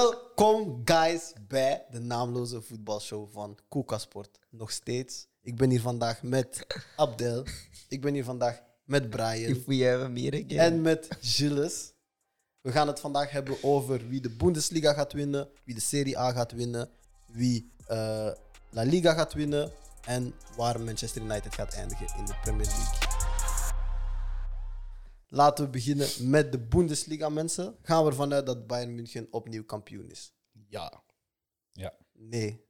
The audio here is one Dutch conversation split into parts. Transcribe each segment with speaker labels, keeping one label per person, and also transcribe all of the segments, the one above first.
Speaker 1: Welkom, guys, bij de naamloze voetbalshow van Koekasport. Nog steeds. Ik ben hier vandaag met Abdel. Ik ben hier vandaag met Brian.
Speaker 2: If we have a meet again.
Speaker 1: En met Gilles. We gaan het vandaag hebben over wie de Bundesliga gaat winnen, wie de Serie A gaat winnen, wie eh, La Liga gaat winnen en waar Manchester United gaat eindigen in de Premier League. Laten we beginnen met de Bundesliga, mensen. Gaan we ervan uit dat Bayern München opnieuw kampioen is?
Speaker 3: Ja.
Speaker 1: Nee.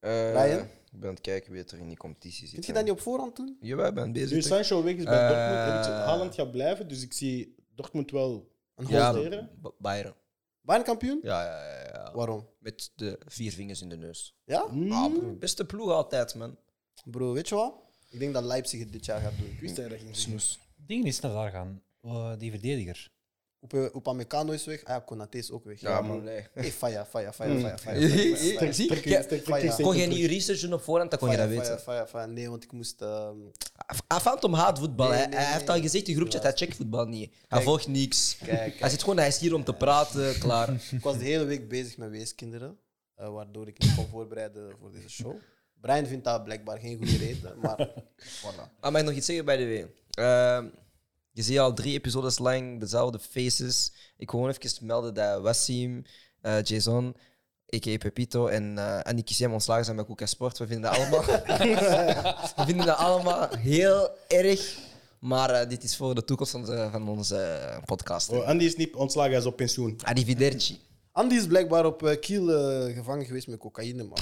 Speaker 2: Eh,
Speaker 1: Ryan?
Speaker 2: Ik ben aan het kijken wie het er in die competitie zit.
Speaker 1: Vind je dat niet op voorhand doen?
Speaker 2: Jawel, ik ben
Speaker 3: Nu
Speaker 2: bezig. toch?
Speaker 3: Sancho weg is bij
Speaker 2: Eh,
Speaker 3: Dortmund en het- Haaland gaat blijven, dus ik zie Dortmund wel.
Speaker 1: Een
Speaker 2: Ja,
Speaker 1: hoofd-
Speaker 3: Holsteren?
Speaker 2: B- Bayern.
Speaker 1: Bayern kampioen?
Speaker 2: Ja, ja, ja, ja.
Speaker 1: Waarom?
Speaker 2: Met de vier vingers in de neus.
Speaker 1: Ja?
Speaker 2: Ah,
Speaker 3: Hmm.
Speaker 2: broer, beste ploeg altijd, man.
Speaker 1: Bro, weet je wat? Ik denk dat Leipzig het dit jaar gaat doen.
Speaker 3: Ik wist dat je dat ging zien.
Speaker 2: Snoes.
Speaker 4: Dingen is naar daar gaan. Eh, die verdediger.
Speaker 1: Oepa- Upamecano is weg. Ah ja, Konaté is ook weg.
Speaker 2: Ja, man. Nee.
Speaker 1: Hey, faya, faya, faya,
Speaker 2: Hmm.
Speaker 3: Mm.
Speaker 1: faya, faya.
Speaker 2: Zie,
Speaker 3: Sterk-
Speaker 2: jij-
Speaker 3: sterk-
Speaker 1: Faya.
Speaker 3: sterk-
Speaker 2: Kon jij niet research doen op voorhand, dan kon je
Speaker 1: Faya,
Speaker 2: dat
Speaker 1: faya,
Speaker 2: weten.
Speaker 1: faya, faya. Nee, want ik moest... ehm,
Speaker 2: Af- Afantom haat voetbal.
Speaker 1: Nee,
Speaker 2: hij,
Speaker 1: nee,
Speaker 2: hij
Speaker 1: nee.
Speaker 2: heeft al gezegd in groepje, hij checkt voetbal niet. Hij volgt niks.
Speaker 1: kijk,
Speaker 2: Hij
Speaker 1: kijk.
Speaker 2: zit gewoon, hij is hier om te praten, klaar.
Speaker 1: ik was de hele week bezig met weeskinderen. eh, waardoor ik niet kon voorbereiden voor deze show. Brian vindt dat blijkbaar geen goede reden, maar voilà.
Speaker 2: Ah, mag ik nog iets zeggen bij de W? Ehm, je ziet al drie episodes lang dezelfde faces. Ik wil gewoon even melden dat Wassim, eh, Jason, a.k.a. Pepito en eh Annie Kissem ontslagen zijn bij Koeka Sport. We vinden dat allemaal, we vinden dat allemaal heel erg. Maar eh, dit is voor de toekomst van, onze- van onze eh, podcast.
Speaker 3: Oh, Andy is niet ontslagen, hij is op pensioen.
Speaker 2: Arrivederci.
Speaker 1: Andy is blijkbaar op eh, Kiel eh, gevangen geweest met cocaïne, man.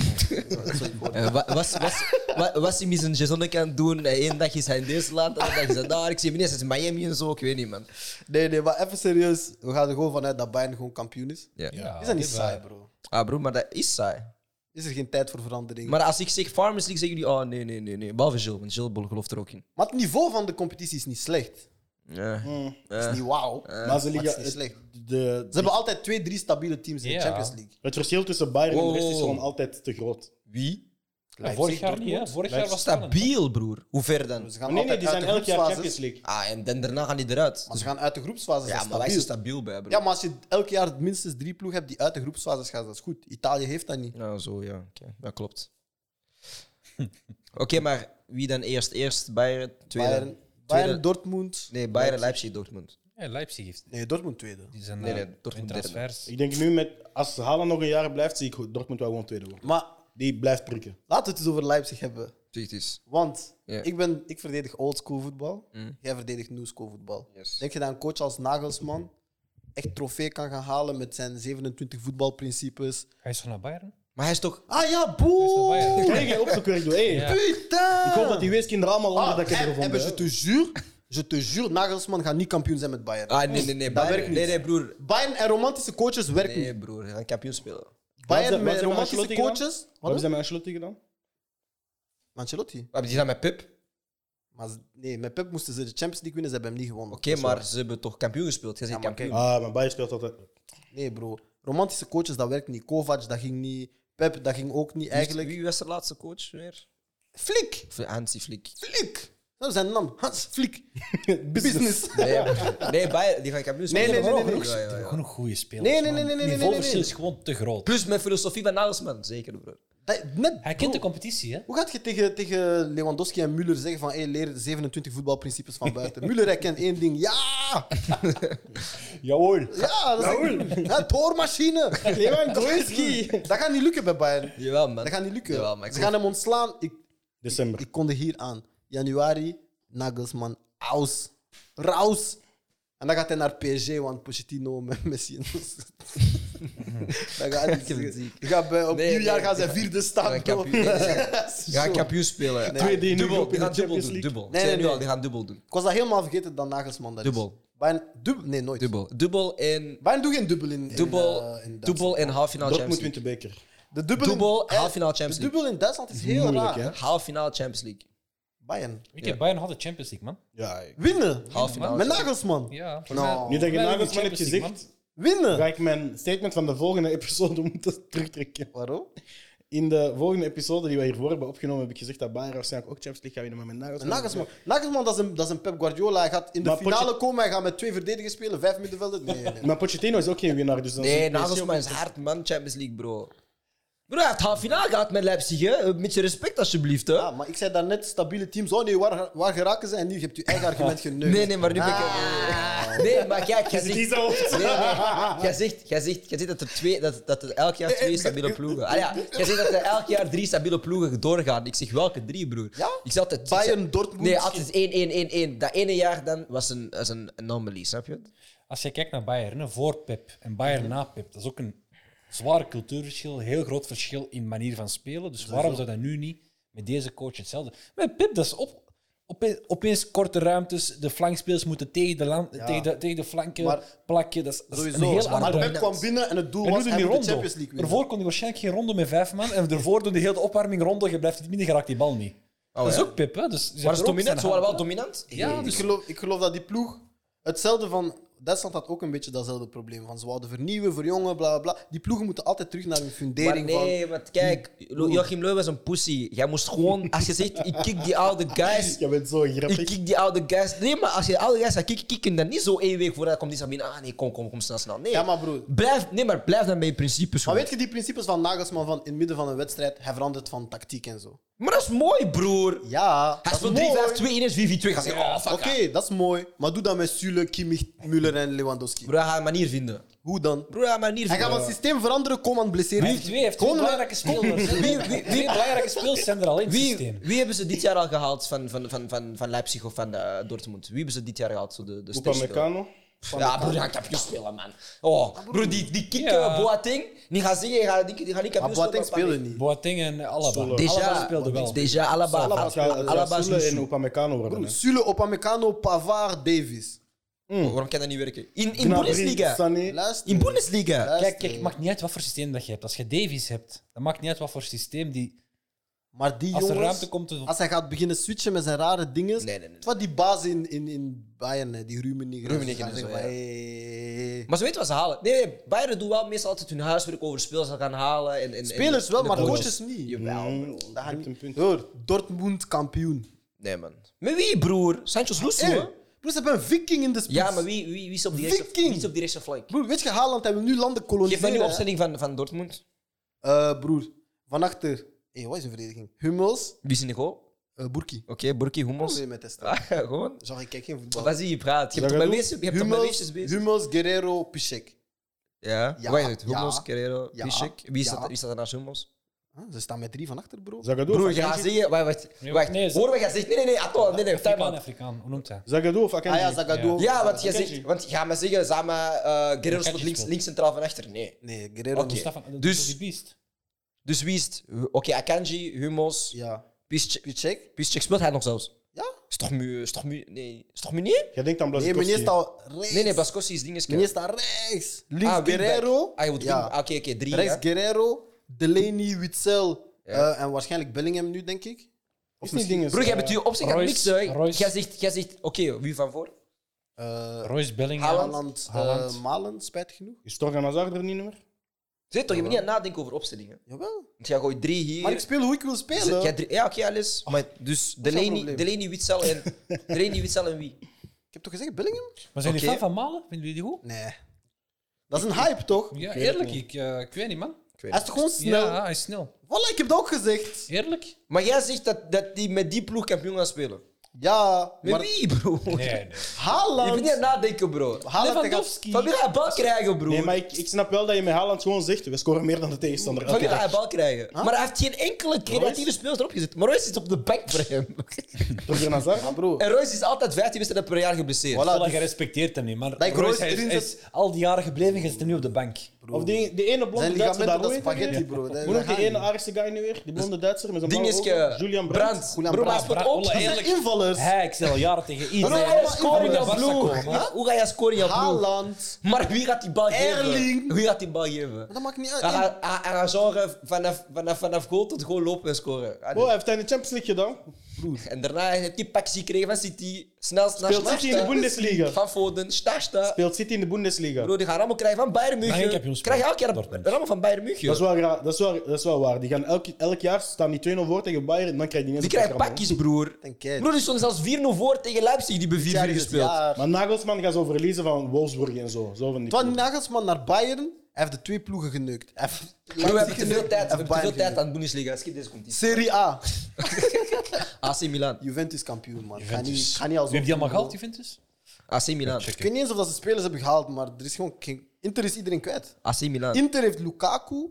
Speaker 1: Dat is een woord.
Speaker 2: Eh, wa- was, was, wa- Wassim is een Jason kan doen. Eén dag is hij in deze land, de andere dag is hij daar. Ik zie hem ineens in Miami en zo. Ik weet niet, man.
Speaker 1: nee, nee, maar even serieus. We gaan er gewoon vanuit dat Bayern gewoon kampioen is.
Speaker 2: Ja.
Speaker 1: Is dat niet saai, bro?
Speaker 2: Ah, broer, maar dat is saai.
Speaker 1: Is er geen tijd voor verandering? Maar,
Speaker 2: Maar als ik zeg Farmers League, zeggen jullie, oh nee, nee, nee, nee. Behalve Jill, want Jill gelooft er ook in.
Speaker 1: het niveau van de competitie is niet slecht.
Speaker 2: Ja.
Speaker 1: Het is niet wauw,
Speaker 3: maar ze
Speaker 1: Eh, maar het is
Speaker 3: liggen.
Speaker 1: niet slecht.
Speaker 3: de- de-
Speaker 1: Ze hebben altijd twee, drie stabiele teams in de
Speaker 4: Ja.
Speaker 1: Champions League.
Speaker 3: het verschil tussen Bayern en de rest is
Speaker 2: Wow.
Speaker 3: gewoon altijd te groot.
Speaker 2: Wie?
Speaker 4: Ja, vorig jaar niet, hè? Vorig jaar was het spannend.
Speaker 2: Stabiel, broer. Hoe ver dan?
Speaker 1: Ze
Speaker 3: Maar
Speaker 1: gaan
Speaker 3: nee, nee,
Speaker 1: altijd
Speaker 3: die
Speaker 1: uit
Speaker 3: zijn
Speaker 1: de
Speaker 3: elk jaar
Speaker 1: groepsfases.
Speaker 3: Champions League.
Speaker 2: Ah, en dan daarna gaan die eruit. Dus-
Speaker 1: Maar ze gaan uit de groepsfases.
Speaker 2: Ja,
Speaker 1: dat is
Speaker 2: maar wij zijn
Speaker 1: stabiel.
Speaker 2: stabiel bij, broer.
Speaker 1: Ja, maar als je elk jaar minstens drie ploeg hebt die uit de groepsfases gaan, dat is goed. Italië heeft dat niet.
Speaker 2: Nou, zo, ja. Oké, Dat klopt. Oké, maar wie dan eerst? Eerst Bayern, tweede.
Speaker 1: Bayern, Bayern
Speaker 2: Tweede.
Speaker 1: Dortmund.
Speaker 2: Nee, Bayern, Leipzig, Dortmund.
Speaker 4: Ja, Leipzig heeft.
Speaker 1: Nee, Dortmund tweede.
Speaker 4: Die zijn
Speaker 2: Nee,
Speaker 4: nee,
Speaker 2: nee,
Speaker 4: nee,
Speaker 2: Dortmund derde.
Speaker 4: transfers.
Speaker 3: Ik denk nu, met, als Haaland nog een jaar blijft, zie ik Dortmund wel gewoon tweede worden.
Speaker 1: Maar
Speaker 3: Die blijft prikken.
Speaker 1: laten we het eens over Leipzig hebben.
Speaker 2: Zeg het eens.
Speaker 1: Want
Speaker 2: Ja.
Speaker 1: ik, ben, ik verdedig oldschool voetbal.
Speaker 2: Mm.
Speaker 1: Jij verdedigt new school voetbal.
Speaker 2: Yes.
Speaker 1: Denk je dat een coach als Nagelsman echt trofee kan gaan halen met zijn 27 voetbalprincipes?
Speaker 4: Hij is toch naar Bayern?
Speaker 2: Maar hij is toch...
Speaker 1: Ah ja,
Speaker 4: Hij is naar
Speaker 1: boe!
Speaker 4: Bayern.
Speaker 3: Krijg jij opzoekwerk door? Hey,
Speaker 4: Ja.
Speaker 1: Putain!
Speaker 3: Ik hoop dat die weeskinderen allemaal onder dat ik heb
Speaker 1: heb,
Speaker 3: gevonden.
Speaker 1: Ah, hebben ze
Speaker 3: hè.
Speaker 1: te zuur? Je te zuur, Nagelsman gaat niet kampioen zijn met Bayern.
Speaker 2: Ah, nee, nee, nee.
Speaker 1: Dat
Speaker 2: Bayern-
Speaker 1: werkt niet.
Speaker 2: Nee, nee, broer.
Speaker 1: Bayern en romantische coaches werken niet.
Speaker 2: Nee, broer. Hij gaat kampioen spelen.
Speaker 3: Wat
Speaker 1: Bayern
Speaker 3: hebben-
Speaker 1: met
Speaker 3: wat hebben
Speaker 1: romantische
Speaker 3: Ancelotti gedaan?
Speaker 1: coaches.
Speaker 3: Wat hebben
Speaker 1: Wat?
Speaker 3: ze met Ancelotti gedaan?
Speaker 1: Ancelotti.
Speaker 2: Hebben Ah, die dan met Pip?
Speaker 1: Maar ze- nee, met Pep moesten ze de Champions League winnen, ze hebben hem niet gewonnen.
Speaker 2: Oké, maar ze hebben toch kampioen gespeeld? Jij zegt
Speaker 1: Ja, maar
Speaker 2: kampioen.
Speaker 3: Ah, maar Bayern speelt altijd.
Speaker 1: Nee, bro. Romantische coaches, dat werkt niet. Kovac, dat ging niet. Pep, dat ging ook niet eigenlijk.
Speaker 2: Wie was de laatste coach weer?
Speaker 1: Flik!
Speaker 2: Hansi Flick.
Speaker 1: Flik! Dat is zijn naam. Hans Flik.
Speaker 3: Business.
Speaker 1: Business.
Speaker 2: Nee, Eh, nee Bayern, die gaan kampioen spelen.
Speaker 1: nee, nee, nee,
Speaker 2: Oh,
Speaker 1: nee.
Speaker 2: ja, ja, ja.
Speaker 4: Gewoon een goede speler.
Speaker 1: Nee, nee, nee, nee, nee, nee,
Speaker 4: Het
Speaker 1: nee,
Speaker 4: verschil
Speaker 1: nee.
Speaker 4: is gewoon te groot.
Speaker 2: Plus mijn filosofie van Nagelsman, zeker bro.
Speaker 1: Dat- net,
Speaker 4: Hij kent de competitie, hè?
Speaker 1: hoe gaat je tegen, tegen Lewandowski en Müller zeggen van hey, leer de 27 voetbalprincipes van buiten? Müller herkent één ding. Ja!
Speaker 3: Jawohl.
Speaker 1: Ja, dat is een ja, toormachine.
Speaker 3: Lewandowski.
Speaker 1: Dat gaat niet lukken bij Bayern.
Speaker 2: Jawel man.
Speaker 1: Dat gaat niet lukken.
Speaker 2: Jawel, maar ik
Speaker 1: Ze gaan hem ontslaan. Ik,
Speaker 3: December.
Speaker 1: ik kondig hier aan. Januari, Nagelsman, aus. Raus. En dan gaat hij naar PSG, want Pochettino met Messi. en zo. dat gaat niet.
Speaker 2: heb het
Speaker 1: zeggen.
Speaker 2: ziek.
Speaker 1: Je gaat bij, op
Speaker 2: Nee,
Speaker 1: nieuwjaar
Speaker 2: nee,
Speaker 1: gaan ze
Speaker 2: nee.
Speaker 1: vierde
Speaker 2: Ja,
Speaker 1: staan. bro.
Speaker 2: kampioen. Nee, nee.
Speaker 1: Dat is
Speaker 2: Die gaan
Speaker 1: zo.
Speaker 2: kampioen spelen.
Speaker 1: Nee.
Speaker 3: Twee die nu
Speaker 2: Dubbel,
Speaker 3: groep
Speaker 2: die
Speaker 3: in de
Speaker 2: gaan dubbel
Speaker 3: Champions
Speaker 2: doen.
Speaker 3: League.
Speaker 2: Dubbel.
Speaker 1: Nee,
Speaker 2: Nee,
Speaker 1: nee,
Speaker 2: nu al,
Speaker 1: nee.
Speaker 2: die gaan dubbel doen.
Speaker 1: Ik was dat helemaal vergeten dat Nagelsman dat is.
Speaker 2: Dubbel.
Speaker 1: Bayern, dubbel? Nee, nooit.
Speaker 2: Dubbel. Dubbel en...
Speaker 1: Bayern doet geen dubbel in, in,
Speaker 2: Dubbel,
Speaker 1: eh, in Duitsland.
Speaker 2: dubbel en half finale
Speaker 3: Dortmund
Speaker 2: Champions
Speaker 3: wint
Speaker 2: League.
Speaker 3: de beker.
Speaker 1: De dubbel,
Speaker 2: Dubbel,
Speaker 1: in, eh,
Speaker 2: half finale
Speaker 1: de
Speaker 2: Champions League.
Speaker 1: dubbel in Duitsland is heel
Speaker 3: Moeilijk,
Speaker 1: raar.
Speaker 3: hè?
Speaker 2: Half finale Champions League.
Speaker 1: Bayern.
Speaker 4: Weet je, Bayern had de Champions League, man.
Speaker 3: Ja, ik-
Speaker 1: Winnen.
Speaker 2: Half finale.
Speaker 1: Met
Speaker 2: Champions
Speaker 1: Nagelsman.
Speaker 4: Ja. voor
Speaker 1: Nou.
Speaker 4: mij-
Speaker 3: Nu dat je
Speaker 4: voor mij
Speaker 3: Nagelsman
Speaker 4: hebben
Speaker 3: hebt
Speaker 4: we die Champions League,
Speaker 3: gezegd,
Speaker 1: Winnen.
Speaker 3: ga ik mijn statement van de volgende episode moeten terugtrekken.
Speaker 1: Waarom?
Speaker 3: In de volgende episode die we hiervoor hebben opgenomen, heb ik gezegd dat Bayern waarschijnlijk ook Champions League gaat winnen, maar met Nagelsman...
Speaker 1: Nagelsman, Nagelsman dat, is een, dat is een Pep Guardiola. Hij gaat in de
Speaker 3: Maar
Speaker 1: finale
Speaker 3: Poche-
Speaker 1: komen, hij gaat met twee verdedigers spelen, vijf middenvelders. Nee, nee.
Speaker 3: Maar Pochettino is ook geen winnaar, dus dan is
Speaker 2: Nee,
Speaker 3: het misschien
Speaker 2: Nagelsman
Speaker 3: ook-
Speaker 2: is hard, man. Champions League, bro. Bro, hij heeft half finale gehad met Leipzig, hè. Een beetje respect, alsjeblieft, hè.
Speaker 1: Ja, maar ik zei daarnet, stabiele teams. Oh nee, waar, waar geraken ze? En nu heb je eigen argument geneukt. Ah,
Speaker 2: Nee, nee, maar nu ben ik... Nee, maar kijk, jij
Speaker 3: Die
Speaker 2: zegt...
Speaker 3: zo hoofd.
Speaker 2: Nee, nee. Jij zegt, jij zegt, jij zegt dat, er twee, dat, dat er elk jaar twee stabiele ploegen... Ah ja, jij zegt dat er elk jaar drie stabiele ploegen doorgaan. Ik zeg, welke drie, broer?
Speaker 1: Ja?
Speaker 2: Ik zeg altijd...
Speaker 1: Bayern, Dortmund.
Speaker 2: Nee, altijd 1-1-1-1. Dat ene jaar dan was een, was een anomaly, snap je? Oh,
Speaker 4: Als je kijkt naar Bayern, hè, voor Pep en
Speaker 1: Mhm.
Speaker 4: Bayern na Pep, dat is ook een zwaar cultuurverschil, heel groot verschil in manier van spelen. Dus waarom zou dat nu niet met deze coach hetzelfde? Met Pep, dat is op, opeens, opeens korte ruimtes, de flankspelers moeten tegen de, lan- tegen de, tegen de flanken
Speaker 1: Maar-
Speaker 4: plakken. Dat is, dat is
Speaker 1: Sowieso.
Speaker 4: een heel
Speaker 1: maar
Speaker 4: ander
Speaker 1: Pep kwam binnen en het doel
Speaker 4: En nu
Speaker 1: was
Speaker 4: doen
Speaker 1: hem
Speaker 4: die
Speaker 1: de
Speaker 4: rondo.
Speaker 1: Champions League winnen.
Speaker 4: Daarvoor kon hij waarschijnlijk geen ronde met vijf man. En daarvoor doen de hele opwarming ronde. Je blijft niet binnen, geraakt die bal niet.
Speaker 1: Oh,
Speaker 4: dat is ook Pip, hè? Dus
Speaker 2: Maar is dominant? Ze waren wel dominant?
Speaker 4: Ja,
Speaker 1: Ik
Speaker 4: dus
Speaker 1: geloof, ik geloof dat die ploeg hetzelfde van. Duitsland had ook een beetje datzelfde probleem. Van ze wouden vernieuwen, verjongen, bla bla bla. Die ploegen moeten altijd terug naar hun
Speaker 2: Maar
Speaker 1: fundering.
Speaker 2: nee, want kijk, Lo- Joachim Löw was een pussy. Jij moest gewoon, als je zegt, ik kick die oude guys.
Speaker 3: Je bent zo
Speaker 2: Ik
Speaker 3: grappig.
Speaker 2: kick die oude guys. Nee, maar als je de oude guys gaat kicken, kicken dan niet zo één week voordat komt die Sabine. Ah nee, kom, kom, kom snel, snel. Nee,
Speaker 1: Ja, maar broer.
Speaker 2: blijf, nee, maar blijf dan bij je principes.
Speaker 1: Maar
Speaker 2: gewoon.
Speaker 1: weet je die principes van Nagelsman van in het midden van een wedstrijd, hij verandert van tactiek en zo.
Speaker 2: Maar dat is mooi, broer.
Speaker 1: Ja, dat
Speaker 2: Hij
Speaker 1: is
Speaker 2: speelt 3-5-2,
Speaker 1: mooi.
Speaker 2: 1 4 4-2. Ga zeggen, oh, fuck.
Speaker 1: Oké, dat is mooi. Maar doe dat met Süle, Kimmich, Müller en Lewandowski.
Speaker 2: Bro, hij gaat een manier vinden.
Speaker 1: Hoe dan?
Speaker 2: Bro, hij gaat een manier
Speaker 1: Hij
Speaker 2: vinden.
Speaker 1: gaat van systeem veranderen, kom aan blesseren.
Speaker 4: Wie twee heeft twee
Speaker 1: Gewoon
Speaker 4: belangrijke spelers. hè. Twee belangrijke spelers zijn er al in het
Speaker 2: Wie,
Speaker 4: systeem.
Speaker 2: wie hebben ze dit jaar al gehaald van, van, van, van, van Leipzig of van eh, Dortmund? Wie hebben ze dit jaar gehaald? Zo de, de sterkste?
Speaker 3: Upamecano.
Speaker 2: Ja, broer, die gaat kampioen spelen, man. Oh, broer, die, die kicken,
Speaker 4: Ja.
Speaker 2: Boateng. Die gaat zeggen, die gaat, die, die gaat niet
Speaker 1: Maar Ah,
Speaker 2: kampioen
Speaker 1: Boateng
Speaker 2: spelen.
Speaker 1: speelde niet.
Speaker 4: Boateng en Alaba.
Speaker 3: Deze-
Speaker 4: Alaba speelde wel.
Speaker 2: Deja, Alaba.
Speaker 3: Alaba
Speaker 2: Alaba,
Speaker 3: het gaat- het gaat
Speaker 2: is
Speaker 3: Soele en
Speaker 2: zo-
Speaker 3: Upamecano worden. hè.
Speaker 1: Süle, Opamecano, Pavard, Davies.
Speaker 2: Oh, Waarom kan dat niet werken? In, in
Speaker 3: Gnabry,
Speaker 2: Bundesliga.
Speaker 3: Sané.
Speaker 1: Luister.
Speaker 2: In Bundesliga.
Speaker 1: Luister.
Speaker 4: Kijk, kijk, het maakt niet uit wat voor systeem dat je hebt. Als je Davies hebt, dan maakt niet uit wat voor systeem die.
Speaker 1: Maar die
Speaker 4: Als er
Speaker 1: jongens,
Speaker 4: ruimte komt, dan-
Speaker 1: als hij gaat beginnen switchen met zijn rare dingen.
Speaker 2: Nee, nee, nee.
Speaker 1: Het was die baas in, in, in Bayern, hè, die Rummenigge.
Speaker 2: Rummenigge
Speaker 1: Dus
Speaker 2: en
Speaker 1: hij
Speaker 2: zo,
Speaker 1: zegt
Speaker 2: ja.
Speaker 1: van, hey, hey, hey.
Speaker 2: Maar ze weten wat ze halen. Nee, nee, Bayern doen wel meestal altijd hun huiswerk over spelers gaan halen. En, en- en,
Speaker 1: Spelers wel,
Speaker 2: en de
Speaker 1: maar coaches niet.
Speaker 2: Jawel,
Speaker 3: Mm,
Speaker 2: bro.
Speaker 1: Dat gaat
Speaker 3: je hebt een
Speaker 1: niet.
Speaker 3: punt.
Speaker 1: Hoor, Dortmund kampioen.
Speaker 2: Nee, man. Met wie, broer? Sanchez Lusso,
Speaker 1: Hey,
Speaker 2: hè?
Speaker 1: broer, ze hebben een viking in de spits.
Speaker 2: Ja, maar wie, wie, wie, is, op die rechtse,
Speaker 1: Viking.
Speaker 2: wie is op die rechtse flank?
Speaker 1: Broer, weet je, Haaland hebben nu landen
Speaker 2: Geef me
Speaker 1: koloniseren.
Speaker 2: nu
Speaker 1: hè.
Speaker 2: opstelling van, van Dortmund.
Speaker 1: Eh, broer, van achter. Hé, wat is een verdediging? Hummels,
Speaker 2: Wie is in de goal?
Speaker 1: eh Burki.
Speaker 2: Oké, Burki
Speaker 1: Wat
Speaker 2: Hummels.
Speaker 1: wil je met testen?
Speaker 2: Ah, gewoon.
Speaker 1: Zag ik kijk geen voetbal.
Speaker 2: Wat zie je praat? Je
Speaker 3: Zeg
Speaker 2: hebt toch mijn
Speaker 3: het
Speaker 2: weefjes- je hebt toch mijn
Speaker 1: Hummels,
Speaker 2: weefjes bezig?
Speaker 1: Hummels, Guerrero, Piszek.
Speaker 2: Ja.
Speaker 1: Ja,
Speaker 2: Wacht even.
Speaker 1: ja.
Speaker 2: Hummels, Guerrero,
Speaker 1: Ja.
Speaker 2: Piszek. Wie
Speaker 1: Ja.
Speaker 2: staat wie staat er naast Hummels?
Speaker 1: Huh, Ah, Ze staan met drie van achter, bro.
Speaker 3: Zagadou
Speaker 2: Broer,
Speaker 3: of
Speaker 2: je gaat
Speaker 3: Akanji?
Speaker 2: zeggen... Wacht, wacht.
Speaker 4: Nee,
Speaker 2: wacht.
Speaker 4: nee, ze-
Speaker 2: Hoor wat je zegt. Nee, nee, nee. Atto, nee, nee. Time
Speaker 4: Afrikaan,
Speaker 2: out.
Speaker 4: Afrikaan, hoe noemt hij?
Speaker 3: Zagadou of Akanji?
Speaker 1: Ah ja, Zagadou.
Speaker 2: Ja, want je
Speaker 3: Akanji.
Speaker 2: zegt... Want ga maar zeggen, samen eh Guerrero
Speaker 4: Akanji
Speaker 2: speelt links,
Speaker 4: speelt.
Speaker 2: links centraal van achter. Nee.
Speaker 1: Nee, Guerrero
Speaker 2: Oké.
Speaker 1: niet.
Speaker 4: Stefan,
Speaker 2: Dus-
Speaker 4: dus, die beest.
Speaker 2: Dus wie is het? Oké, Akanji, Hummels,
Speaker 1: Ja.
Speaker 2: Piszek.
Speaker 1: Piszek?
Speaker 2: Piszek speelt hij nog zelfs?
Speaker 1: Ja.
Speaker 2: Is toch mu... Is toch mu... Nee. Is toch Meunier?
Speaker 3: Jij denkt aan
Speaker 1: Nee,
Speaker 3: Blazikowski.
Speaker 1: meneer staat rechts.
Speaker 2: Nee, nee. Baskossi is dinges.
Speaker 1: Meneer staat rechts. Links
Speaker 2: Ah, wingback.
Speaker 1: Guerrero.
Speaker 2: Ah, je moet wing- ah, Oké, oké. Drie,
Speaker 1: Rechts
Speaker 2: hè?
Speaker 1: Guerrero, Delaney, Witzel
Speaker 2: Ja.
Speaker 1: eh, en waarschijnlijk Bellingham nu, denk ik.
Speaker 3: Is niet dinges,
Speaker 2: Broer, jij
Speaker 3: eh,
Speaker 2: bent je opzicht aan
Speaker 4: Royce,
Speaker 2: niks, hè?
Speaker 4: Royce.
Speaker 2: Jij zegt, jij zegt oké, wie van voor?
Speaker 1: Eh
Speaker 4: Royce Bellingham.
Speaker 1: Haaland, eh,
Speaker 4: Haaland.
Speaker 1: Malen, spijtig genoeg.
Speaker 3: Is Torgan Hazard er niet meer?
Speaker 2: Zit toch, je moet niet aan nadenken over opstellingen.
Speaker 1: Jawel.
Speaker 2: Want jij gooit drie hier.
Speaker 1: Maar ik speel hoe ik wil spelen.
Speaker 2: Zet jij drie- ja, oké, alles. Maar dus
Speaker 1: is jouw
Speaker 2: Delaney,
Speaker 1: probleem?
Speaker 2: Delaney, Witzel en, Delaney, Witzel en wie?
Speaker 1: Ik heb toch gezegd Bellingham?
Speaker 4: Maar zijn jullie
Speaker 2: Oké.
Speaker 4: fan van Malen? Vinden jullie die goed?
Speaker 1: Nee. Dat is een hype, toch?
Speaker 4: Ja,
Speaker 3: weet
Speaker 4: eerlijk,
Speaker 3: het
Speaker 4: ik, eh, ik weet niet, man.
Speaker 1: Hij is toch gewoon snel?
Speaker 4: Ja, hij is snel.
Speaker 1: Voilà, ik heb dat ook gezegd.
Speaker 4: Eerlijk?
Speaker 2: Maar jij zegt dat, dat die met die ploeg kampioen gaan spelen.
Speaker 1: Ja,
Speaker 2: Met
Speaker 1: maar
Speaker 2: wie, bro?
Speaker 4: Nee, nee.
Speaker 2: Je moet niet aan
Speaker 1: Haaland...
Speaker 2: nadenken, bro.
Speaker 1: Haaland tegen-
Speaker 4: Lewandowski.
Speaker 2: Van wie gaat hij bal krijgen, bro?
Speaker 3: Nee, maar ik, ik snap wel dat je met Haaland gewoon zegt, we scoren meer dan de tegenstander.
Speaker 2: Van
Speaker 3: Elke
Speaker 2: wie gaat
Speaker 3: dag.
Speaker 2: hij bal krijgen? Maar hij heeft geen enkele creatieve speler erop gezet. Maar Royce zit op de bank voor hem.
Speaker 3: Torgan Hazard?
Speaker 1: Maar bro,
Speaker 2: en Royce is altijd 15 wedstrijden per jaar geblesseerd.
Speaker 1: Voilà,
Speaker 4: Voilà,
Speaker 1: dus-
Speaker 4: je respecteert hem niet, maar
Speaker 1: Dat ik
Speaker 4: Royce,
Speaker 1: Royce
Speaker 4: hij is,
Speaker 1: erin
Speaker 4: hij
Speaker 1: zet-
Speaker 4: is al die jaren gebleven en zit nu op de bank.
Speaker 3: Of die, die ene
Speaker 1: zijn
Speaker 3: blonde Duitser
Speaker 1: ligamenten,
Speaker 3: daar,
Speaker 1: dat
Speaker 3: hoe
Speaker 1: is
Speaker 3: heet hij
Speaker 1: spaghetti,
Speaker 3: weer?
Speaker 1: bro. Dat-
Speaker 3: Hoe
Speaker 1: dat
Speaker 3: noemt
Speaker 1: gaat
Speaker 3: die ene
Speaker 1: niet.
Speaker 3: Aarse guy nu weer? Die blonde Duitser met zijn
Speaker 2: Ding
Speaker 3: blauwe
Speaker 2: is
Speaker 3: ogen? Julian Brandt.
Speaker 1: Julian
Speaker 2: Bro, maar hij
Speaker 1: Brandt.
Speaker 2: speelt
Speaker 4: Bra-
Speaker 2: ook.
Speaker 4: Olle,
Speaker 1: Dat zijn
Speaker 4: eerlijk.
Speaker 1: invallers.
Speaker 4: Hij, ik stel al jaren tegen
Speaker 2: Hoe
Speaker 4: iedereen.
Speaker 2: ga jij scoren in
Speaker 4: Allemaal
Speaker 2: jouw
Speaker 4: Barca
Speaker 2: ploeg?
Speaker 4: komen, hè?
Speaker 2: Hoe ga jij scoren in jouw ploeg?
Speaker 1: Haaland.
Speaker 2: Maar wie gaat die bal
Speaker 1: Erling.
Speaker 2: geven? Wie gaat die bal geven?
Speaker 1: Maar dat maakt niet uit.
Speaker 2: Hij
Speaker 4: ah,
Speaker 2: gaat- Hij hij gaat genre vanaf, vanaf, vanaf goal tot goal lopen en scoren. Ah, nee.
Speaker 3: Oh, hij heeft hij in de Champions League gedaan?
Speaker 1: Broer.
Speaker 2: En daarna heb je pakjes gekregen van City. Snel, snel,
Speaker 3: Speelt City in de Bundesliga.
Speaker 2: Van Foden, Stasta.
Speaker 3: Speelt City in de Bundesliga.
Speaker 2: Bro, die gaan allemaal krijgen van Bayern
Speaker 4: Maar ik heb
Speaker 2: München.
Speaker 4: jongens
Speaker 2: Krijg je elk jaar
Speaker 4: Dortmund.
Speaker 2: ramen van Bayern München.
Speaker 3: Dat is, wel raar, dat, is wel, dat is wel waar. Die gaan elk, elk jaar staan die 2-0 voor tegen Bayern. En dan krijg je ineens
Speaker 2: Die
Speaker 3: een
Speaker 2: krijgen
Speaker 3: pak, man.
Speaker 2: pakjes, broer.
Speaker 1: Denk jij.
Speaker 2: Broer, die stonden zelfs 4-0 voor tegen Leipzig. Die hebben 4-4
Speaker 1: Jaar is het
Speaker 2: gespeeld.
Speaker 1: jaar.
Speaker 3: Maar Nagelsman gaat zo verliezen van Wolfsburg en zo. zo van die
Speaker 1: Twan
Speaker 3: ploegen.
Speaker 1: Nagelsman naar Bayern. Hij heeft de twee ploegen geneukt. Hij heeft
Speaker 2: Broer, we
Speaker 1: Leipzig
Speaker 2: hebben te veel
Speaker 1: geneukt,
Speaker 2: tijd. We
Speaker 1: hij
Speaker 2: hebben
Speaker 1: heeft
Speaker 2: te veel
Speaker 1: Bayern
Speaker 2: tijd
Speaker 1: geneukt.
Speaker 2: aan Bundesliga. Schiet deze competitie.
Speaker 1: Serie A.
Speaker 2: AC Milan.
Speaker 1: Juventus kampioen, man. Ga
Speaker 4: Juventus.
Speaker 1: niet, ga niet als
Speaker 4: Wie heeft die dus? allemaal gehaald, Juventus?
Speaker 2: AC Milan.
Speaker 1: Ik weet niet eens of dat ze spelers hebben gehaald, maar er is gewoon geen... Inter is iedereen kwijt.
Speaker 2: AC Milan.
Speaker 1: Inter heeft Lukaku en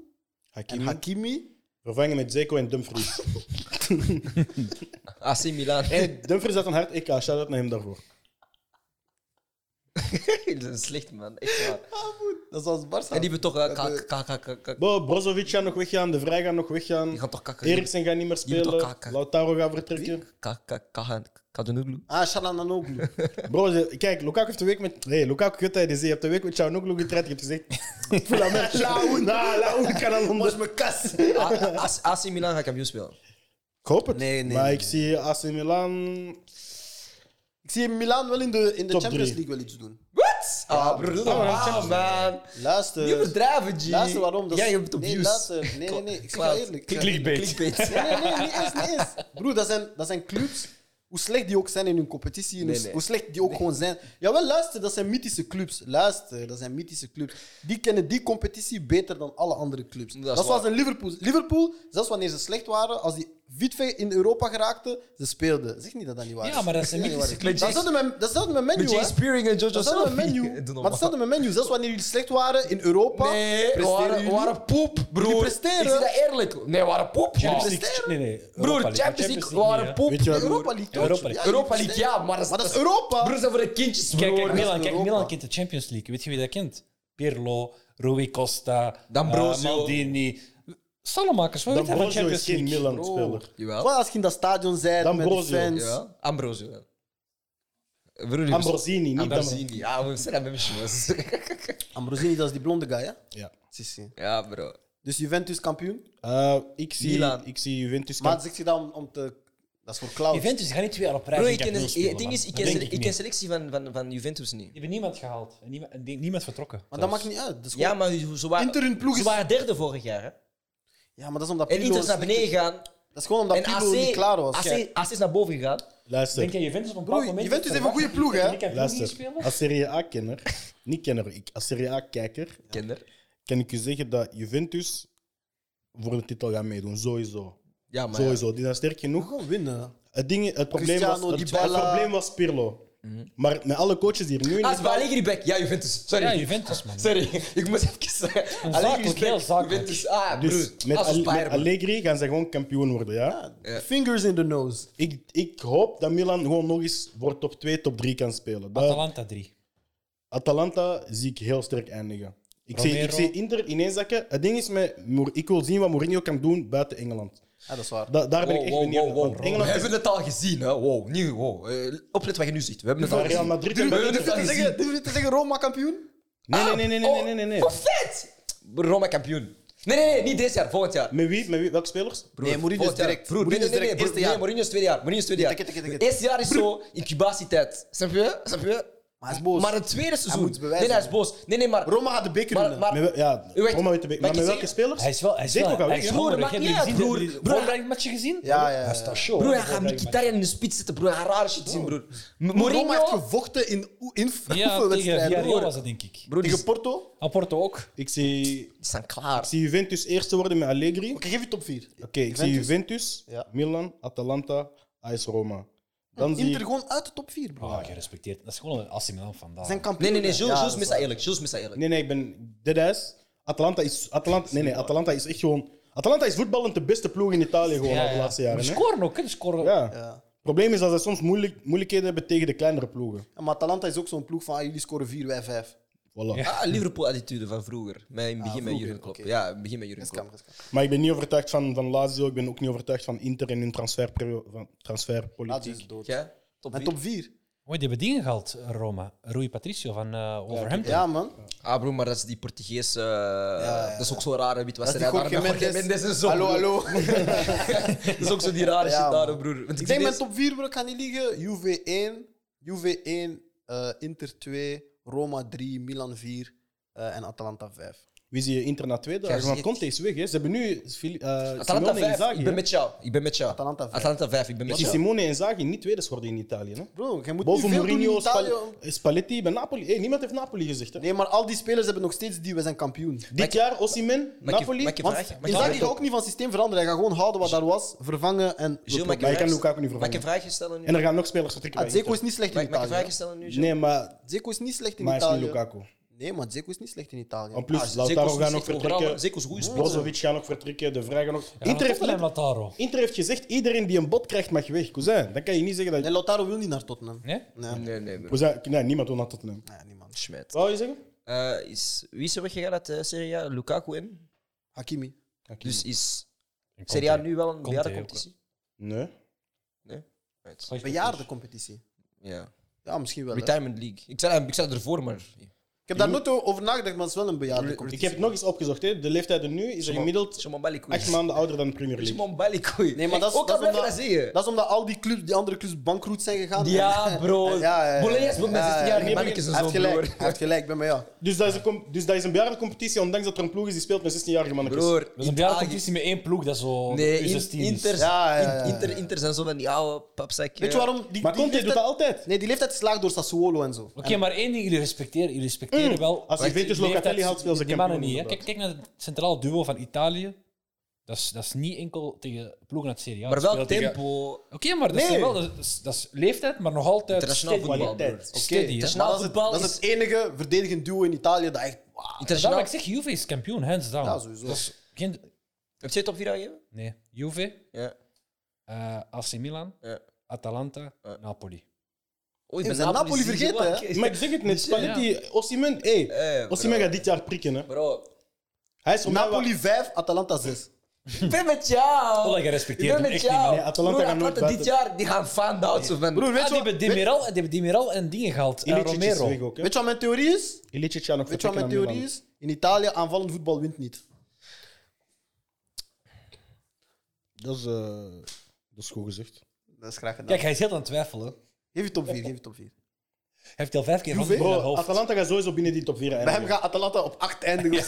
Speaker 3: Hakimi.
Speaker 2: Mhm.
Speaker 1: Hakimi.
Speaker 3: Vervangen met Zeko en Dumfries.
Speaker 2: AC Milan.
Speaker 3: en Dumfries had een hard EK. Shout-out naar hem daarvoor.
Speaker 2: Dat is slecht, man. Echt waar.
Speaker 1: Dat is als Barca.
Speaker 2: En die hebben toch... eh,
Speaker 1: hebben-
Speaker 2: kak- kak- kak- kak- kak-
Speaker 3: Bo, Brozovic gaat nog weggaan. De Vrij gaat nog weggaan.
Speaker 2: Die gaan toch kakken.
Speaker 3: Eriksen gaat niet meer
Speaker 2: Die moet
Speaker 3: spelen.
Speaker 2: ook kakken.
Speaker 3: Lautaro gaat vertrekken.
Speaker 2: Kak- kak- kak- Kadanoglu.
Speaker 1: Ah, Shalananoglu.
Speaker 3: Bro, ze- kijk, Lukaku heeft de week met... Nee, Lukaku kut hij die zei, Je hebt de week met Chaunoglu getraind. Je hebt gezegd... Ik voel aan mij. Laoen. Nou, Laoen kan al onder.
Speaker 1: mijn kas.
Speaker 2: A- A- AC AC Milan gaat kampioen spelen.
Speaker 3: Ik hoop het.
Speaker 1: Nee, nee,
Speaker 3: maar
Speaker 1: nee.
Speaker 3: ik zie AC Milan
Speaker 1: Ik zie Milan wel in de, in de
Speaker 3: Top
Speaker 1: Champions
Speaker 3: drie.
Speaker 1: League wel iets doen.
Speaker 2: What? Ah, broer. doe normaal, man.
Speaker 1: Luister.
Speaker 2: Niet overdrijven, G.
Speaker 1: Luister waarom. Dat is-
Speaker 2: Jij hebt op
Speaker 1: nee,
Speaker 2: views.
Speaker 1: luister. Nee, nee, nee. Ik zeg
Speaker 2: Klaar.
Speaker 1: je eerlijk. Ik zeg-
Speaker 4: Clickbait.
Speaker 2: Clickbait.
Speaker 1: Nee, nee, nee, niet eens, niet eens. Broer, dat zijn, dat zijn clubs. Hoe slecht die ook zijn in hun competitie, en
Speaker 2: Nee,
Speaker 1: hoe-
Speaker 2: nee.
Speaker 1: hoe slecht die ook gewoon zijn. Jawel, luister, dat zijn mythische clubs. Luister, dat zijn mythische clubs. Die kennen die competitie beter dan alle andere clubs.
Speaker 2: Dat
Speaker 1: Dat,
Speaker 2: is
Speaker 1: was
Speaker 2: waar.
Speaker 1: zoals in Liverpool. Liverpool, zelfs wanneer ze slecht waren, als die Vitve in Europa geraakten, ze speelden. Zeg niet dat dat niet waar is.
Speaker 4: Ja, maar dat is
Speaker 1: Zeg niet
Speaker 4: een
Speaker 1: dat
Speaker 4: mythische
Speaker 1: niet waar is. Dat staat met, dat staat met
Speaker 2: Met
Speaker 1: menu,
Speaker 2: Jay
Speaker 1: hè.
Speaker 2: Spearing en Jojo
Speaker 1: Dat staat met
Speaker 2: Salafi.
Speaker 1: menu.
Speaker 2: Doe normaal.
Speaker 1: Maar dat staat met menu. Zelfs wanneer jullie slecht waren in Europa,
Speaker 2: Nee, we
Speaker 1: presteren
Speaker 2: waren, we
Speaker 1: jullie.
Speaker 2: waren poep, broer.
Speaker 1: Jullie presteren.
Speaker 2: Ik zeg dat eerlijk. Nee, we waren poep.
Speaker 4: Champions
Speaker 2: man.
Speaker 4: League. Nee, nee. Europa
Speaker 2: Broer,
Speaker 4: League.
Speaker 2: Champions League, we
Speaker 4: niet,
Speaker 2: waren
Speaker 4: hè.
Speaker 2: poep.
Speaker 3: Weet je wat, broer?
Speaker 1: Europa League, toch?
Speaker 4: Europa League.
Speaker 1: Ja, jullie
Speaker 2: Europa League, ja, maar dat is,
Speaker 1: Maar dat is Europa.
Speaker 2: Broer, dat is voor de kindjes, broer.
Speaker 4: Kijk, kijk, Milan, kijk,
Speaker 1: Europa.
Speaker 4: Milan kent de Champions League. Weet je wie dat kent? Pirlo, Rui Costa,
Speaker 2: D'Ambrosio.
Speaker 4: eh, Maldini. Salamakers, wat
Speaker 3: Dan
Speaker 4: weet hij van
Speaker 3: Brozo is
Speaker 4: Champions
Speaker 3: geen
Speaker 4: League?
Speaker 3: Milan-speler.
Speaker 2: Jawel.
Speaker 1: Wel, als je in dat stadion bent met de
Speaker 3: D'Ambrosio.
Speaker 1: fans.
Speaker 2: Ja, Ambrosio. wel. Broer, die was-
Speaker 3: Ambrosini, niet Ambrosini.
Speaker 2: Ambrosini. Ja, we zijn met schmoes.
Speaker 1: Ambrosini, dat is die blonde guy, hè?
Speaker 3: Ja.
Speaker 1: Si, si.
Speaker 2: Ja, bro.
Speaker 1: Dus Juventus kampioen.
Speaker 3: Eh, ik, zie,
Speaker 2: Milan.
Speaker 3: ik zie Juventus
Speaker 1: Maar
Speaker 3: kamp-
Speaker 1: zeg je dat om, om te... Dat is voor Cloud.
Speaker 4: Juventus gaat niet twee jaar op rij.
Speaker 2: Bro,
Speaker 4: geen
Speaker 2: ik ken,
Speaker 4: kampioen
Speaker 2: het
Speaker 4: spelen,
Speaker 2: ding
Speaker 4: man.
Speaker 2: is, ik ken,
Speaker 4: Dat denk
Speaker 2: ik ken
Speaker 4: niet.
Speaker 2: selectie van, van, van Juventus niet.
Speaker 4: Die hebben niemand gehaald. En niemand, en die- niemand vertrokken.
Speaker 1: Maar dat maakt niet uit. Dat is
Speaker 2: Ja,
Speaker 1: gewoon-
Speaker 2: maar ze waren,
Speaker 1: Inter hun ploeg
Speaker 2: ze
Speaker 1: is-
Speaker 2: waren derde vorig jaar. Hè?
Speaker 1: Ja, maar dat is omdat
Speaker 2: En
Speaker 1: Pirlo...
Speaker 2: Inter is naar
Speaker 1: slecht-
Speaker 2: beneden gegaan.
Speaker 1: Dat is gewoon omdat
Speaker 2: En
Speaker 1: Pirlo
Speaker 2: AC,
Speaker 1: niet klaar was.
Speaker 2: AC, AC is naar boven gegaan.
Speaker 3: Luister,
Speaker 4: Denk jij Juventus op een
Speaker 1: Broer,
Speaker 4: bepaald moment...
Speaker 1: Juventus heeft een
Speaker 4: verwacht
Speaker 1: goede ploeg,
Speaker 4: dat
Speaker 1: hè?
Speaker 4: die kampioen ging
Speaker 3: luister.
Speaker 4: spelen?
Speaker 3: Als Serie A-kenner, niet kenner, ik, als Serie A-kijker,
Speaker 2: Kinder.
Speaker 3: kan ik u zeggen dat Juventus voor de titel gaat meedoen, sowieso.
Speaker 2: Ja, maar ja.
Speaker 3: sowieso, die zijn sterk genoeg.
Speaker 1: Gewoon winnen.
Speaker 3: Het, ding, het, probleem, was,
Speaker 1: Cristiano,
Speaker 3: het, het
Speaker 1: Dybala.
Speaker 3: probleem was Pirlo.
Speaker 4: Mhm.
Speaker 3: Maar met alle coaches die er nu in
Speaker 2: Ah, is bij
Speaker 3: zitten-
Speaker 2: Allegri back. Ja, Juventus. Sorry.
Speaker 4: Ja, Juventus, man.
Speaker 2: Sorry, ik moet even zeggen. Allegri
Speaker 4: Zakelijk,
Speaker 2: is back.
Speaker 4: heel zakelijk.
Speaker 2: Juventus. Ah,
Speaker 3: Dus
Speaker 2: broer.
Speaker 3: met,
Speaker 2: Als
Speaker 3: Al-
Speaker 2: een
Speaker 3: met
Speaker 2: Bayern.
Speaker 3: Allegri gaan ze gewoon kampioen worden, ja?
Speaker 2: Ja.
Speaker 1: Fingers in the nose.
Speaker 3: Ik, ik hoop dat Milan gewoon nog eens voor top 2, top 3 kan spelen. Dat-
Speaker 4: Atalanta 3.
Speaker 3: Atalanta zie ik heel sterk eindigen. Ik zie, ik
Speaker 4: Romero.
Speaker 3: zie Inter ineens zakken. Het ding is, met, Mour- ik wil zien wat Mourinho kan doen buiten Engeland.
Speaker 1: Ja, dat is waar.
Speaker 3: Da- daar ben ik
Speaker 2: Wow,
Speaker 3: echt
Speaker 2: wow,
Speaker 3: benieuwd
Speaker 2: wow,
Speaker 3: naar.
Speaker 2: wow.
Speaker 3: Want
Speaker 2: We
Speaker 3: Engeland is
Speaker 2: hebben het al gezien, hè? Wow, nieuw. Wow. Eh, oplet wat je nu ziet. We hebben het al
Speaker 3: voor
Speaker 2: gezien.
Speaker 3: Real Madrid.
Speaker 2: We
Speaker 3: en
Speaker 2: hebben
Speaker 3: Bayern.
Speaker 2: het al gezien.
Speaker 1: Durf je te zeggen Roma kampioen?
Speaker 3: Nee, nee, nee, nee, nee, nee, nee, nee.
Speaker 2: Ah, Oh, vet! Roma kampioen. Nee, nee, nee, niet dit jaar, volgend jaar.
Speaker 3: Met wie? Met wie? Welke spelers?
Speaker 2: Broer,
Speaker 1: Nee, Mourinho
Speaker 2: volgend
Speaker 1: is
Speaker 2: jaar.
Speaker 1: direct.
Speaker 2: Broer, nee,
Speaker 1: Mourinho is
Speaker 2: nee,
Speaker 1: direct,
Speaker 2: nee, nee, broer,
Speaker 1: eerste jaar.
Speaker 2: nee, Mourinho is tweede jaar. Mourinho is tweede jaar.
Speaker 1: Tikke, tikke, tikke.
Speaker 2: Eerste jaar is zo incubatietijd. Snap je? Snap je?
Speaker 1: Maar hij is boos.
Speaker 2: Maar het tweede seizoen.
Speaker 1: moet het bewijzen,
Speaker 2: nee, nee, hij is boos. Nee, nee, maar.
Speaker 1: Roma gaat de beker
Speaker 2: maar,
Speaker 1: winnen.
Speaker 2: maar,
Speaker 3: Met, wel- ja,
Speaker 2: Wacht,
Speaker 3: Roma weet het be-
Speaker 2: mag
Speaker 3: Maar
Speaker 2: ik
Speaker 3: met
Speaker 2: zeggen-
Speaker 3: welke spelers?
Speaker 4: Hij is wel... Hij is
Speaker 3: Zeko
Speaker 4: wel...
Speaker 3: gaat
Speaker 4: Hij
Speaker 3: weg,
Speaker 4: is
Speaker 3: hè?
Speaker 2: Broer,
Speaker 4: honger.
Speaker 2: maakt
Speaker 4: Heb
Speaker 2: niet
Speaker 4: je
Speaker 2: uit,
Speaker 4: gezien-
Speaker 2: broer.
Speaker 4: die- die-
Speaker 2: Broer,
Speaker 4: vorige match gezien?
Speaker 1: Ja, ja, ja.
Speaker 4: Dat is toch show.
Speaker 2: Broer, hij
Speaker 4: hè?
Speaker 2: gaat Mkhitaryan in de spits zitten, broer. Hij gaat rare shit zien, broer. M-
Speaker 1: Roma heeft
Speaker 2: Mourinho...
Speaker 1: gevochten in oe- in
Speaker 4: Ja, tegen
Speaker 1: oefenwedstrijden.
Speaker 4: Villarreal
Speaker 1: broer.
Speaker 4: was dat, denk ik.
Speaker 2: Broer, die,
Speaker 1: Tegen Porto?
Speaker 4: Ah, Porto ook.
Speaker 3: Ik zie, ik
Speaker 2: die staan klaar.
Speaker 3: zie Juventus eerste worden met Allegri. Oké,
Speaker 1: Oké, geef je top 4.
Speaker 3: ik zie Juventus,
Speaker 1: Ja.
Speaker 3: Milan, Atalanta, AS Roma. Dan zie
Speaker 1: Inter
Speaker 3: ik...
Speaker 1: gewoon uit de top 4, bro.
Speaker 4: Ah, gerespecteerd. Dat is gewoon een AC Milan vandaag.
Speaker 1: Zijn kampioen.
Speaker 2: Nee, nee, nee,
Speaker 1: hè?
Speaker 2: Jules,
Speaker 1: Ja,
Speaker 2: Jules
Speaker 1: dat is
Speaker 2: mist dat
Speaker 1: waar.
Speaker 2: eerlijk. Jules mist dat eerlijk.
Speaker 3: Nee, nee, ik ben... Dit is... Atalanta is... Atalanta, nee, nee, Atalanta is echt gewoon... Atalanta is voetballend de beste ploeg in Italië gewoon al de laatste jaren.
Speaker 4: Maar
Speaker 3: hè.
Speaker 4: scoren ook, hè? Die Scoren.
Speaker 3: Ja.
Speaker 1: Ja.
Speaker 3: Het probleem is dat ze soms moeilijk, moeilijkheden hebben tegen de kleinere ploegen.
Speaker 1: Ja, Maar Atalanta is ook zo'n ploeg van ah, jullie scoren 4, wij 5.
Speaker 3: Voilà.
Speaker 2: Ah, Liverpool-attitude van vroeger. Met, in het begin met
Speaker 1: vroeger,
Speaker 2: Jurgen Klopp.
Speaker 1: oké.
Speaker 2: Ja, in het begin met Jurgen Klopp.
Speaker 3: Maar ik ben niet overtuigd van, van Lazio. Ik ben ook niet overtuigd van Inter en hun transferperio- van transferpolitiek.
Speaker 1: Lazio is dood.
Speaker 2: Jij? Top
Speaker 1: Mijn
Speaker 2: vier?
Speaker 1: top 4.
Speaker 4: Mooi, die hebben dingen gehaald, Roma. Rui Patricio van eh, Wolverhampton.
Speaker 1: Ja, man.
Speaker 2: Ah, broer, maar dat is die Portugese. eh,
Speaker 1: ja,
Speaker 2: Dat is ook zo'n rare witwasserij.
Speaker 1: Dat is die
Speaker 2: daar
Speaker 1: Jorge
Speaker 2: met Jorge
Speaker 1: Mendes.
Speaker 2: Mendes en zo.
Speaker 1: Hallo,
Speaker 2: broer.
Speaker 1: hallo.
Speaker 2: Dat is ook zo die rare
Speaker 1: Ja, man.
Speaker 2: shit daar, broer. Want
Speaker 1: Ik denk
Speaker 2: zie
Speaker 1: mijn
Speaker 2: deze-
Speaker 1: top 4, bro, ik ga niet liegen. Juve 1, Juve 1, eh, Inter 2, Roma 3, Milan 4 eh, en Atalanta 5.
Speaker 3: Wie zie je Inter na tweede?
Speaker 2: Ja,
Speaker 3: Want
Speaker 2: zie-
Speaker 3: Conte is weg. Hè. Ze hebben nu Fili- eh,
Speaker 2: Atalanta
Speaker 3: Simone
Speaker 2: 5,
Speaker 3: Inzaghi.
Speaker 2: ik ben
Speaker 3: hè.
Speaker 2: met jou. Ik ben met jou.
Speaker 1: Atalanta vijf.
Speaker 2: Atalanta 5, ik ben met
Speaker 3: Ik zie
Speaker 2: jou.
Speaker 3: Simone Inzaghi niet tweede geworden in Italië. Hè.
Speaker 1: Bro, je moet
Speaker 3: Boven
Speaker 1: niet veel doen in
Speaker 3: Mourinho,
Speaker 1: Italië.
Speaker 3: Spal- Spalletti bij Napoli. Hey, niemand heeft Napoli gezegd. Hè.
Speaker 1: Nee, maar al die spelers hebben nog steeds die, we zijn kampioen.
Speaker 3: Dit jaar Osimhen,
Speaker 2: Maar ik-
Speaker 3: Napoli.
Speaker 2: maar ik heb
Speaker 1: Want
Speaker 2: vraag- maar ik-
Speaker 1: Inzaghi gaat ook niet van systeem veranderen. Hij gaat gewoon houden wat daar was, vervangen en...
Speaker 2: Gilles,
Speaker 1: Ah,
Speaker 2: ik
Speaker 3: Maar je
Speaker 2: vraag-
Speaker 3: kan Lukaku niet
Speaker 2: Mag ik een
Speaker 3: vervangen.
Speaker 2: vraagje stellen nu?
Speaker 3: En er gaan nog spelers vertrekken. bij
Speaker 1: Dzeko is
Speaker 3: Inter.
Speaker 1: niet slecht
Speaker 2: Mag
Speaker 1: in
Speaker 2: ik mag ik een vraagje
Speaker 1: Italië.
Speaker 2: stellen nu? Gilles?
Speaker 3: Nee, maar,
Speaker 1: Dzeko is niet slecht in
Speaker 3: maar hij is
Speaker 1: Italië.
Speaker 3: niet Lukaku.
Speaker 1: Nee, maar Dzeko is niet slecht in Italië.
Speaker 3: En plus,
Speaker 2: Ah, Zeko's
Speaker 3: Lautaro
Speaker 2: niet
Speaker 3: gaat nog
Speaker 2: echt overal, maar
Speaker 3: vertrekken.
Speaker 2: Zeko's goede speler.
Speaker 3: Brozovic gaat nog vertrekken. De Vrij gaat nog...
Speaker 4: Ja,
Speaker 3: Inter heeft,
Speaker 4: Tottenham,
Speaker 3: net-
Speaker 4: Lautaro.
Speaker 3: Inter heeft gezegd, iedereen die een bot krijgt mag weg. Cousin, dan kan je niet zeggen dat...
Speaker 1: Nee, Lautaro wil niet naar Tottenham.
Speaker 4: Nee?
Speaker 1: Nee,
Speaker 2: Nee, nee, broer.
Speaker 3: Cousin, nee, niemand wil naar Tottenham.
Speaker 1: nee, niemand.
Speaker 2: Schmet.
Speaker 3: Wat wil je zeggen?
Speaker 2: Eh, is, wie is er weggegaan uit de Serie A? Lukaku in.
Speaker 1: Hakimi.
Speaker 2: Dus
Speaker 1: Hm.
Speaker 2: is
Speaker 4: En Conte.
Speaker 2: Serie A nu wel een
Speaker 4: Conte
Speaker 2: bejaarde competitie?
Speaker 3: Nee.
Speaker 2: Right.
Speaker 4: Slecht
Speaker 1: Bejaarde competitie.
Speaker 2: Ja.
Speaker 1: Ja, misschien wel. hè.
Speaker 2: Retirement League. Ik zei, ik zei ervoor, maar...
Speaker 1: Ik heb daar nooit over nagedacht, maar het is wel een bejaarde competitie.
Speaker 3: Ik heb het nog eens opgezocht. Hè. De leeftijden nu is er gemiddeld
Speaker 2: Shimon Balikoui.
Speaker 3: acht maanden ouder dan de Premier League.
Speaker 2: Shimon Balikoui.
Speaker 1: Nee, maar dat is,
Speaker 2: Ook al
Speaker 1: dat, is
Speaker 2: blijf je
Speaker 1: omdat,
Speaker 2: dat zeggen.
Speaker 1: dat is omdat al die, clubs, die andere clubs bankroet zijn gegaan.
Speaker 2: Ja, bro.
Speaker 1: Ja, ja, ja.
Speaker 2: Bolognese speelt met
Speaker 1: Ja,
Speaker 2: 16
Speaker 1: ja.
Speaker 2: jaar. Die
Speaker 1: Hij
Speaker 2: mannetjes en
Speaker 1: Hij
Speaker 2: zo,
Speaker 1: heeft gelijk,
Speaker 2: broer.
Speaker 1: hij heeft gelijk, ik ben bij jou.
Speaker 3: Dus dat, is een, com- dus dat is een bejaardencompetitie, ondanks dat er een ploeg is die speelt met 16-jarige mannetjes.
Speaker 2: Broer,
Speaker 4: Dat is een bejaarde competitie met één ploeg, dat is zo
Speaker 2: Nee,
Speaker 4: de
Speaker 2: in-
Speaker 4: U16 is.
Speaker 2: Inter,
Speaker 1: Ja, ja, ja, ja.
Speaker 2: in- Inter, Inter zijn zo van die oude papzakjes.
Speaker 1: Weet je waarom? Die,
Speaker 3: Maar
Speaker 1: die
Speaker 3: Conte doet dat altijd.
Speaker 1: Nee, die leeftijd is laag door Sassuolo en zo.
Speaker 4: Oké, maar één ding, jullie respecteren, jullie respecteren wel...
Speaker 3: Als
Speaker 4: Wacht,
Speaker 3: Juventus
Speaker 4: die
Speaker 3: Locatelli
Speaker 4: leeftijd-
Speaker 3: haalt, spelen ze
Speaker 4: Die mannen
Speaker 3: kampioen,
Speaker 4: niet, hè. Kijk, kijk naar het centraal duo van Italië. Dat is, dat is niet enkel tegen ploegen uit Serie A.
Speaker 2: Maar
Speaker 4: Het
Speaker 2: wel
Speaker 4: speelt tegen-
Speaker 2: tempo.
Speaker 4: Oké, maar dat,
Speaker 1: Nee.
Speaker 4: is wel, dat, is, dat is leeftijd, maar nog altijd
Speaker 2: Internationaal
Speaker 4: steady.
Speaker 2: voetbal. broer.
Speaker 3: Kwaliteit.
Speaker 4: Steady, hè.
Speaker 1: Maar
Speaker 2: Internationaal
Speaker 1: dat, is het,
Speaker 2: voetbal
Speaker 1: dat is
Speaker 2: is-
Speaker 1: het enige verdedigend duo in Italië dat echt... Wow.
Speaker 4: Daarom
Speaker 2: Internationaal.
Speaker 4: ik zeg, Juve is kampioen, hands down.
Speaker 1: Ja, sowieso.
Speaker 4: Dat is geen...
Speaker 2: Heb je top 4 gegeven?
Speaker 4: Nee, Juve,
Speaker 2: Ja.
Speaker 4: eh AC Milan,
Speaker 2: Ja.
Speaker 4: Atalanta,
Speaker 2: Ja.
Speaker 4: Napoli.
Speaker 2: Oei,
Speaker 1: We zijn Napoli vergeten, hè?
Speaker 3: Maar ik zeg het net, Spalletti, Osimhen,
Speaker 2: Eh,
Speaker 3: hey, Osimhen gaat dit jaar prikken. Hè.
Speaker 2: Bro,
Speaker 3: Hij is voor mij wel-
Speaker 1: Napoli 5, Atalanta 6.
Speaker 2: ik ben met jou.
Speaker 4: Ola, ik
Speaker 2: ik
Speaker 4: respecteer
Speaker 2: ben met
Speaker 4: hem echt niet, man.
Speaker 2: jou.
Speaker 3: Nee, Atalanta
Speaker 2: Broer,
Speaker 3: gaan nooit
Speaker 2: dit jaar, die gaan fan out. zo van-
Speaker 1: Broer,
Speaker 4: Ah,
Speaker 1: weet je
Speaker 4: die,
Speaker 1: wat,
Speaker 4: hebben
Speaker 1: weet,
Speaker 4: Demiral, die hebben Demiral en dingen gehaald. eh,
Speaker 3: Ilicic is
Speaker 4: Romero.
Speaker 3: weg ook. hè.
Speaker 1: weet je wat mijn theorie is?
Speaker 3: Ilicic gaat nog
Speaker 1: Weet je wat
Speaker 3: vertrekken
Speaker 1: mijn
Speaker 3: naar Milan.
Speaker 1: theorie is? In Italië, aanvallend voetbal wint niet.
Speaker 3: Dat is, eh, dat is goed gezegd.
Speaker 1: Dat is graag gedaan.
Speaker 4: Kijk, hij is heel aan het twijfelen.
Speaker 1: geef je top 4, geef je top 4.
Speaker 4: Hij heeft al vijf keer
Speaker 1: Juve?
Speaker 4: honderd in het
Speaker 3: Bro,
Speaker 4: hoofd.
Speaker 3: Atalanta gaat sowieso binnen die top 4
Speaker 1: Bij hem
Speaker 3: eindigen.
Speaker 1: gaat Atalanta op 8 eindigen of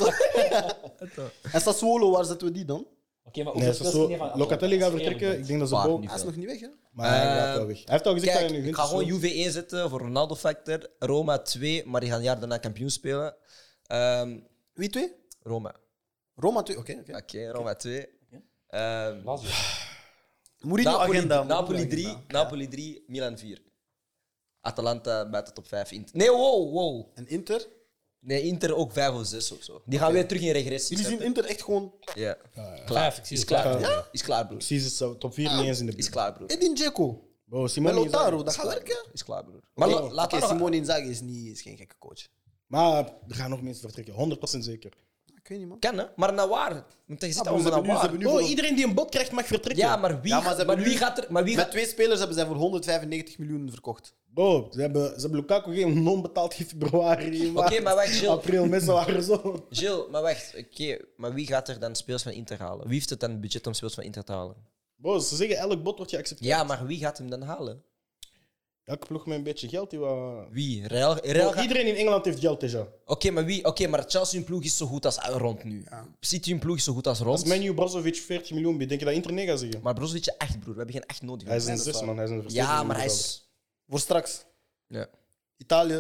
Speaker 1: zo. en Sassuolo, waar zetten we die dan?
Speaker 4: Oké, maar
Speaker 3: Nee,
Speaker 4: hoeveel
Speaker 3: zo,
Speaker 4: speelsters niet van
Speaker 3: zo,
Speaker 4: Atalanta?
Speaker 3: Locatelli gaat
Speaker 4: Dat is
Speaker 3: vertrekken. Ik denk dat ze
Speaker 2: Waar
Speaker 3: boven...
Speaker 2: niet.
Speaker 1: Hij is nog niet weg, hè?
Speaker 3: Maar hij gaat
Speaker 2: Eh,
Speaker 3: wel weg. Hij heeft al gezegd
Speaker 2: Kijk,
Speaker 3: dat hij nu
Speaker 2: ik
Speaker 3: wint.
Speaker 2: ga gewoon
Speaker 3: dus
Speaker 2: Juve 1 zetten voor Ronaldo Factor. Roma 2, maar die gaan een jaar daarna kampioen spelen. Ehm,
Speaker 1: Wie twee?
Speaker 2: Roma.
Speaker 1: Roma twee, oké. oké.
Speaker 2: Oké, Roma 2. Ehm,
Speaker 4: Lazio.
Speaker 1: Mourinho
Speaker 2: Napoli,
Speaker 1: agenda.
Speaker 2: Napoli 3, Napoli 3, Milan 4. Atalanta buiten top 5. Inter. Nee, wow, wow.
Speaker 1: En Inter?
Speaker 2: Nee, Inter ook 5 of 6 of zo. Die gaan weer terug in regressie.
Speaker 1: Jullie zien Ah.
Speaker 2: zetten.
Speaker 1: Inter echt gewoon...
Speaker 2: Ja.
Speaker 4: Vijf,
Speaker 2: Klaar.
Speaker 4: ik zie
Speaker 2: Is
Speaker 4: het.
Speaker 2: klaar.
Speaker 3: Ja?
Speaker 2: Is klaar, broer.
Speaker 3: Precies, het zou top 4 niet eens in de
Speaker 2: Is
Speaker 3: buurt.
Speaker 2: klaar, broer.
Speaker 1: Edin Dzeko.
Speaker 3: Bro,
Speaker 1: Met
Speaker 3: Simone Inzaghi.
Speaker 1: Lautaro, dat gaat werken.
Speaker 2: Is klaar, broer. Maar la- laat
Speaker 1: Oh. Oké,
Speaker 2: maar nog-
Speaker 1: Simone Inzaghi is, niet, is geen gekke coach.
Speaker 3: Maar er gaan nog mensen vertrekken, 100% zeker.
Speaker 1: Ik weet niet, man.
Speaker 2: Kan, hè? Maar naar waar? Want je zit
Speaker 1: Ah, broer,
Speaker 2: allemaal
Speaker 1: ze
Speaker 2: naar
Speaker 1: hebben nu- ze
Speaker 2: waar. Oh,
Speaker 1: hebben nu
Speaker 3: Bro,
Speaker 1: voor-
Speaker 3: iedereen die een bot krijgt mag vertrekken.
Speaker 2: Ja, maar wie,
Speaker 1: Ja, maar ze
Speaker 2: maar
Speaker 1: hebben
Speaker 2: wie
Speaker 1: nu-
Speaker 2: gaat er... Maar wie
Speaker 1: Met
Speaker 2: gaat...
Speaker 1: twee spelers hebben zij voor 195 miljoen verkocht.
Speaker 3: Bro, ze hebben, ze hebben Lukaku geen non betaald in februari.
Speaker 2: Oké, maar wacht, Gilles.
Speaker 3: April, mensen waren zo.
Speaker 2: Gilles, maar wacht. Oké, maar wie gaat er dan speels van Inter halen? Wie heeft het dan budget om speels van Inter te halen?
Speaker 3: Bro, ze zeggen elk bot wordt geaccepteerd.
Speaker 2: Ja, maar wie gaat hem dan halen?
Speaker 3: Elke ploeg met een beetje geld. Die wat-
Speaker 2: Wie? Real, Real
Speaker 3: Bro,
Speaker 2: gaat-
Speaker 3: iedereen in Engeland heeft geld, déjà.
Speaker 2: Oké, maar wie? Oké, maar Chelsea hun ploeg is zo goed als rond nu. City hun ploeg is zo goed als
Speaker 3: Als
Speaker 2: rond.
Speaker 3: Menu Brozovic 40 miljoen biedt, denk je dat Inter nee gaat zeggen?
Speaker 2: Maar Brozovic is echt broer. We hebben geen echt nodig.
Speaker 3: Hij is
Speaker 2: Ja,
Speaker 3: een
Speaker 2: dat
Speaker 3: zes,
Speaker 2: waar.
Speaker 3: man. Hij is een
Speaker 2: Ja,
Speaker 3: versterking
Speaker 2: maar hij
Speaker 3: middenvelder.
Speaker 2: is.
Speaker 1: Voor straks.
Speaker 2: Ja.
Speaker 1: Italië,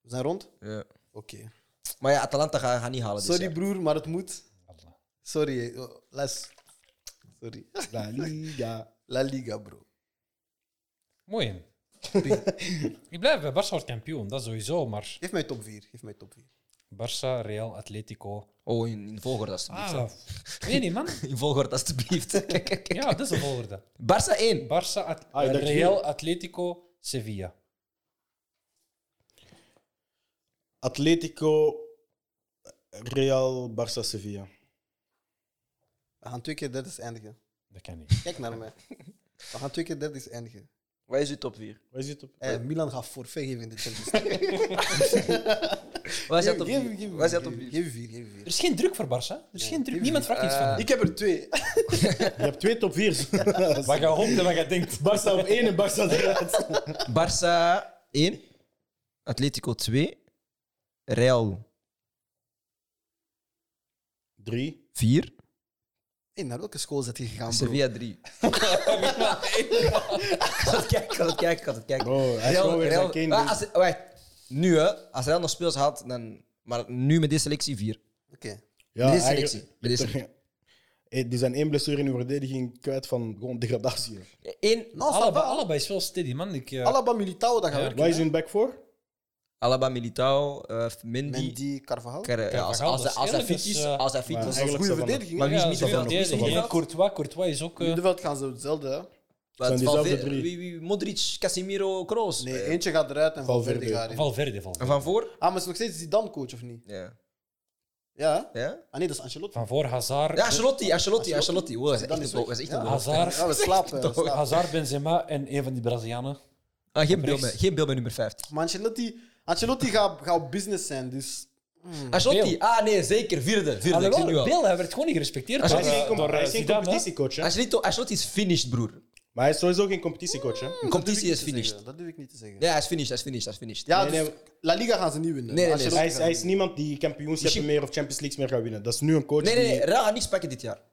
Speaker 1: we zijn rond.
Speaker 2: ja.
Speaker 1: Oké.
Speaker 2: Maar ja, Atalanta gaat ga niet halen. dus dit
Speaker 1: Sorry,
Speaker 2: jaar.
Speaker 1: broer, maar het moet. Sorry, eh, oh, les. Sorry.
Speaker 3: La Liga.
Speaker 1: La Liga, bro.
Speaker 4: Mooi. hè. Ik blijf bij Barça wordt kampioen, dat sowieso. Maar
Speaker 1: Geef mij top 4. Geef mij top 4.
Speaker 4: Barça, Real, Atletico.
Speaker 2: Oh, in, in volgorde alsjeblieft.
Speaker 4: Ah, weet niet, man.
Speaker 2: In volgorde alsjeblieft.
Speaker 4: Ja, dat is de volgende.
Speaker 2: Barça 1.
Speaker 4: Barça, At- eh,
Speaker 3: Ah, ik dacht
Speaker 4: Real,
Speaker 3: hier.
Speaker 4: Atletico, Sevilla.
Speaker 3: Atletico, Real, Barça, Sevilla.
Speaker 1: We gaan twee keer dertig eindigen.
Speaker 4: Dat kan niet.
Speaker 1: Kijk naar mij. We gaan twee keer dertig eindigen.
Speaker 2: Wat is uw top 4?
Speaker 3: Waar zit op?
Speaker 1: Eh, Milan gaat forfait geven in de Champions League.
Speaker 2: Wat is jouw
Speaker 1: Geef-
Speaker 2: top
Speaker 1: geef-
Speaker 2: 4?
Speaker 1: geef-
Speaker 2: Wat is jouw top 4?
Speaker 1: Geef vier, geef
Speaker 4: Er
Speaker 1: vier.
Speaker 4: is geen druk voor Barça. Er is geen druk. Niemand vraagt iets van
Speaker 2: Eh,
Speaker 4: hem.
Speaker 1: Ik heb er twee.
Speaker 3: Je hebt twee top 4's.
Speaker 4: Wat je hoopt en wat je denkt.
Speaker 3: Barça op één en Barça eruit.
Speaker 2: Barça 1, Atletico 2, Real
Speaker 3: Drie.
Speaker 2: 4,
Speaker 1: Hey, naar welke school zit je gegaan, bro?
Speaker 2: Sevilla 3. Ik had het kijken, ik had het kijken, ik had het kijken.
Speaker 3: Bro, hij is gewoon weer zijn dus. kind.
Speaker 2: Ah, als, wacht, nu hè, als Real nog speels had, dan, maar nu met deze selectie 4.
Speaker 1: Oké.
Speaker 3: Ja,
Speaker 2: Deze
Speaker 3: eigenlijk-
Speaker 2: selectie. Deze
Speaker 3: Toch, eh, Die zijn één blessure in hun verdediging kwijt van gewoon degradatie. hè.
Speaker 2: Eén,
Speaker 1: Nou, ça
Speaker 4: Alaba,
Speaker 1: va.
Speaker 4: Alaba is wel steady, man. Ik, eh,
Speaker 1: Alaba Militao, dat gaat werken.
Speaker 3: Waar is hun back voor?
Speaker 2: Alaba Militao, eh Mendy.
Speaker 1: Mendy, Carvajal.
Speaker 2: Car- ja, als, als, hij- als hij fit is, eh, als hij fit
Speaker 3: Maar
Speaker 2: is.
Speaker 1: Dat is een goede
Speaker 3: eigenlijk Savannah.
Speaker 1: verdediging. Maar
Speaker 2: Maar wie is
Speaker 4: ja,
Speaker 2: niet zo
Speaker 4: zoveel
Speaker 2: van? Wie is niet zo
Speaker 4: verdedigen.
Speaker 2: van?
Speaker 4: Courtois, Courtois is ook... eh,
Speaker 1: middenveld gaan ze hetzelfde, hè?
Speaker 2: Wat,
Speaker 3: zijn diezelfde
Speaker 2: Valver-
Speaker 3: drie.
Speaker 2: wie- wie- Modric, Casemiro, Kroos.
Speaker 1: Nee,
Speaker 2: Eh,
Speaker 1: eentje gaat eruit en
Speaker 3: Valverde.
Speaker 1: Valverde gaat in.
Speaker 4: Valverde, Valverde.
Speaker 2: En van voor?
Speaker 1: Ah, maar is nog steeds Zidane coach, of niet?
Speaker 2: Ja.
Speaker 1: Ja, hè?
Speaker 2: Ja?
Speaker 1: Ah nee, dat is Ancelotti.
Speaker 4: Van voor Hazard,
Speaker 2: Ja, Ancelotti, Ancelotti, Ancelotti. Wow, dat is echt
Speaker 1: Dan
Speaker 2: een
Speaker 1: is
Speaker 2: blok,
Speaker 1: weg.
Speaker 2: dat is echt
Speaker 1: Ja.
Speaker 2: een blok.
Speaker 4: Hazard,
Speaker 1: Ja, we slapen. we slapen.
Speaker 4: Hazard, Benzema en een van die Brazilianen.
Speaker 2: Ah, geen, beeld bij,
Speaker 4: Rechts.
Speaker 2: geen beeld bij nummer 50.
Speaker 1: Maar Ancelotti, Ancelotti gaat, gaat business zijn, dus...
Speaker 2: Ancelotti,
Speaker 4: Beel.
Speaker 2: ah nee, zeker, vierde.
Speaker 1: Ah,
Speaker 2: vierde ik zie
Speaker 4: Alhoewel,
Speaker 2: nu al.
Speaker 4: Bale, hij werd gewoon niet gerespecteerd.
Speaker 2: Als
Speaker 4: door,
Speaker 3: Hij is
Speaker 2: eh,
Speaker 3: geen,
Speaker 4: eh,
Speaker 3: com-
Speaker 4: door,
Speaker 3: hij
Speaker 4: eh,
Speaker 3: is geen
Speaker 4: Zidane, hè.
Speaker 3: competitiecoach, hè?
Speaker 2: Ancelotti, Ancelotti is finished, broer.
Speaker 3: Maar hij is sowieso geen competitiecoach, hè?
Speaker 2: De competitie is finished.
Speaker 1: Zeggen, Dat durf ik niet te zeggen.
Speaker 2: Ja, hij is finished, hij is finished, hij is finished.
Speaker 1: Ja,
Speaker 3: Nee,
Speaker 1: dus La Liga gaan ze niet winnen.
Speaker 2: Nee, nee, nee.
Speaker 1: Ancelotti
Speaker 3: Hij is,
Speaker 1: gaat
Speaker 3: hij
Speaker 1: niet
Speaker 3: is niemand die kampioenschappen
Speaker 2: Misschien-
Speaker 3: meer of Champions League meer gaat winnen. Dat is nu een coach
Speaker 2: Nee, nee, nee,
Speaker 3: die...
Speaker 2: Real gaat niks pakken dit jaar.
Speaker 1: winnen.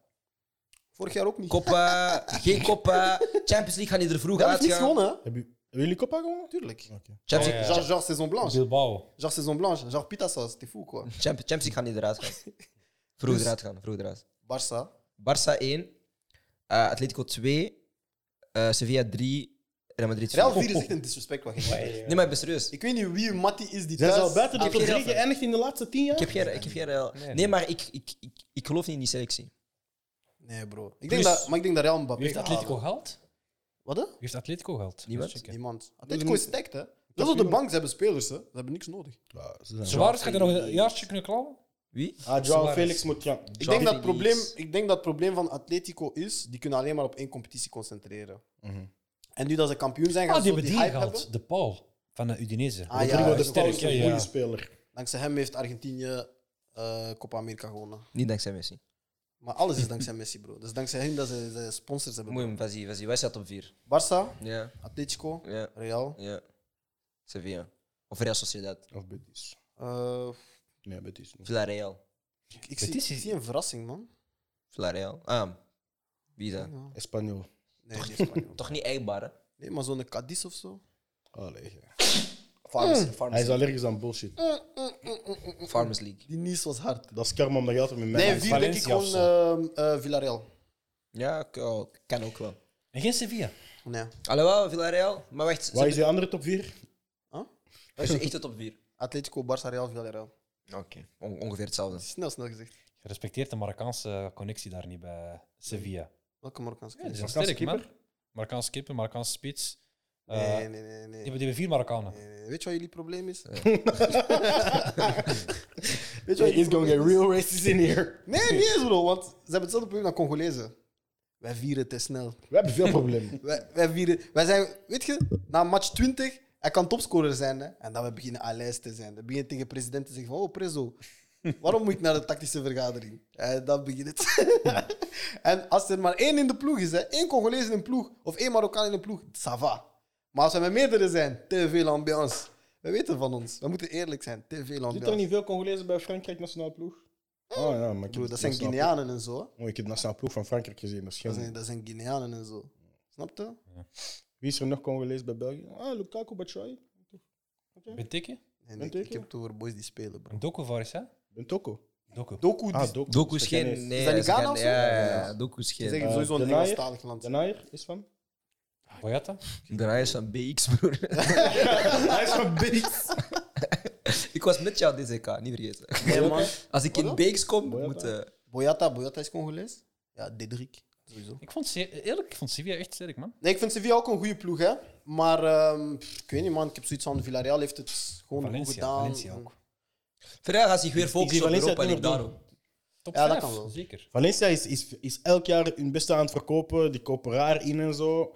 Speaker 1: Vorig jaar ook niet.
Speaker 2: Copa, geen Copa. Champions League gaan die er vroeg
Speaker 1: Hij heeft
Speaker 2: uit
Speaker 1: niets
Speaker 2: gaan.
Speaker 1: gewonnen, hè?
Speaker 3: Hebben jullie- hebben jullie Copa gewonnen?
Speaker 1: Tuurlijk.
Speaker 2: Champions
Speaker 4: Ja,
Speaker 2: League,
Speaker 4: ja.
Speaker 1: Genre, genre saison blanche.
Speaker 4: Bilbao.
Speaker 1: Genre saison blanche. Genre pita sauce. T'es fou, quoi.
Speaker 2: Champ- Champions League gaan die eruit gaan.
Speaker 1: Dus-
Speaker 2: Vroeg eruit gaan, vroeg eruit.
Speaker 1: Barça.
Speaker 2: Barça 1, eh, Atletico 2, eh, Sevilla 3, Real Madrid 4.
Speaker 1: Real 4 is echt een disrespect wat je zegt.
Speaker 2: Nee, maar ik ben serieus. Ik
Speaker 1: Ik weet niet wie uw Matty is die
Speaker 3: Zijn
Speaker 1: thuis...
Speaker 3: ze al buiten de
Speaker 2: Ah,
Speaker 3: top
Speaker 2: geen
Speaker 3: 3
Speaker 2: geld, hè?
Speaker 3: geëindigd in de laatste tien jaar?
Speaker 2: heb geen, ik heb geen Real. Nee,
Speaker 4: nee.
Speaker 2: maar ik, ik, ik, ik geloof niet in die selectie.
Speaker 1: Nee, bro. Ik denk
Speaker 4: Plus-
Speaker 1: dat, maar ik denk dat Real Mbappé
Speaker 4: Wie heeft
Speaker 1: gaat
Speaker 4: Atletico
Speaker 1: halen.
Speaker 4: gehaald?
Speaker 1: Wat, hè?
Speaker 4: Wie heeft Atletico gehaald?
Speaker 2: Niemand.
Speaker 4: Eens checken.
Speaker 1: Niemand. Atletico is stacked, hè? Dat is op de bank. Ze hebben spelers, hè? Ze hebben niks nodig.
Speaker 3: Ja, ze zijn-
Speaker 4: Suarez gaat er nog een jaartje kunnen klauwen?
Speaker 2: Wie?
Speaker 3: Ah, Joao
Speaker 4: Suarez.
Speaker 3: Felix moet gaan.
Speaker 1: Ik denk, dat het
Speaker 2: Felix.
Speaker 1: probleem, ik denk dat het probleem van Atletico is, die kunnen alleen maar op één competitie concentreren. En nu dat ze kampioen zijn, gaan
Speaker 4: Ah,
Speaker 1: ze
Speaker 4: die
Speaker 1: zo
Speaker 4: hebben
Speaker 1: die
Speaker 4: die
Speaker 1: hype
Speaker 4: gehaald.
Speaker 1: hebben.
Speaker 4: De Paul van de Udinese.
Speaker 1: Ah, ja,
Speaker 3: Rodrigo
Speaker 1: ja,
Speaker 3: de Paul
Speaker 4: sterk,
Speaker 3: is een
Speaker 4: ja,
Speaker 3: goede
Speaker 4: ja.
Speaker 3: speler.
Speaker 1: Dankzij hem heeft Argentinië eh, Copa America gewonnen.
Speaker 2: Niet dankzij Messi.
Speaker 1: Maar alles is dankzij Messi, bro. Dat is dankzij hem dat ze, ze sponsors hebben.
Speaker 2: Moeim, vas-y, vas-y. Wij staat op 4.
Speaker 1: Barça,
Speaker 2: Ja,
Speaker 1: Atletico,
Speaker 2: ja,
Speaker 1: Real.
Speaker 2: ja. Sevilla. Of Real Sociedad.
Speaker 3: Of Betis.
Speaker 1: Eh,
Speaker 3: Nee, Betis niet.
Speaker 2: Villarreal.
Speaker 1: ik, ik zie,
Speaker 4: is-
Speaker 1: ik zie een verrassing, man.
Speaker 2: Villarreal. Ah, wie
Speaker 1: Ja.
Speaker 2: dan?
Speaker 1: Nee,
Speaker 3: Espanyol.
Speaker 1: niet Spanje.
Speaker 2: Toch niet Eibar, hè?
Speaker 1: nee, maar zo'n Cadiz of zo.
Speaker 3: Allee, ja.
Speaker 2: Farmers,
Speaker 3: Hij
Speaker 2: Farmers,
Speaker 3: is allergisch aan bullshit.
Speaker 2: Farmers League.
Speaker 1: Die nies was hard.
Speaker 3: Dat is karma omdat je altijd met mij
Speaker 1: Nee, vier denk ik
Speaker 4: Valencia of
Speaker 1: gewoon eh, eh, Villarreal.
Speaker 2: Ja, ik- oh, kan ook wel.
Speaker 4: En geen Sevilla.
Speaker 1: Nee.
Speaker 2: Alhoewel, Villarreal. Maar wacht,
Speaker 3: Waar is
Speaker 2: ze
Speaker 3: je andere top 4?
Speaker 2: dat is echt de top 4.
Speaker 1: Atletico, Barça, Real, Villarreal.
Speaker 2: Oké. On- ongeveer hetzelfde.
Speaker 1: Snel, snel gezegd.
Speaker 4: Je respecteert de Marokkaanse connectie daar niet bij Sevilla.
Speaker 1: Welke Marokkaanse
Speaker 4: Ja, die
Speaker 1: club?
Speaker 4: zijn
Speaker 3: Marokkaanse
Speaker 4: sterk, man.
Speaker 3: keeper?
Speaker 4: Marokkaanse kippen, Marokkaanse spits. Eh,
Speaker 1: Nee,
Speaker 4: die,
Speaker 1: nee, nee. nee.
Speaker 4: hebben, die hebben vier Marokkanen.
Speaker 1: Nee, nee, nee. Weet je wat jullie probleem is?
Speaker 3: Weet je, he's gonna get real racist in here.
Speaker 1: Nee, niet eens, bro. Want ze hebben hetzelfde probleem dan Congolezen. Wij vieren te snel.
Speaker 3: We hebben veel problemen.
Speaker 1: Wij, wij vieren... Wij zijn... Weet je, na match 20, hij kan topscorer zijn. Hè? En dan we beginnen Alex te zijn. Dan begin je tegen president te zeggen van... Oh, Prezo. Waarom moet ik naar de tactische vergadering? En dan begint het. en als er maar één in de ploeg is, hè, één Congolees in een ploeg of één Marokkaan in een ploeg, ça va. Maar als we met meerdere zijn, te veel ambiance. We weten van ons. We moeten eerlijk zijn. Te veel
Speaker 3: Zit er
Speaker 1: ambiance.
Speaker 3: niet veel Congolezen bij Frankrijk nationaal ploeg? Oh ja, maar ik
Speaker 1: Bro,
Speaker 3: heb
Speaker 1: dat zijn
Speaker 3: nationaal
Speaker 1: Guineanen en zo. hè.
Speaker 3: ploeg- Oh, ik heb de nationaal ploeg van Frankrijk gezien. Dat is
Speaker 1: Dat
Speaker 3: geen...
Speaker 1: zijn, dat zijn Guineanen en zo. Snap je?
Speaker 3: Wie is er nog Congolees bij België? Ah, Lukaku Batshuayi.
Speaker 4: Benteke?
Speaker 1: Nee,
Speaker 3: Weet
Speaker 1: nee,
Speaker 3: ik
Speaker 1: ik, ik heb het over boys die spelen, bro.
Speaker 4: Een doku voor is, hè?
Speaker 3: Bentoko.
Speaker 4: Doku.
Speaker 1: Doku, die-
Speaker 3: Ah, Doku.
Speaker 2: Doku is
Speaker 3: Ghanese.
Speaker 2: geen. Nee,
Speaker 1: Is dat niet
Speaker 2: ze
Speaker 1: Ghana
Speaker 2: gaan-
Speaker 1: of zo?
Speaker 2: Ja, ja,
Speaker 1: Ja.
Speaker 2: ja, Doku is
Speaker 1: Ze
Speaker 2: geen.
Speaker 1: zeggen
Speaker 3: Eh,
Speaker 1: sowieso een
Speaker 3: De Nijer?
Speaker 1: Engelstalig land.
Speaker 3: De Naaier is van?
Speaker 4: Boyata?
Speaker 2: Draai is van BX, broer.
Speaker 3: Hij is van Beeks.
Speaker 2: ik was met jou DZK, niet vergeten.
Speaker 1: Nee, man.
Speaker 2: Als ik in
Speaker 1: Wat dan?
Speaker 2: BX kom,
Speaker 3: Boyata.
Speaker 2: moet. eh,
Speaker 1: Boyata, Boyata is Congolees. Ja, Dedrick. Sowieso.
Speaker 4: Ik vond, Se- eerlijk, ik vond Sevilla echt sterk, man.
Speaker 1: Nee, ik vind Sevilla ook een goede ploeg, hè. Maar ehm, pff, ik weet niet, man. Ik heb zoiets van Villarreal heeft het gewoon goed
Speaker 4: Valencia,
Speaker 1: gedaan.
Speaker 4: Valencia ook.
Speaker 2: Verder gaat zich weer
Speaker 3: zie
Speaker 2: focussen op
Speaker 3: Valencia
Speaker 2: Europa
Speaker 3: het
Speaker 2: League
Speaker 3: niet meer
Speaker 2: daarom.
Speaker 4: Top
Speaker 1: Ja, dat
Speaker 4: vijf,
Speaker 1: kan wel.
Speaker 4: Zeker.
Speaker 3: Valencia is, is, is elk jaar hun beste aan het verkopen. Die kopen raar in en zo.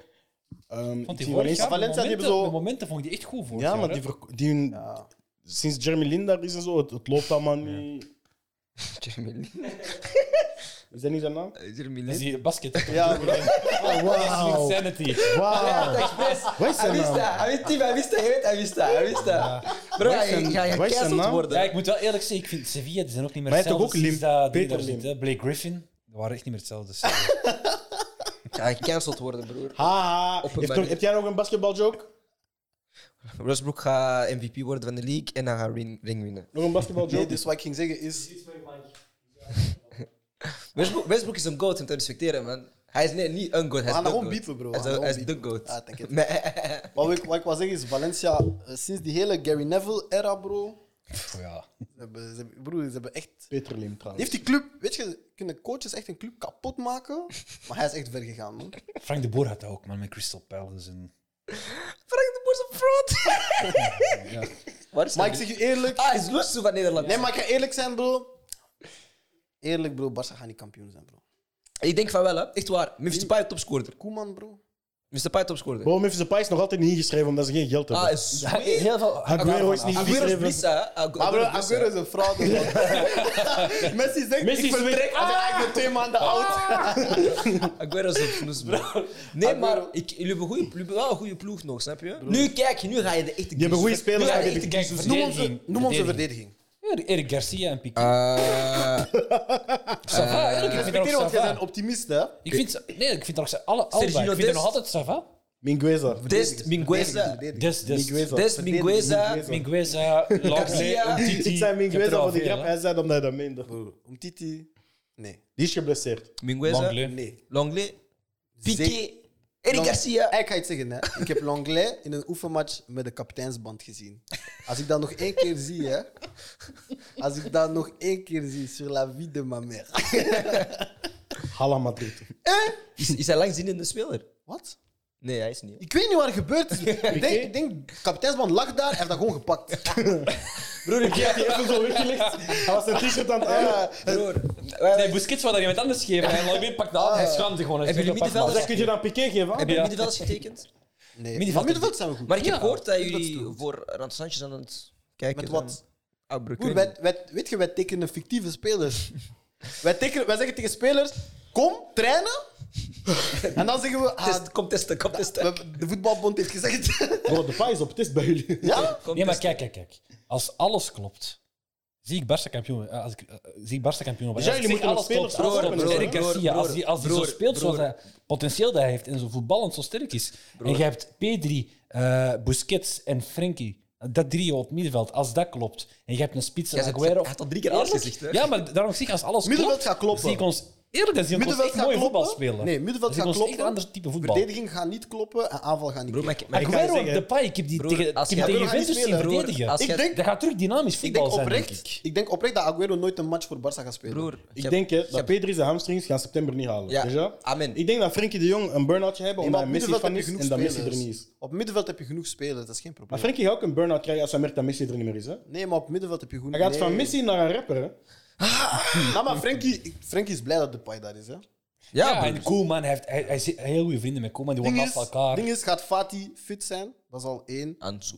Speaker 3: Ehm,
Speaker 4: Vond die
Speaker 3: die
Speaker 4: vorig
Speaker 3: Valencia-
Speaker 4: jaar, de
Speaker 1: Valencia, die
Speaker 4: momenten,
Speaker 1: hebben zo-
Speaker 4: de momenten vond ik die echt goed vorig
Speaker 3: Ja,
Speaker 4: jaar,
Speaker 3: maar
Speaker 4: hè.
Speaker 3: die, verko- die hun-
Speaker 1: Ja.
Speaker 3: sinds Jeremy Lin daar is en zo, het, het loopt allemaal niet.
Speaker 2: Jeremy Lin.
Speaker 3: Is dat niet zijn naam?
Speaker 2: Jeremy
Speaker 4: Dat is
Speaker 2: Lin.
Speaker 4: Dus die basket.
Speaker 1: Ja, bro.
Speaker 4: Wow.
Speaker 1: Wauw.
Speaker 4: Insanity.
Speaker 1: Wauw.
Speaker 3: Wat is
Speaker 2: Hij
Speaker 3: zijn
Speaker 2: wist dat,
Speaker 3: naam?
Speaker 2: hij wist die, hij wist dat, hij weet, hij wist dat, hij wist dat. Bro,
Speaker 3: Wat
Speaker 2: hij
Speaker 3: is zijn-
Speaker 2: gaat
Speaker 3: wat is zijn
Speaker 2: gecanceld
Speaker 3: naam?
Speaker 4: Ja,
Speaker 2: worden.
Speaker 4: ik moet wel eerlijk zeggen, ik vind Sevilla, die zijn ook niet meer
Speaker 3: Maar hij heeft
Speaker 4: hetzelfde.
Speaker 3: toch ook
Speaker 4: sinds
Speaker 3: Lim-
Speaker 4: dat ding
Speaker 3: Peter
Speaker 4: daar
Speaker 3: Lim?
Speaker 4: zit, hè. Blake Griffin, die waren echt niet meer hetzelfde. sinds-
Speaker 2: Hij gaat gecanceld worden, broer.
Speaker 3: Haha.
Speaker 2: Op een
Speaker 3: Heeft toch-
Speaker 2: manier.
Speaker 3: Heb jij nog een basketbaljoke?
Speaker 2: Westbrook gaat MVP worden van de league en hij gaat ring, ring winnen.
Speaker 3: Nog een basketbaljoke?
Speaker 1: Nee, dus wat ik ging zeggen is...
Speaker 2: Westbrook, Westbrook is een goat om te respecteren, man. Hij is nee, niet een goat, hij
Speaker 1: We
Speaker 2: is
Speaker 1: gaan
Speaker 2: de
Speaker 1: gewoon
Speaker 2: goat.
Speaker 1: biepen, bro. We
Speaker 2: Hij is
Speaker 1: gaan
Speaker 2: de- hij is
Speaker 1: gewoon
Speaker 2: de
Speaker 1: biepen.
Speaker 2: goat.
Speaker 1: Ah, denk het. Wat ik, wat ik wil zeggen is, Valencia, eh, sinds die hele Gary Neville-era, bro...
Speaker 4: Pff, ja.
Speaker 1: Ze hebben, ze hebben- broer, ze hebben echt...
Speaker 3: Peter Lim trouwens.
Speaker 1: Heeft die club... Weet je, kunnen coaches echt een club kapot maken? Maar hij is echt ver gegaan, man.
Speaker 4: Frank de Boer had dat ook, man, met Crystal Palace. En,
Speaker 2: Frank de Boer is een fraud.
Speaker 4: ja.
Speaker 2: Waar is
Speaker 1: Maar
Speaker 2: hij?
Speaker 1: ik zeg je eerlijk...
Speaker 2: Ah, hij is Lusso van Nederland.
Speaker 1: Nee, maar ik ga eerlijk zijn, bro. Eerlijk, bro. Barça gaat niet kampioen zijn, bro.
Speaker 2: Ik denk van wel, hè. Echt waar. Memphis Depay topscorer.
Speaker 1: Koeman, bro.
Speaker 2: Mr. Depay topscorer.
Speaker 3: Waarom heeft ze Pais nog altijd niet ingeschreven omdat ze geen geld
Speaker 2: Ah,
Speaker 3: hebben?
Speaker 2: is heel veel...
Speaker 3: Aguero is niet
Speaker 2: Aguero is
Speaker 3: geschreven.
Speaker 2: Blissa, hè.
Speaker 1: Maar bro,
Speaker 2: Aguero is
Speaker 1: Aguero
Speaker 2: Blissa.
Speaker 1: is een fraude, man. Messi zegt,
Speaker 3: Messi
Speaker 1: ik vertrek als ik eigenlijk twee maanden oud.
Speaker 2: Aguero is een snoes, bro. Nee, maar
Speaker 1: Aguero-
Speaker 2: ik, jullie, hebben goeie, jullie hebben wel een goede ploeg nog, snap je? Nu kijk, je, nu ga je de echte...
Speaker 3: Die hebben goede
Speaker 2: Nu
Speaker 3: spelers.
Speaker 2: ga
Speaker 3: maar
Speaker 2: je de
Speaker 3: die-
Speaker 2: echte games
Speaker 1: Noem onze, noem onze verdediging.
Speaker 4: Ja, Erik Garcia en
Speaker 2: Ah,
Speaker 4: Piqué.
Speaker 2: Eh,
Speaker 4: Sava, eerlijk, ik vind dat
Speaker 1: Respecteer,
Speaker 4: ook
Speaker 1: want jij
Speaker 4: Sava.
Speaker 1: bent optimist, hè?
Speaker 4: Ik vind, ze- nee, ik vind dat ook ze- alle allebei.
Speaker 2: Sergino
Speaker 4: Ik vind dat nog
Speaker 2: Dest.
Speaker 4: altijd Sava.
Speaker 3: Mingueza.
Speaker 2: Dest, Mingueza.
Speaker 1: Verdediging,
Speaker 4: Des, des,
Speaker 3: Mingueza.
Speaker 2: Dest, Mingueza.
Speaker 4: Mingueza,
Speaker 2: Garcia.
Speaker 4: Langley, Umtiti.
Speaker 3: Ik zei
Speaker 4: Je hebt er
Speaker 3: Mingueza
Speaker 4: al
Speaker 3: voor die
Speaker 4: veel,
Speaker 3: grap.
Speaker 4: hè.
Speaker 3: Hij zei dat omdat hij dat meende.
Speaker 1: Bro, Umtiti. Nee.
Speaker 3: Die is geblesseerd.
Speaker 2: Mingueza.
Speaker 4: Langley.
Speaker 1: Nee.
Speaker 2: Langley. Piqué.
Speaker 1: Zee-
Speaker 2: Eric
Speaker 1: Lang-
Speaker 2: Garcia.
Speaker 1: Ik ga iets zeggen, hè. Ik heb Langlais in een oefenmatch met de kapiteinsband gezien. Als ik dat nog één keer zie, hè. Als ik dat nog één keer zie, sur la vie de ma mère.
Speaker 3: Hala Madrid.
Speaker 2: Is, is hij langzinnende speler?
Speaker 1: Wat?
Speaker 2: Nee, hij is niet.
Speaker 1: Ik weet niet wat er gebeurd is. Ik denk, ik denk kapiteinsband lag daar, hij heeft dat gewoon gepakt.
Speaker 2: Broer, ik
Speaker 3: Die heeft hem zo weggelegd. Hij was een t-shirt aan het Ah, aan.
Speaker 2: Broer.
Speaker 4: Nee, Busquets wou dat iemand anders geven. En Langley pakt de hand. Hij schaamt zich gewoon. Hij
Speaker 2: Hebben
Speaker 4: zegt,
Speaker 2: jullie
Speaker 4: "Pak maar."
Speaker 3: Dat kun je dan Piqué geven. hè?
Speaker 2: Heb je
Speaker 4: Ja.
Speaker 2: middenvelders getekend?
Speaker 1: Nee,
Speaker 4: Middenveld.
Speaker 1: maar middenveld zijn we goed.
Speaker 2: Maar ik heb gehoord dat
Speaker 1: middenveld is
Speaker 2: jullie
Speaker 1: goed.
Speaker 2: voor Rand Sanchez aan het kijken
Speaker 1: Met wat?
Speaker 2: zijn. Ah, broer, ik
Speaker 1: Broer,
Speaker 2: weet
Speaker 1: wij, wij- weet je, wij tekenen fictieve spelers. wij, tekenen, wij zeggen tegen spelers, kom, trainen. en dan zeggen we,
Speaker 2: niet.
Speaker 1: ah,
Speaker 2: Test- Kom testen, kom testen.
Speaker 1: we- de voetbalbond heeft gezegd...
Speaker 3: Bro, de paai is op test bij jullie.
Speaker 1: ja?
Speaker 2: Kom
Speaker 4: Nee, maar
Speaker 2: testen.
Speaker 4: kijk, kijk, kijk. Als alles klopt, zie ik Barca kampioen. eh, Als ik, eh, zie ik Barca kampioen. worden.
Speaker 3: Dus
Speaker 4: Als
Speaker 3: jullie
Speaker 4: ik zeg
Speaker 3: moeten nog
Speaker 4: alles
Speaker 3: spelers
Speaker 4: klopt, alles
Speaker 2: broer,
Speaker 4: klopt.
Speaker 2: broer,
Speaker 4: Eric
Speaker 2: broer,
Speaker 4: Garcia,
Speaker 2: broer,
Speaker 4: als die, als die zo
Speaker 2: broer,
Speaker 4: speelt zoals
Speaker 2: broer.
Speaker 4: hij potentieel dat hij heeft en zo voetballend zo sterk is. En je hebt Pedri, eh, Busquets en Frenkie. Dat drie op middenveld, als dat klopt. En je hebt een spits en
Speaker 2: Jij zegt-
Speaker 4: Aguero.
Speaker 2: hij had al drie keer
Speaker 4: Eerlijk?
Speaker 2: alles gezegd, hè?
Speaker 4: Ja, maar daarom zeg ik, als alles
Speaker 1: Middenveld
Speaker 4: klopt,
Speaker 1: gaat kloppen.
Speaker 4: zie ik ons... Eerlijk, dat zie ik ons
Speaker 1: Middenveld
Speaker 4: echt
Speaker 1: gaat
Speaker 4: mooi
Speaker 1: kloppen.
Speaker 4: voetbal spelen.
Speaker 1: Nee, middenveld
Speaker 4: Dat zie ik
Speaker 1: gaat
Speaker 4: ons echt
Speaker 1: kloppen.
Speaker 4: een ander type voetbal.
Speaker 1: Verdediging gaat niet kloppen en aanval gaat niet
Speaker 2: Broer, maar
Speaker 1: kloppen.
Speaker 2: ik- maar ik-
Speaker 3: kan je
Speaker 4: Aguero en
Speaker 3: zeggen-
Speaker 4: Depay, ik heb die
Speaker 2: Broer,
Speaker 4: tegen,
Speaker 2: als
Speaker 4: ik
Speaker 2: jij-
Speaker 4: heb tegen
Speaker 1: Aguero gaat niet
Speaker 4: Juventus zien
Speaker 1: spelen, broer.
Speaker 4: verdedigen.
Speaker 2: Als
Speaker 1: Ik
Speaker 2: jij-
Speaker 1: denk-
Speaker 4: Dat gaat terug dynamisch
Speaker 1: Ik
Speaker 4: voetbal
Speaker 1: denk,
Speaker 4: zijn,
Speaker 1: oprecht,
Speaker 4: denk ik.
Speaker 1: ik. denk oprecht dat Aguero nooit een match voor Barça gaat spelen.
Speaker 2: Broer,
Speaker 3: Ik
Speaker 2: heb-
Speaker 3: denk hè,
Speaker 2: ik heb-
Speaker 3: dat Pedri zijn hamstrings gaan september niet halen.
Speaker 2: Ja,
Speaker 3: Weet je?
Speaker 2: amen.
Speaker 3: Ik denk dat Frenkie de Jong een burn-outje hebben
Speaker 1: Nee, maar
Speaker 3: omdat
Speaker 1: op
Speaker 3: Messi
Speaker 1: middenveld
Speaker 3: van
Speaker 1: heb
Speaker 3: is
Speaker 1: je
Speaker 3: en dat
Speaker 1: genoeg
Speaker 3: Messi er
Speaker 1: spelers.
Speaker 3: niet is.
Speaker 1: Op middenveld heb je genoeg spelers, dat is geen
Speaker 3: Maar
Speaker 1: probleem.
Speaker 3: Frenkie gaat ook een burn-out krijgen als hij merkt dat Messi er niet meer is. Hè?
Speaker 1: Nee, maar op middenveld heb je genoeg...
Speaker 3: Hij gaat van
Speaker 1: Nee.
Speaker 3: Messi naar een rapper. Hè?
Speaker 1: Nou, maar Frenkie, ik- Frenkie is blij dat Depay daar is, hè.
Speaker 2: Ja,
Speaker 4: Ja,
Speaker 2: broer.
Speaker 4: en Koeman, hij heeft hij, hij zit heel goede vrienden met Koeman, die
Speaker 1: Ding
Speaker 4: worden
Speaker 1: is,
Speaker 4: naast elkaar.
Speaker 1: ding is, gaat Fati fit zijn? Dat is al één.
Speaker 2: Ansu.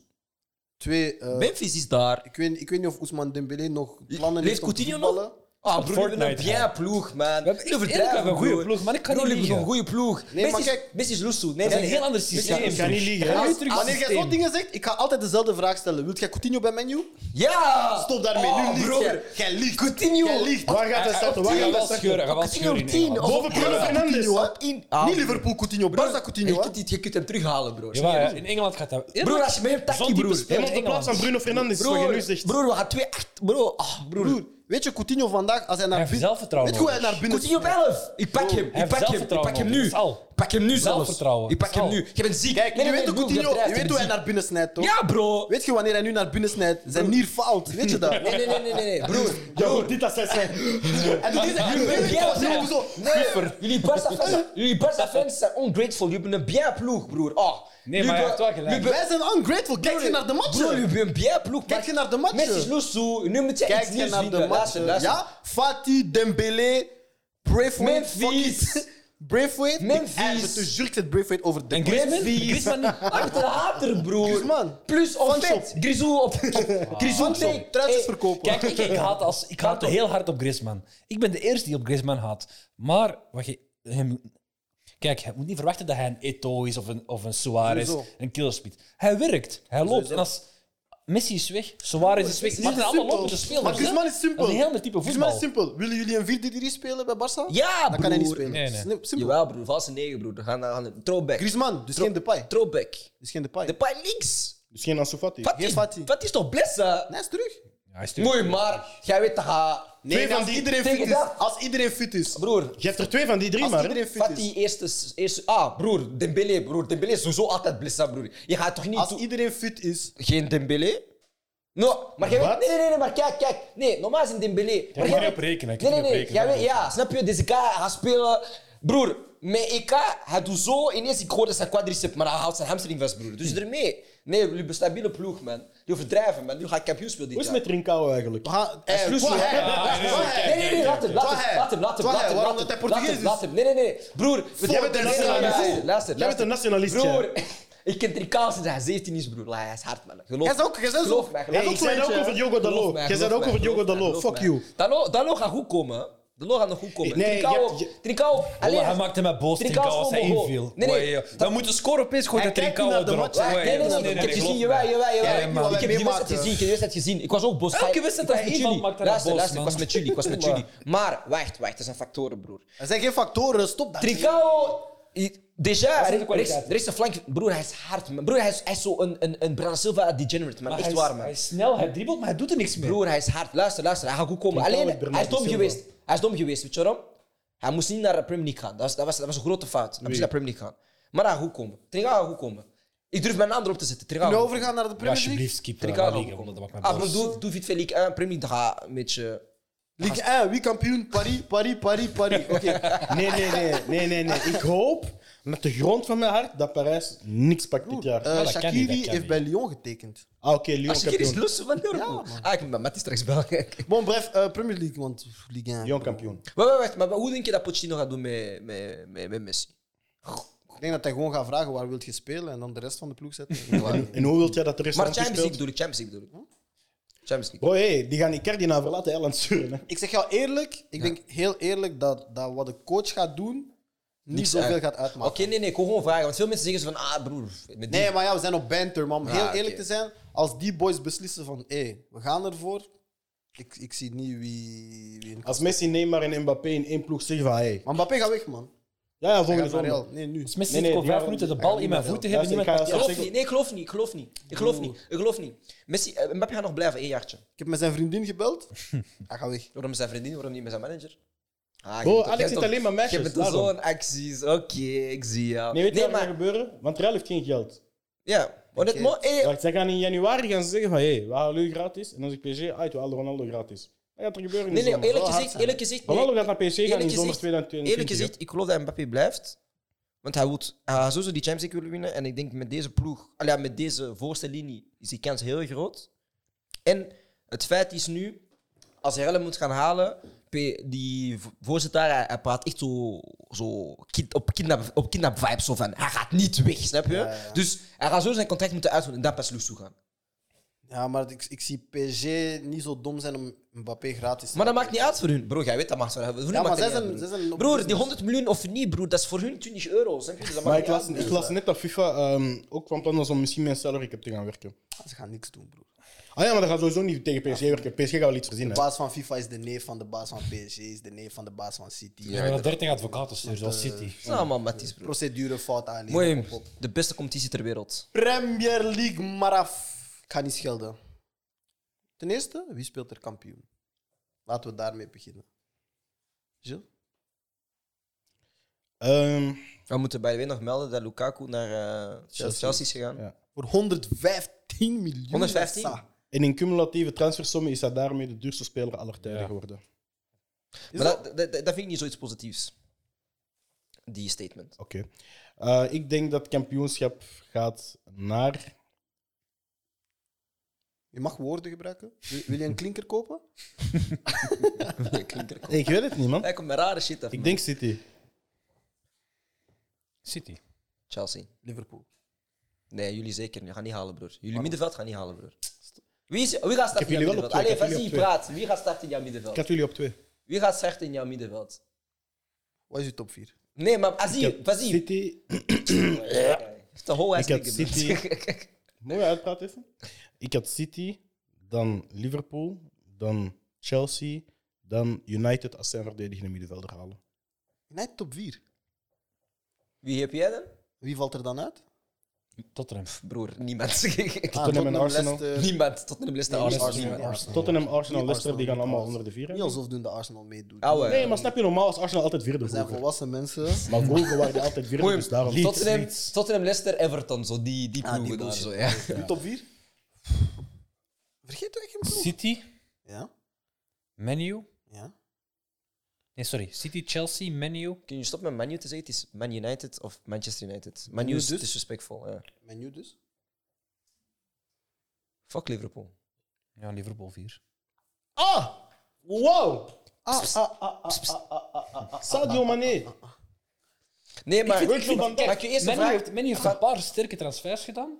Speaker 1: Twee, eh,
Speaker 2: Memphis is daar.
Speaker 1: ik, weet, ik weet niet of Ousmane Dembélé nog plannen
Speaker 2: Leeft
Speaker 1: heeft om te
Speaker 2: Coutinho
Speaker 1: voetballen.
Speaker 2: nog? Ah, broer, we hebben een
Speaker 4: Fortnite
Speaker 2: bien
Speaker 4: gaan.
Speaker 2: ploeg, man.
Speaker 4: hebben echt eerlijk, we hebben een goede ploeg, maar ik kan niet
Speaker 2: een
Speaker 4: liegen.
Speaker 2: goede ploeg.
Speaker 1: Nee, maar
Speaker 2: Messi is-
Speaker 1: kijk-
Speaker 2: Messi is Lusso. Nee,
Speaker 4: Dat is
Speaker 2: nee,
Speaker 4: een
Speaker 2: nee.
Speaker 4: heel ander
Speaker 2: Messi is-
Speaker 4: systeem.
Speaker 3: Ik ga niet liegen.
Speaker 4: Ja,
Speaker 3: hè.
Speaker 4: is terug
Speaker 1: Wanneer jij
Speaker 4: systeem.
Speaker 1: zo'n dingen zegt, ik ga altijd dezelfde vraag stellen. Wilt jij Coutinho bij menu?
Speaker 2: Ja!
Speaker 1: Stop daarmee,
Speaker 2: Oh,
Speaker 1: nu liegt
Speaker 2: broer.
Speaker 1: jij. Jij liegt.
Speaker 2: Coutinho.
Speaker 1: Jij liegt. Eh,
Speaker 3: Waar gaat hij starten? Waar
Speaker 4: Hij gaat
Speaker 3: gaat hij
Speaker 4: wel scheuren,
Speaker 3: starten?
Speaker 4: hij gaat
Speaker 2: Coutinho
Speaker 4: wel scheuren.
Speaker 2: op
Speaker 4: in
Speaker 2: 10.
Speaker 4: Engeland.
Speaker 3: Boven Bruno
Speaker 1: Ja,
Speaker 3: Fernandes.
Speaker 1: Coutinho, hè?
Speaker 2: In- Ah,
Speaker 1: niet Liverpool Coutinho, Barca
Speaker 2: Je
Speaker 1: Coutinho. hè?
Speaker 2: kunt, niet- je kunt hem terughalen, broer.
Speaker 4: Ja, maar in Engeland gaat dat... Eerlijk,
Speaker 2: Broer, als je met hem
Speaker 4: zo'n
Speaker 2: takkie,
Speaker 4: type
Speaker 2: broer.
Speaker 4: speelt
Speaker 3: Helemaal op de plaats van Bruno Fernandes. is wat je nu
Speaker 2: Broer,
Speaker 3: zegt.
Speaker 2: broer, we gaan twee echt... Bro, ah, broer.
Speaker 1: Broer, weet je, Coutinho vandaag, als hij naar
Speaker 4: Hij heeft zelfvertrouwen
Speaker 1: Weet je hoe hij
Speaker 4: nodig.
Speaker 1: naar binnen...
Speaker 2: Coutinho op 11. Ik pak hem, ik
Speaker 4: heeft
Speaker 2: pak hem, ik
Speaker 4: zelfvertrouwen
Speaker 2: pak hem
Speaker 4: nodig,
Speaker 2: nu.
Speaker 4: dat is al.
Speaker 2: Ik pak hem nu zelfs.
Speaker 4: Zelfvertrouwen,
Speaker 2: Ik pak
Speaker 4: dat is
Speaker 2: hem
Speaker 4: al.
Speaker 2: nu. Je bent ziek.
Speaker 1: Kijk,
Speaker 2: Nee,
Speaker 1: je
Speaker 2: nee,
Speaker 1: weet,
Speaker 2: nee,
Speaker 1: hoe
Speaker 2: broer,
Speaker 1: Coutinho,
Speaker 2: hebt
Speaker 1: je
Speaker 2: gelijk,
Speaker 1: weet
Speaker 2: bent
Speaker 1: hoe hij
Speaker 2: ziek.
Speaker 1: naar binnen snijdt, toch?
Speaker 2: Ja, bro.
Speaker 1: Weet je wanneer hij nu naar binnen snijdt? Zijn nier faalt, weet je dat?
Speaker 2: Nee, nee, nee, nee, nee, nee. broer.
Speaker 3: Ja, goed, dit dat zij zijn.
Speaker 1: En toen deze,
Speaker 2: Jullie
Speaker 1: hij
Speaker 2: bien
Speaker 1: hij zo...
Speaker 2: ploeg. Nee, jullie Barca fans- jullie Barca fans zijn ungrateful. Jullie hebben een bien ploeg, broer. Ah.
Speaker 4: Nee, maar hij heeft wel gelijk.
Speaker 1: Wij zijn ungrateful. Kijk je naar de match.
Speaker 2: Broer, jullie hebben een bien ploeg.
Speaker 1: Kijk je naar de matchen?
Speaker 2: Messi is loesoe. Nu moet je
Speaker 1: Kijk
Speaker 2: iets
Speaker 1: je
Speaker 2: nieuws
Speaker 1: naar de
Speaker 2: vinden.
Speaker 1: match.
Speaker 2: Luister, luister.
Speaker 1: Ja? Fati, Dembélé, Pray for
Speaker 2: Memphis.
Speaker 1: fuck it. Braithwaite.
Speaker 2: Memphis.
Speaker 1: Ik dus erger te zuur, ik zet Braithwaite over de
Speaker 4: En Griezmann?
Speaker 2: Griezmann niet. Achterhater, broer.
Speaker 1: Griezmann.
Speaker 2: Plus op vet. Grisou op... Grisou
Speaker 1: Hansom,
Speaker 2: take.
Speaker 1: Ah, truitjes
Speaker 2: Hey,
Speaker 1: verkopen.
Speaker 4: Kijk, ik, ik haat, als, ik haat heel hard op Griezmann. Ik ben de eerste die op Griezmann haat. Maar wat je hem... Kijk, je moet niet verwachten dat hij een Eto'o is of een, of een Suarez,
Speaker 1: Sowieso.
Speaker 4: een Killspeed. Hij werkt, hij loopt. En als Messi is weg, Suarez is weg,
Speaker 1: Het
Speaker 4: die
Speaker 1: is
Speaker 4: zijn allemaal
Speaker 1: simpel.
Speaker 4: lopende spelers.
Speaker 1: Maar Griezmann is simpel.
Speaker 4: Dat is een heel ander type
Speaker 1: Griezmann
Speaker 4: voetbal.
Speaker 1: is simpel. Willen jullie een 4-3-3 spelen bij Barça?
Speaker 2: Ja, broer.
Speaker 1: Dan kan hij niet spelen.
Speaker 4: Nee, nee.
Speaker 1: Slim- Simpel.
Speaker 2: Jawel, broer. Valse negen, broer. Dan gaan we gaan we- Throwback.
Speaker 1: Griezmann, dus geen Depay.
Speaker 2: Throwback.
Speaker 1: Dus geen Depay.
Speaker 2: De
Speaker 1: Nee,
Speaker 2: pijn links.
Speaker 3: Dus geen Ansu Fati.
Speaker 2: Wat
Speaker 1: Geen
Speaker 2: is,
Speaker 1: Fati.
Speaker 2: wat is toch blessen?
Speaker 1: hij is terug.
Speaker 4: Ja, is
Speaker 2: Mooi, maar jij weet dat hij...
Speaker 1: Nee,
Speaker 3: van
Speaker 1: als
Speaker 3: die-
Speaker 1: iedereen
Speaker 2: tegen
Speaker 1: fit is.
Speaker 2: dat-
Speaker 1: Als iedereen fit is.
Speaker 2: Broer,
Speaker 3: Je hebt er twee van die drie,
Speaker 1: Als
Speaker 3: maar. hè?
Speaker 1: iedereen fit is.
Speaker 2: Fatih, eerste, eerste... Ah, broer, Dembele, broer. Dembele is sowieso altijd blessen, broer. Je gaat toch niet...
Speaker 1: Als
Speaker 2: doen-
Speaker 1: iedereen fit is.
Speaker 2: Geen Dembele? No, maar jij weet,
Speaker 3: Wat?
Speaker 2: nee, nee, nee, maar kijk, kijk. Nee, normaal is een Dembele.
Speaker 4: kan
Speaker 2: jij
Speaker 4: niet
Speaker 2: weet-
Speaker 4: op rekenen, ik
Speaker 2: Nee,
Speaker 4: kan
Speaker 2: nee,
Speaker 4: niet
Speaker 2: nee.
Speaker 4: op rekenen,
Speaker 2: Jij weet,
Speaker 4: dat
Speaker 2: ja, snap je? Deze guy gaat spelen. Broer, met EK, hij doet zo. Ineens, ik hoorde zijn quadricep, maar hij houdt zijn hamstring vast, broer.
Speaker 4: Hm.
Speaker 2: Dus ermee. Nee, jullie hebben een stabiele ploeg, man. Jullie overdrijven, man. Jullie gaan kampioen spelen dit
Speaker 3: Hoe is
Speaker 2: jaar.
Speaker 3: het met Trincao eigenlijk?
Speaker 1: We gaan.
Speaker 2: Hij is
Speaker 1: Eh,
Speaker 2: crucial.
Speaker 1: Twa-
Speaker 4: ja, ja, ja.
Speaker 2: Nee, nee, nee, laat hem, laat hem, laat hem, laat hem.
Speaker 1: Twa-
Speaker 2: laat hem,
Speaker 1: waarom dat
Speaker 2: laat
Speaker 1: hij
Speaker 2: hem,
Speaker 1: Portugees is?
Speaker 2: laat hem, Laat hem, nee, nee, nee. Broer, we
Speaker 3: Jij bent een
Speaker 2: nee, nee, nee,
Speaker 3: nationalist.
Speaker 2: luister, Luister,
Speaker 3: Jij bent een nationalist,
Speaker 2: Broer,
Speaker 3: ja.
Speaker 2: ik ken Trikaal sinds hij 17 is, broer. Hij is hard, man. Geloof
Speaker 1: Hij is ook- hij is ook-
Speaker 2: Geloof mij, geloof
Speaker 3: Hey,
Speaker 2: mij.
Speaker 3: ik zei ook over Diogo
Speaker 2: Geloof
Speaker 3: Dalot.
Speaker 2: mij,
Speaker 3: Jij zei
Speaker 2: geloof
Speaker 3: ook over
Speaker 2: mij,
Speaker 3: Diogo
Speaker 2: geloof mij,
Speaker 3: Dalot.
Speaker 2: geloof
Speaker 3: Fuck
Speaker 2: mij.
Speaker 3: you.
Speaker 2: Dalo, Dalo gaat goed komen. hè. Dalo gaat nog goed komen.
Speaker 3: Nee,
Speaker 2: Trincao,
Speaker 3: je- je-
Speaker 2: Trincao, alleen
Speaker 4: hij maakte mij boos,
Speaker 2: Trincao is
Speaker 4: Trincao, als hij
Speaker 2: gewoon
Speaker 4: inviel.
Speaker 2: Nee, nee.
Speaker 4: Oei, joh. Dan moet de score opeens gooien
Speaker 1: Hij
Speaker 4: dat
Speaker 1: kijkt niet
Speaker 4: Trincao
Speaker 1: naar de
Speaker 4: erop.
Speaker 1: match, hij
Speaker 4: Oei,
Speaker 2: Nee, nee, nee,
Speaker 4: geloof
Speaker 2: nee, ik
Speaker 4: mij,
Speaker 2: heb
Speaker 4: geloof
Speaker 2: gezien,
Speaker 4: mij.
Speaker 2: jawel, jawel,
Speaker 4: Ja,
Speaker 2: jawel.
Speaker 4: maar-
Speaker 2: Ik heb die
Speaker 1: Meemaken.
Speaker 2: wedstrijd gezien, ik heb die wedstrijd gezien. Ik was ook boos.
Speaker 4: Elke
Speaker 2: Ik-
Speaker 4: wedstrijd
Speaker 2: ik
Speaker 4: dat
Speaker 2: was
Speaker 4: er
Speaker 2: met
Speaker 4: iemand
Speaker 2: jullie.
Speaker 4: maakt, daar
Speaker 2: Luister,
Speaker 4: boos,
Speaker 2: luister, ik
Speaker 4: man.
Speaker 2: was met jullie, ik was met jullie. Maar, wacht, wacht, dat zijn factoren, broer.
Speaker 1: Er zijn geen factoren, stop dat.
Speaker 2: Tricao, i- déjà,
Speaker 4: is de
Speaker 2: er is,
Speaker 4: kwaliteit.
Speaker 2: er is een flank. Broer, hij is hard, man. Broer, hij is, hij is zo een, een, een Bernardo Silva degenerate, man.
Speaker 4: Maar
Speaker 2: Echt
Speaker 4: hij,
Speaker 2: waar,
Speaker 4: is,
Speaker 2: man.
Speaker 4: hij is snel, hij dribbelt, maar hij doet er niks mee.
Speaker 2: Broer, hij is hard. Luister, luister, hij gaat goed komen.
Speaker 3: Trincao
Speaker 2: Alleen,
Speaker 3: met Bernardo
Speaker 2: hij is dom
Speaker 3: Silva.
Speaker 2: geweest. Hij is dom geweest, weet je waarom? Hij moest niet naar de Premier League gaan. Dat was, dat was, dat was een grote fout. Hij moest naar de Premier League gaan. Maar hij gaat goed komen. Tringa gaat goed komen. Ik durf mijn naam erop te zetten. Tringa
Speaker 1: Nu
Speaker 4: Nou,
Speaker 2: gaat goed
Speaker 1: overgaan naar de
Speaker 4: Ja,
Speaker 1: Premier League.
Speaker 4: alsjeblieft, eh, keep
Speaker 2: Trincao
Speaker 4: Trincao
Speaker 2: gaat goed
Speaker 4: Liga,
Speaker 2: komen.
Speaker 4: want dat maakt mij
Speaker 2: Ah,
Speaker 4: boos.
Speaker 2: broer, doe, doe Vite League 1, Premier League, dan ga een beetje...
Speaker 1: Ligue 1, eh, wie kampioen? Paris, Paris, Paris, Paris. Oké.
Speaker 3: Nee, nee, nee, nee, nee, nee. Ik hoop met de grond van mijn hart dat Parijs niks pakt dit jaar.
Speaker 1: Eh,
Speaker 4: dat kan niet, dat
Speaker 1: Shakiri
Speaker 4: kan
Speaker 1: heeft
Speaker 4: niet.
Speaker 1: bij Lyon getekend.
Speaker 3: Ah, oké, Lyon
Speaker 2: Als je hier is
Speaker 3: kampioen.
Speaker 2: lossen van Europa. ah, ik moet met Matty straks bellen. Wacht,
Speaker 1: Bon, bref, eh, Premier League, want pff, Ligue 1.
Speaker 3: Lyon kampioen.
Speaker 2: wacht, wacht, maar hoe denk je dat Pochettino gaat doen met, met, met, met Messi?
Speaker 1: Ik denk dat hij gewoon gaat vragen waar wilt je spelen en dan de rest van de ploeg zetten.
Speaker 3: En hoe wilt jij dat de rest
Speaker 2: Maar
Speaker 3: van
Speaker 2: Champions League
Speaker 3: speelt?
Speaker 2: bedoel ik, Champions League bedoel ik. Champions League.
Speaker 3: Bro, hey, die gaan Icardi na verlaten eiland sturen. hè.
Speaker 1: ik zeg jou eerlijk, ik denk heel eerlijk dat, dat wat de coach gaat doen niet
Speaker 2: Niks
Speaker 1: zoveel
Speaker 2: uit.
Speaker 1: gaat
Speaker 2: Eh, Oké,
Speaker 1: uitmaken.
Speaker 2: nee, nee, ik wil gewoon vragen. Want veel mensen zeggen zo van, ah broer, met die
Speaker 1: Nee, maar ja, we zijn op banter, man. Om
Speaker 2: Ah,
Speaker 1: heel
Speaker 2: oké.
Speaker 1: eerlijk te zijn, als die boys beslissen van hé, we gaan ervoor, ik, ik zie niet wie. wie
Speaker 3: Als Messi, Neymar en Mbappé in één ploeg zeggen van hey.
Speaker 1: Maar Mbappé gaat weg, man.
Speaker 3: Ja, ja,
Speaker 1: Hij
Speaker 3: volgende
Speaker 1: gaat naar
Speaker 3: zondag.
Speaker 1: Real. Nee, nu.
Speaker 4: Als Messi
Speaker 3: Nee,
Speaker 4: zit
Speaker 3: nee,
Speaker 4: voor
Speaker 3: die
Speaker 4: vijf
Speaker 3: gaan-
Speaker 4: minuten de
Speaker 3: die
Speaker 4: bal
Speaker 3: gaan
Speaker 4: in mijn
Speaker 3: niet
Speaker 4: voeten
Speaker 3: meer
Speaker 4: hebben,
Speaker 3: doen.
Speaker 4: niemand kan
Speaker 3: Luister,
Speaker 2: Ik
Speaker 3: ik
Speaker 4: kijken.
Speaker 2: geloof niet. Nee, ik geloof niet. Ik geloof niet. Ik geloof niet. Ik geloof niet. Messi, eh, Mbappé gaat nog blijven, één jaartje.
Speaker 1: Ik heb met zijn vriendin gebeld. Hij gaat weg.
Speaker 2: Waarom zijn vriendin, waarom niet met zijn manager? Ah,
Speaker 3: Bro, Alex zit alleen maar
Speaker 2: Je
Speaker 3: meisjes,
Speaker 2: bent
Speaker 3: daarom.
Speaker 2: zo'n acties. Oké, ik zie jou.
Speaker 3: Nee, weet je
Speaker 2: nee,
Speaker 3: wat er gaat
Speaker 2: maar...
Speaker 3: gebeuren? Want Real heeft geen geld.
Speaker 2: Ja, maar net... mo- eh,
Speaker 3: Wacht, zij gaan in januari gaan ze zeggen van hey, we halen u gratis. En als ik PSG uit, we halen ah, Ronaldo gratis. Wat gaat er gebeuren in de
Speaker 2: Nee, nee,
Speaker 3: zomer?
Speaker 2: eerlijk
Speaker 3: Zal hard
Speaker 2: gezegd,
Speaker 3: zijn.
Speaker 2: eerlijk gezegd... nee.
Speaker 3: Ronaldo gaat naar PSG gaan in
Speaker 2: Eerlijk
Speaker 3: zomer
Speaker 2: gezegd-
Speaker 3: 2022.
Speaker 2: Eerlijk gezegd, ik geloof dat Mbappé blijft. Want hij wil hij gaat sowieso die Champions League willen winnen. En ik denk met deze ploeg, allee, met deze voorste linie, is die kans heel groot. En het feit is nu, als hij hem moet gaan halen, P- die v- voorzitter, hij, hij praat echt zo, zo kind, op, kidnap, op kidnap vibes. Zo van, hij gaat niet weg, snap je? Dus hij gaat zo zijn contract moeten uitvoeren en dan pas Loes toe gaan.
Speaker 1: Ja, maar ik, ik zie PSG niet zo dom zijn om Mbappé gratis te
Speaker 2: Maar dat
Speaker 1: maken.
Speaker 2: maakt niet uit voor hun. Bro, jij weet dat maakt voor hun.
Speaker 1: Ja, maar
Speaker 2: maakt dat
Speaker 1: zij
Speaker 2: niet uit,
Speaker 1: zijn, zij
Speaker 2: broer.
Speaker 1: zijn dus. op
Speaker 2: Broer, die
Speaker 1: business.
Speaker 2: 100 miljoen of niet, broer, dat is voor hun 20 euro. snap je? Dus dat
Speaker 3: Maar
Speaker 2: maakt
Speaker 3: ik
Speaker 2: niet
Speaker 3: las,
Speaker 2: uit,
Speaker 3: ik
Speaker 2: broer.
Speaker 3: las net dat FIFA ehm, ook van plan was om misschien met een salary cap te gaan werken.
Speaker 1: Ze gaan niks doen, broer.
Speaker 3: Ah ja, maar dat gaat sowieso niet tegen PSG werken. PSG gaat wel iets verzinnen.
Speaker 1: De
Speaker 3: hè.
Speaker 1: baas van FIFA is de neef van de baas van PSG, is de neef van de baas van City.
Speaker 4: We hebben 30 advocaten sturen, zoals City.
Speaker 2: Dat is allemaal matties, broer.
Speaker 1: Procedurefout alleen.
Speaker 2: Mooi,
Speaker 1: Op, op.
Speaker 2: de beste competitie ter wereld.
Speaker 1: Premier League Maraf. Ik ga niet schelden. Ten eerste, wie speelt er kampioen? Laten we daarmee beginnen. Gilles?
Speaker 3: Ehm,
Speaker 2: We moeten bij de nog melden dat Lukaku naar eh, Chelsea. is gegaan.
Speaker 3: Ja.
Speaker 1: Voor 115 miljoen.
Speaker 2: 115?
Speaker 1: Sa.
Speaker 3: en in cumulatieve transfersommen is hij daarmee de duurste speler aller tijden geworden.
Speaker 2: Maar dat, dat, dat vind ik niet zoiets positiefs. Die statement.
Speaker 3: Oké. Eh, ik denk dat het kampioenschap gaat naar.
Speaker 1: Je mag woorden gebruiken. Wil, wil je een klinker kopen?
Speaker 2: Klinkt er-
Speaker 3: Ik weet het niet, man.
Speaker 2: Hij komt met rare shit af.
Speaker 3: Ik
Speaker 2: man.
Speaker 3: denk City.
Speaker 4: City.
Speaker 2: Chelsea.
Speaker 1: Liverpool.
Speaker 2: Nee, jullie zeker. niet. gaan niet halen, broer. Jullie middenveld gaan niet halen, broer. Wie, is, wie gaat starten in
Speaker 3: jullie
Speaker 2: jouw
Speaker 3: wel op
Speaker 2: middenveld? Allee,
Speaker 3: twee, ik heb jullie
Speaker 2: Fassi,
Speaker 3: op twee.
Speaker 2: praat. Wie gaat starten in jouw
Speaker 3: Ik
Speaker 2: middenveld?
Speaker 3: had jullie op twee.
Speaker 2: Wie gaat starten in jouw middenveld?
Speaker 1: Wat is je top 4?
Speaker 2: Nee, maar Aziz, Fassi.
Speaker 3: City.
Speaker 2: Heeft een whole ass
Speaker 3: Ik had
Speaker 2: nigga, broer.
Speaker 3: City. Moet je uitpraten even? Ik had City, dan Liverpool, dan Chelsea, dan United als zijn verdedigende middenvelder halen.
Speaker 1: Net top 4.
Speaker 2: Wie heb jij dan?
Speaker 1: Wie valt er dan uit?
Speaker 4: Tottenham.
Speaker 2: Broer, niemand.
Speaker 1: Ah,
Speaker 3: Tottenham en Arsenal.
Speaker 1: Leicester.
Speaker 2: niemand. Tot de beste
Speaker 1: Nee,
Speaker 2: Arsenal.
Speaker 1: Arsenal,
Speaker 2: niemand.
Speaker 1: ja.
Speaker 3: Tottenham, Arsenal,
Speaker 1: Nee,
Speaker 3: Leicester, die gaan
Speaker 1: niet
Speaker 3: allemaal
Speaker 1: alles.
Speaker 3: onder de vier.
Speaker 1: Niet
Speaker 3: hè?
Speaker 1: alsof doen de Arsenal meedoet.
Speaker 2: Ouwe.
Speaker 3: Nee, maar snap je, normaal was Arsenal altijd vierde.
Speaker 1: We zijn
Speaker 3: vroeger.
Speaker 1: volwassen mensen.
Speaker 3: Maar vroeger waren die altijd vierde,
Speaker 2: Mooi.
Speaker 3: dus daarom...
Speaker 2: Leeds, Tottenham, Tottenham, Leicester, Everton. Zo die, die
Speaker 1: Ah, die
Speaker 2: ploegen daar.
Speaker 1: bullshit.
Speaker 2: Zo, ja.
Speaker 1: Uw top 4? Vergeet ik hem ploeg.
Speaker 4: City,
Speaker 1: Ja?
Speaker 4: Menu.
Speaker 1: Ja?
Speaker 4: Nee, sorry. City, Chelsea, Menu.
Speaker 2: Kun je stoppen met Manu te zeggen? Het is Man United of Manchester United. Manu is
Speaker 1: dus?
Speaker 2: disrespectful. Ja.
Speaker 1: Menu dus?
Speaker 2: Fuck Liverpool.
Speaker 4: Ja, Liverpool 4.
Speaker 3: Ah! Wow!
Speaker 1: Ah, ah, ah.
Speaker 3: Sadio Mané.
Speaker 2: Nee, maar...
Speaker 3: Ik vind-
Speaker 2: Mag ik je eerst een
Speaker 4: Menu
Speaker 2: vraag...
Speaker 4: heeft, Menu heeft een paar sterke transfers gedaan.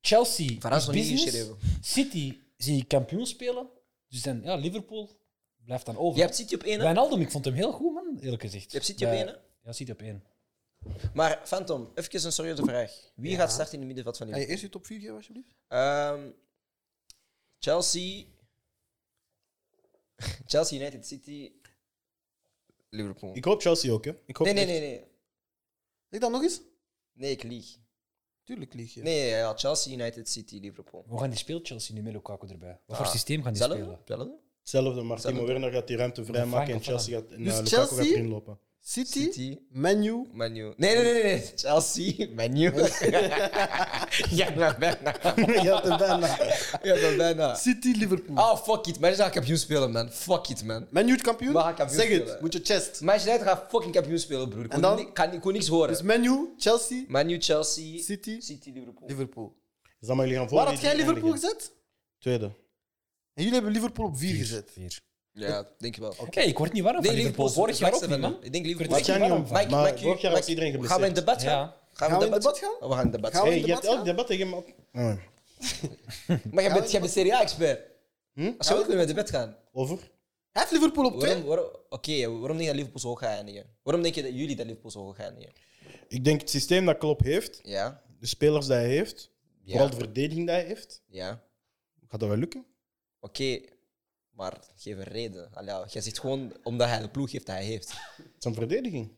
Speaker 4: Chelsea
Speaker 2: Verras
Speaker 4: is
Speaker 2: nog niet
Speaker 4: business.
Speaker 2: ingeschreven.
Speaker 4: City zie je kampioen spelen. Dus dan, ja, Liverpool blijft dan over.
Speaker 2: Je hebt City op één, hè? Je
Speaker 4: Wijnaldum, ik vond hem heel goed, man, eerlijk gezegd.
Speaker 2: hebt City op
Speaker 4: Bij-
Speaker 2: één, hè?
Speaker 4: Ja, City op één.
Speaker 2: Maar, Phantom, even een serieuze vraag. Wie gaat starten in het middenveld van
Speaker 1: Ga je
Speaker 2: Liverpool?
Speaker 1: eerst je top 4 geven, alsjeblieft?
Speaker 2: Ehm, Chelsea... Chelsea, United, City... Liverpool.
Speaker 3: Ik hoop Chelsea ook, hè. Ik hoop
Speaker 2: Nee, nee,
Speaker 3: echt-
Speaker 2: nee, nee.
Speaker 1: Zeg dan nog eens?
Speaker 2: Nee, ik lieg.
Speaker 1: Tuurlijk lieg je.
Speaker 2: Nee, ja, Chelsea, United, City, Liverpool.
Speaker 4: Hoe gaan die spelen, Chelsea, nu met Lukaku erbij? Wat voor
Speaker 2: Ah,
Speaker 4: systeem gaan die
Speaker 2: Zelfde?
Speaker 4: spelen?
Speaker 2: Zelfde?
Speaker 3: Hetzelfde, Martino
Speaker 2: Hetzelfde.
Speaker 3: Werner gaat die ruimte vrijmaken
Speaker 4: Frank
Speaker 3: en
Speaker 4: of
Speaker 3: Chelsea gaat, en,
Speaker 1: Dus
Speaker 3: eh, Lukaku
Speaker 1: Chelsea?
Speaker 3: gaat erin lopen.
Speaker 1: City,
Speaker 2: City,
Speaker 1: Menu,
Speaker 2: Manu. Nee, nee, nee, nee. Chelsea, Manu. ja, maar bijna.
Speaker 3: ja, het is bijna.
Speaker 2: Ja, maar bijna.
Speaker 1: City, Liverpool.
Speaker 2: Ah, fuck it. Manchester gaat kampioen spelen, man. Fuck it, man.
Speaker 1: Menu het kampioen?
Speaker 2: We gaan kampioen
Speaker 1: zeg het,
Speaker 2: spelen.
Speaker 1: moet je chest.
Speaker 2: Manchester United gaat fucking kampioen spelen, broer. Ik
Speaker 1: En
Speaker 2: kon,
Speaker 1: dan?
Speaker 2: ni- kan, ik kon niks horen.
Speaker 1: Dus Menu, Chelsea,
Speaker 2: Manu, Chelsea,
Speaker 1: City,
Speaker 2: City, Liverpool.
Speaker 1: Liverpool.
Speaker 3: Dus dan mag jullie gaan voor
Speaker 1: Waar
Speaker 3: wie
Speaker 1: had jij
Speaker 3: die
Speaker 1: Liverpool
Speaker 3: eindigen.
Speaker 1: gezet?
Speaker 3: Tweede.
Speaker 1: En jullie hebben Liverpool op 4 gezet.
Speaker 4: Vier.
Speaker 2: Ja, denk ik wel.
Speaker 4: Oké, ik word niet warm van Liverpool. Vorig jaar ook niet, man.
Speaker 2: Ik denk Liverpool.
Speaker 3: Wat jij niet om
Speaker 2: Mike,
Speaker 3: maar
Speaker 2: Mike,
Speaker 3: vorig jaar was
Speaker 2: Mike,
Speaker 3: iedereen
Speaker 2: Gaan we in
Speaker 3: geblesseerd.
Speaker 2: debat gaan?
Speaker 4: Ja.
Speaker 1: Gaan we in debat gaan?
Speaker 2: Oh, we gaan in debat
Speaker 1: Gaan
Speaker 2: gaan.
Speaker 1: we
Speaker 3: Hey,
Speaker 1: in
Speaker 3: je hebt
Speaker 1: debat
Speaker 3: elk debat tegen me. Ah,
Speaker 2: Maar jij bent, jij bent Serie A-expert.
Speaker 3: Hm?
Speaker 2: Als je ook niet met debat gaan.
Speaker 3: Over?
Speaker 1: Hij heeft Liverpool op 2.
Speaker 2: Waarom, waarom, Oké, waarom denk je dat Liverpool zo hoog gaat eindigen? Waarom denk je dat jullie dat Liverpool zo hoog gaat eindigen?
Speaker 3: Ik denk het systeem dat Klopp heeft,
Speaker 2: Ja,
Speaker 3: de spelers die hij heeft, vooral de verdediging die hij heeft,
Speaker 2: ja.
Speaker 3: gaat dat wel lukken.
Speaker 2: Oké, maar geef een reden. Allee, jij zegt gewoon omdat hij de ploeg heeft dat hij heeft.
Speaker 3: Het is een verdediging.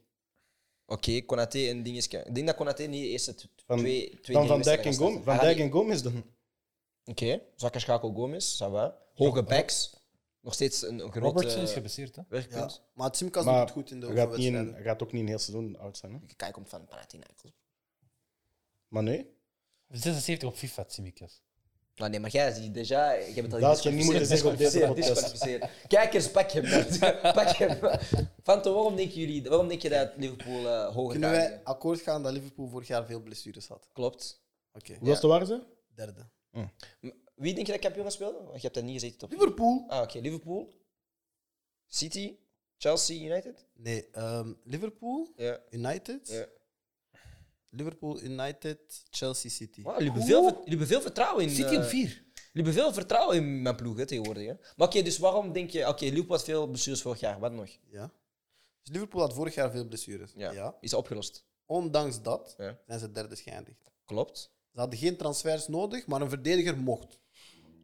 Speaker 2: Oké, Konaté een dingetje. Ik denk dat Konaté niet eerst het
Speaker 3: Van-
Speaker 2: twee, twee
Speaker 3: Dan
Speaker 2: dingen
Speaker 3: Van
Speaker 2: Ah,
Speaker 3: Dijk en
Speaker 2: wedstrijden
Speaker 3: Gomez. Van
Speaker 2: gaat
Speaker 3: Dijk
Speaker 2: starten.
Speaker 3: en Gomez dan.
Speaker 2: Oké, zwakke schakel Gomez, ça va. Hoge backs, nog steeds een, een grote
Speaker 4: Robertson is geblesseerd, hè?
Speaker 1: Ja.
Speaker 2: werkpunt.
Speaker 1: Maar Tsimikas doet
Speaker 3: Maar
Speaker 1: het goed in de
Speaker 3: Hij gaat, niet in-
Speaker 1: overwedstrijden.
Speaker 3: hij gaat ook niet een heel seizoen oud zijn. Hè?
Speaker 2: Kijk, komt van Panathinaikos.
Speaker 3: Maar nee,
Speaker 4: 76 op FIFA, Tsimikas.
Speaker 2: Nou, nee, maar jij ziet déjà, je hebt het al
Speaker 3: dat had je niet moeten zeggen op deze
Speaker 2: gedisqualificeerd.
Speaker 3: podcast.
Speaker 2: Disqualificeerd. Kijkers, pak hem. man. pak hem. Fanto, waarom denken jullie, waarom denk je dat Liverpool eh hoger
Speaker 1: Kunnen
Speaker 2: gaat?
Speaker 1: wij
Speaker 2: eindigen?
Speaker 1: akkoord gaan dat Liverpool vorig jaar veel blessures had?
Speaker 2: Klopt.
Speaker 1: Oké,
Speaker 3: Hoe was de waar ze?
Speaker 1: derde.
Speaker 2: Wie denk je dat kampioen gaat spelen? Want Je hebt dat niet gezegd, toch?
Speaker 1: Liverpool?
Speaker 2: Ah, oké. Liverpool, City, Chelsea, United.
Speaker 1: Nee, ehm, Liverpool,
Speaker 2: Ja.
Speaker 1: United.
Speaker 2: Ja.
Speaker 1: Liverpool, United, Chelsea City.
Speaker 2: Wow, jullie hebben veel, ver- jullie hebben veel vertrouwen in.
Speaker 4: City op
Speaker 2: eh,
Speaker 4: 4.
Speaker 2: jullie hebben veel vertrouwen in mijn ploeg hè, tegenwoordig. Hè. Maar oké, dus waarom denk je. Oké, Liverpool had veel blessures vorig jaar. Wat nog?
Speaker 1: Ja. Dus Liverpool had vorig jaar veel blessures.
Speaker 2: Ja. Is opgelost.
Speaker 1: Ondanks dat
Speaker 2: Ja.
Speaker 1: zijn ze derde geëindigd.
Speaker 2: Klopt.
Speaker 1: Ze hadden geen transfers nodig, maar een verdediger mocht.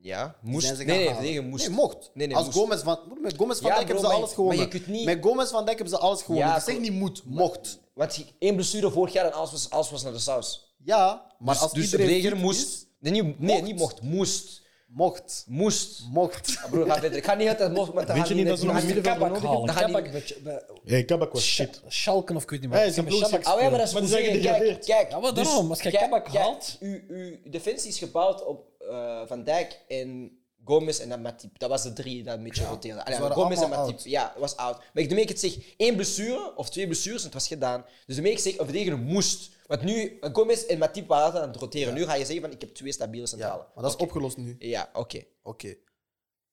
Speaker 2: Ja. Moest.
Speaker 1: Zijn ze
Speaker 2: nee,
Speaker 1: gaan
Speaker 2: nee,
Speaker 1: halen.
Speaker 2: tegen moest.
Speaker 1: Nee, mocht.
Speaker 2: Nee, nee,
Speaker 1: Als
Speaker 2: moest.
Speaker 1: Gomez van, met Gomez van
Speaker 2: Ja,
Speaker 1: Dijk
Speaker 2: bro,
Speaker 1: hebben ze
Speaker 2: maar-
Speaker 1: alles gewonnen.
Speaker 2: maar je kunt niet-
Speaker 1: Met Gomez van Dijk hebben ze alles gewonnen.
Speaker 2: Ja,
Speaker 1: ik zeg
Speaker 2: klopt.
Speaker 1: niet moet, mocht.
Speaker 2: Want je- één blessure vorig jaar en alles was, alles was naar de saus.
Speaker 1: Ja, maar
Speaker 2: Dus-
Speaker 1: als
Speaker 2: dus
Speaker 1: iedereen
Speaker 2: Breger
Speaker 1: fit
Speaker 2: moest.
Speaker 1: is,
Speaker 2: nee, niet, nee, niet mocht. Moest.
Speaker 1: mocht.
Speaker 2: Moest.
Speaker 1: Mocht.
Speaker 2: Ah, broer, ga verder. Ik ga niet altijd mocht.
Speaker 3: Weet je niet dat ze nog een middenvelder
Speaker 4: Kabak
Speaker 3: nodig
Speaker 4: halen.
Speaker 2: Dan gaat
Speaker 4: Kabak
Speaker 2: die-
Speaker 4: bij- bij-
Speaker 3: Hey, Kabak was shit.
Speaker 4: Schalken of ik weet niet
Speaker 3: Hij
Speaker 4: wat.
Speaker 3: is een
Speaker 4: Ja,
Speaker 3: ploeg
Speaker 4: Schalke-
Speaker 2: Ah, ja, maar dat is
Speaker 3: Maar
Speaker 2: goed
Speaker 3: die
Speaker 2: zeggen.
Speaker 3: zijn
Speaker 2: Kijk,
Speaker 3: gedegradeerd.
Speaker 2: kijk.
Speaker 4: Ja, maar
Speaker 2: dus
Speaker 4: daarom, als je
Speaker 2: kijk-
Speaker 4: Kabak
Speaker 2: kijk,
Speaker 4: haalt-
Speaker 2: Uw, uw defensie is gebouwd op eh, Van Dijk en Gomez en dan Matip. Dat was de drie die een beetje roteerden. Allee,
Speaker 1: ze waren
Speaker 2: Gomez en
Speaker 1: allemaal
Speaker 2: Matip. Ja, was oud. Maar ik, de meer ik het zeg, één blessure of twee blessures en het was gedaan. Dus de meer ik zeg, een verdediger moest. Want nu, eh, Gomez en Matip waren altijd aan het roteren. Nu ga je zeggen van, ik heb twee stabiele
Speaker 1: Ja,
Speaker 2: centralen.
Speaker 1: maar dat is opgelost nu. Oké.
Speaker 2: Ja, oké.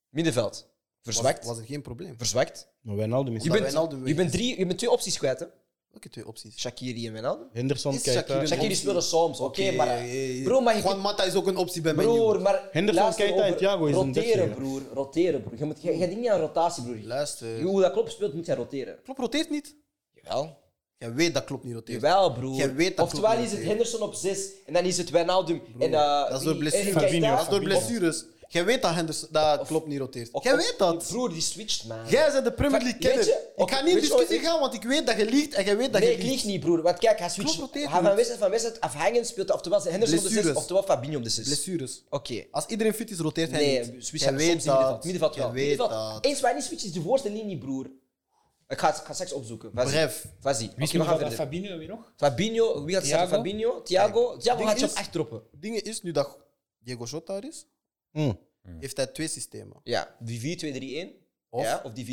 Speaker 2: Middenveld. Verzwakt.
Speaker 1: Was, was er geen probleem.
Speaker 2: Verzwakt.
Speaker 3: Maar Wijnaldum is
Speaker 2: Je
Speaker 1: Dat
Speaker 2: bent,
Speaker 1: Wijnaldum weg
Speaker 2: je, bent drie, je bent twee opties kwijt, hè?
Speaker 1: Welke twee opties?
Speaker 2: Shakiri en Wijnaldum.
Speaker 3: Henderson,
Speaker 1: Is
Speaker 3: Keita.
Speaker 1: Shakiri-
Speaker 2: Shakiri
Speaker 1: optie.
Speaker 2: speelde soms, oké, maar...
Speaker 1: eh, eh,
Speaker 2: Bro, maar je
Speaker 1: Juan Mata is ook een optie bij mij.
Speaker 2: Broer, maar...
Speaker 3: Henderson,
Speaker 2: luister
Speaker 3: Keita en
Speaker 2: over-
Speaker 3: Thiago is een
Speaker 2: Roteren,
Speaker 3: deftige.
Speaker 2: broer. Roteren, broer. Je, moet, je, je dient niet aan rotatie, broer.
Speaker 1: Luister.
Speaker 2: Hoe dat klopt speelt, moet hij roteren.
Speaker 1: Klopt roteert niet.
Speaker 2: Jawel.
Speaker 1: Jij weet dat klopt niet roteert.
Speaker 2: Jawel, broer.
Speaker 1: Jij weet dat
Speaker 2: Oftewel
Speaker 1: klopt
Speaker 2: is het
Speaker 1: niet.
Speaker 2: Henderson op 6 en dan is het Wijnaldum en...
Speaker 1: dat is
Speaker 2: eh,
Speaker 1: door
Speaker 2: wie- en
Speaker 1: blessures.
Speaker 2: Keita.
Speaker 1: Dat is door
Speaker 4: Fabinho.
Speaker 1: blessures. Jij weet dat Henderson, dat klopt niet roteert.
Speaker 2: Of-
Speaker 1: Jij
Speaker 2: of-
Speaker 1: weet dat.
Speaker 2: Broer, Oh, die switcht, man.
Speaker 1: Jij bent de Premier
Speaker 2: Weet
Speaker 1: League kenner.
Speaker 2: je-
Speaker 1: Ik
Speaker 2: oké,
Speaker 1: ga niet in
Speaker 2: weet je wat
Speaker 1: discussie
Speaker 2: ik-
Speaker 1: gaan, want ik weet dat je liegt en jij weet dat
Speaker 2: Nee,
Speaker 1: je
Speaker 2: ik lieg
Speaker 1: liegt.
Speaker 2: niet, broer. Want kijk, hij
Speaker 1: Klopt,
Speaker 2: switcht.
Speaker 1: roteert
Speaker 2: Hij
Speaker 1: niet.
Speaker 2: van wedstrijd van wedstrijd afhangend speelt hij oftewel zijn Henderson op de 6,
Speaker 1: Blessures.
Speaker 2: oftewel Fabinho op de 6.
Speaker 1: Blessures.
Speaker 2: Oké.
Speaker 1: Als iedereen fit is, roteert hij
Speaker 2: Nee,
Speaker 1: niet.
Speaker 2: switch
Speaker 1: Jij
Speaker 2: hij soms
Speaker 1: weet
Speaker 2: in middenveld.
Speaker 1: dat.
Speaker 2: Middenveld wel.
Speaker 1: Jij weet
Speaker 2: Middenveld.
Speaker 1: dat.
Speaker 2: Eens waar hij niet switcht is de voorste linie, broer. Ik ga, ik ga straks opzoeken. Vas-y.
Speaker 1: Bref.
Speaker 2: Vas-y.
Speaker 4: Wie
Speaker 2: Oké, we
Speaker 4: speelt
Speaker 2: gaan
Speaker 4: dat?
Speaker 2: verder.
Speaker 4: Fabinho en wie nog?
Speaker 2: Fabinho, wie gaat er starten?
Speaker 4: Thiago?
Speaker 2: Fabinho, Thiago. Thiago
Speaker 1: ding
Speaker 2: gaat je op
Speaker 1: is-
Speaker 2: 8 droppen.
Speaker 1: Dingen is nu dat Diego Jota er is,
Speaker 3: Mm.
Speaker 1: heeft hij twee systemen.
Speaker 2: Ja, die 4-2-3-1.
Speaker 1: Of?
Speaker 2: Ja, of die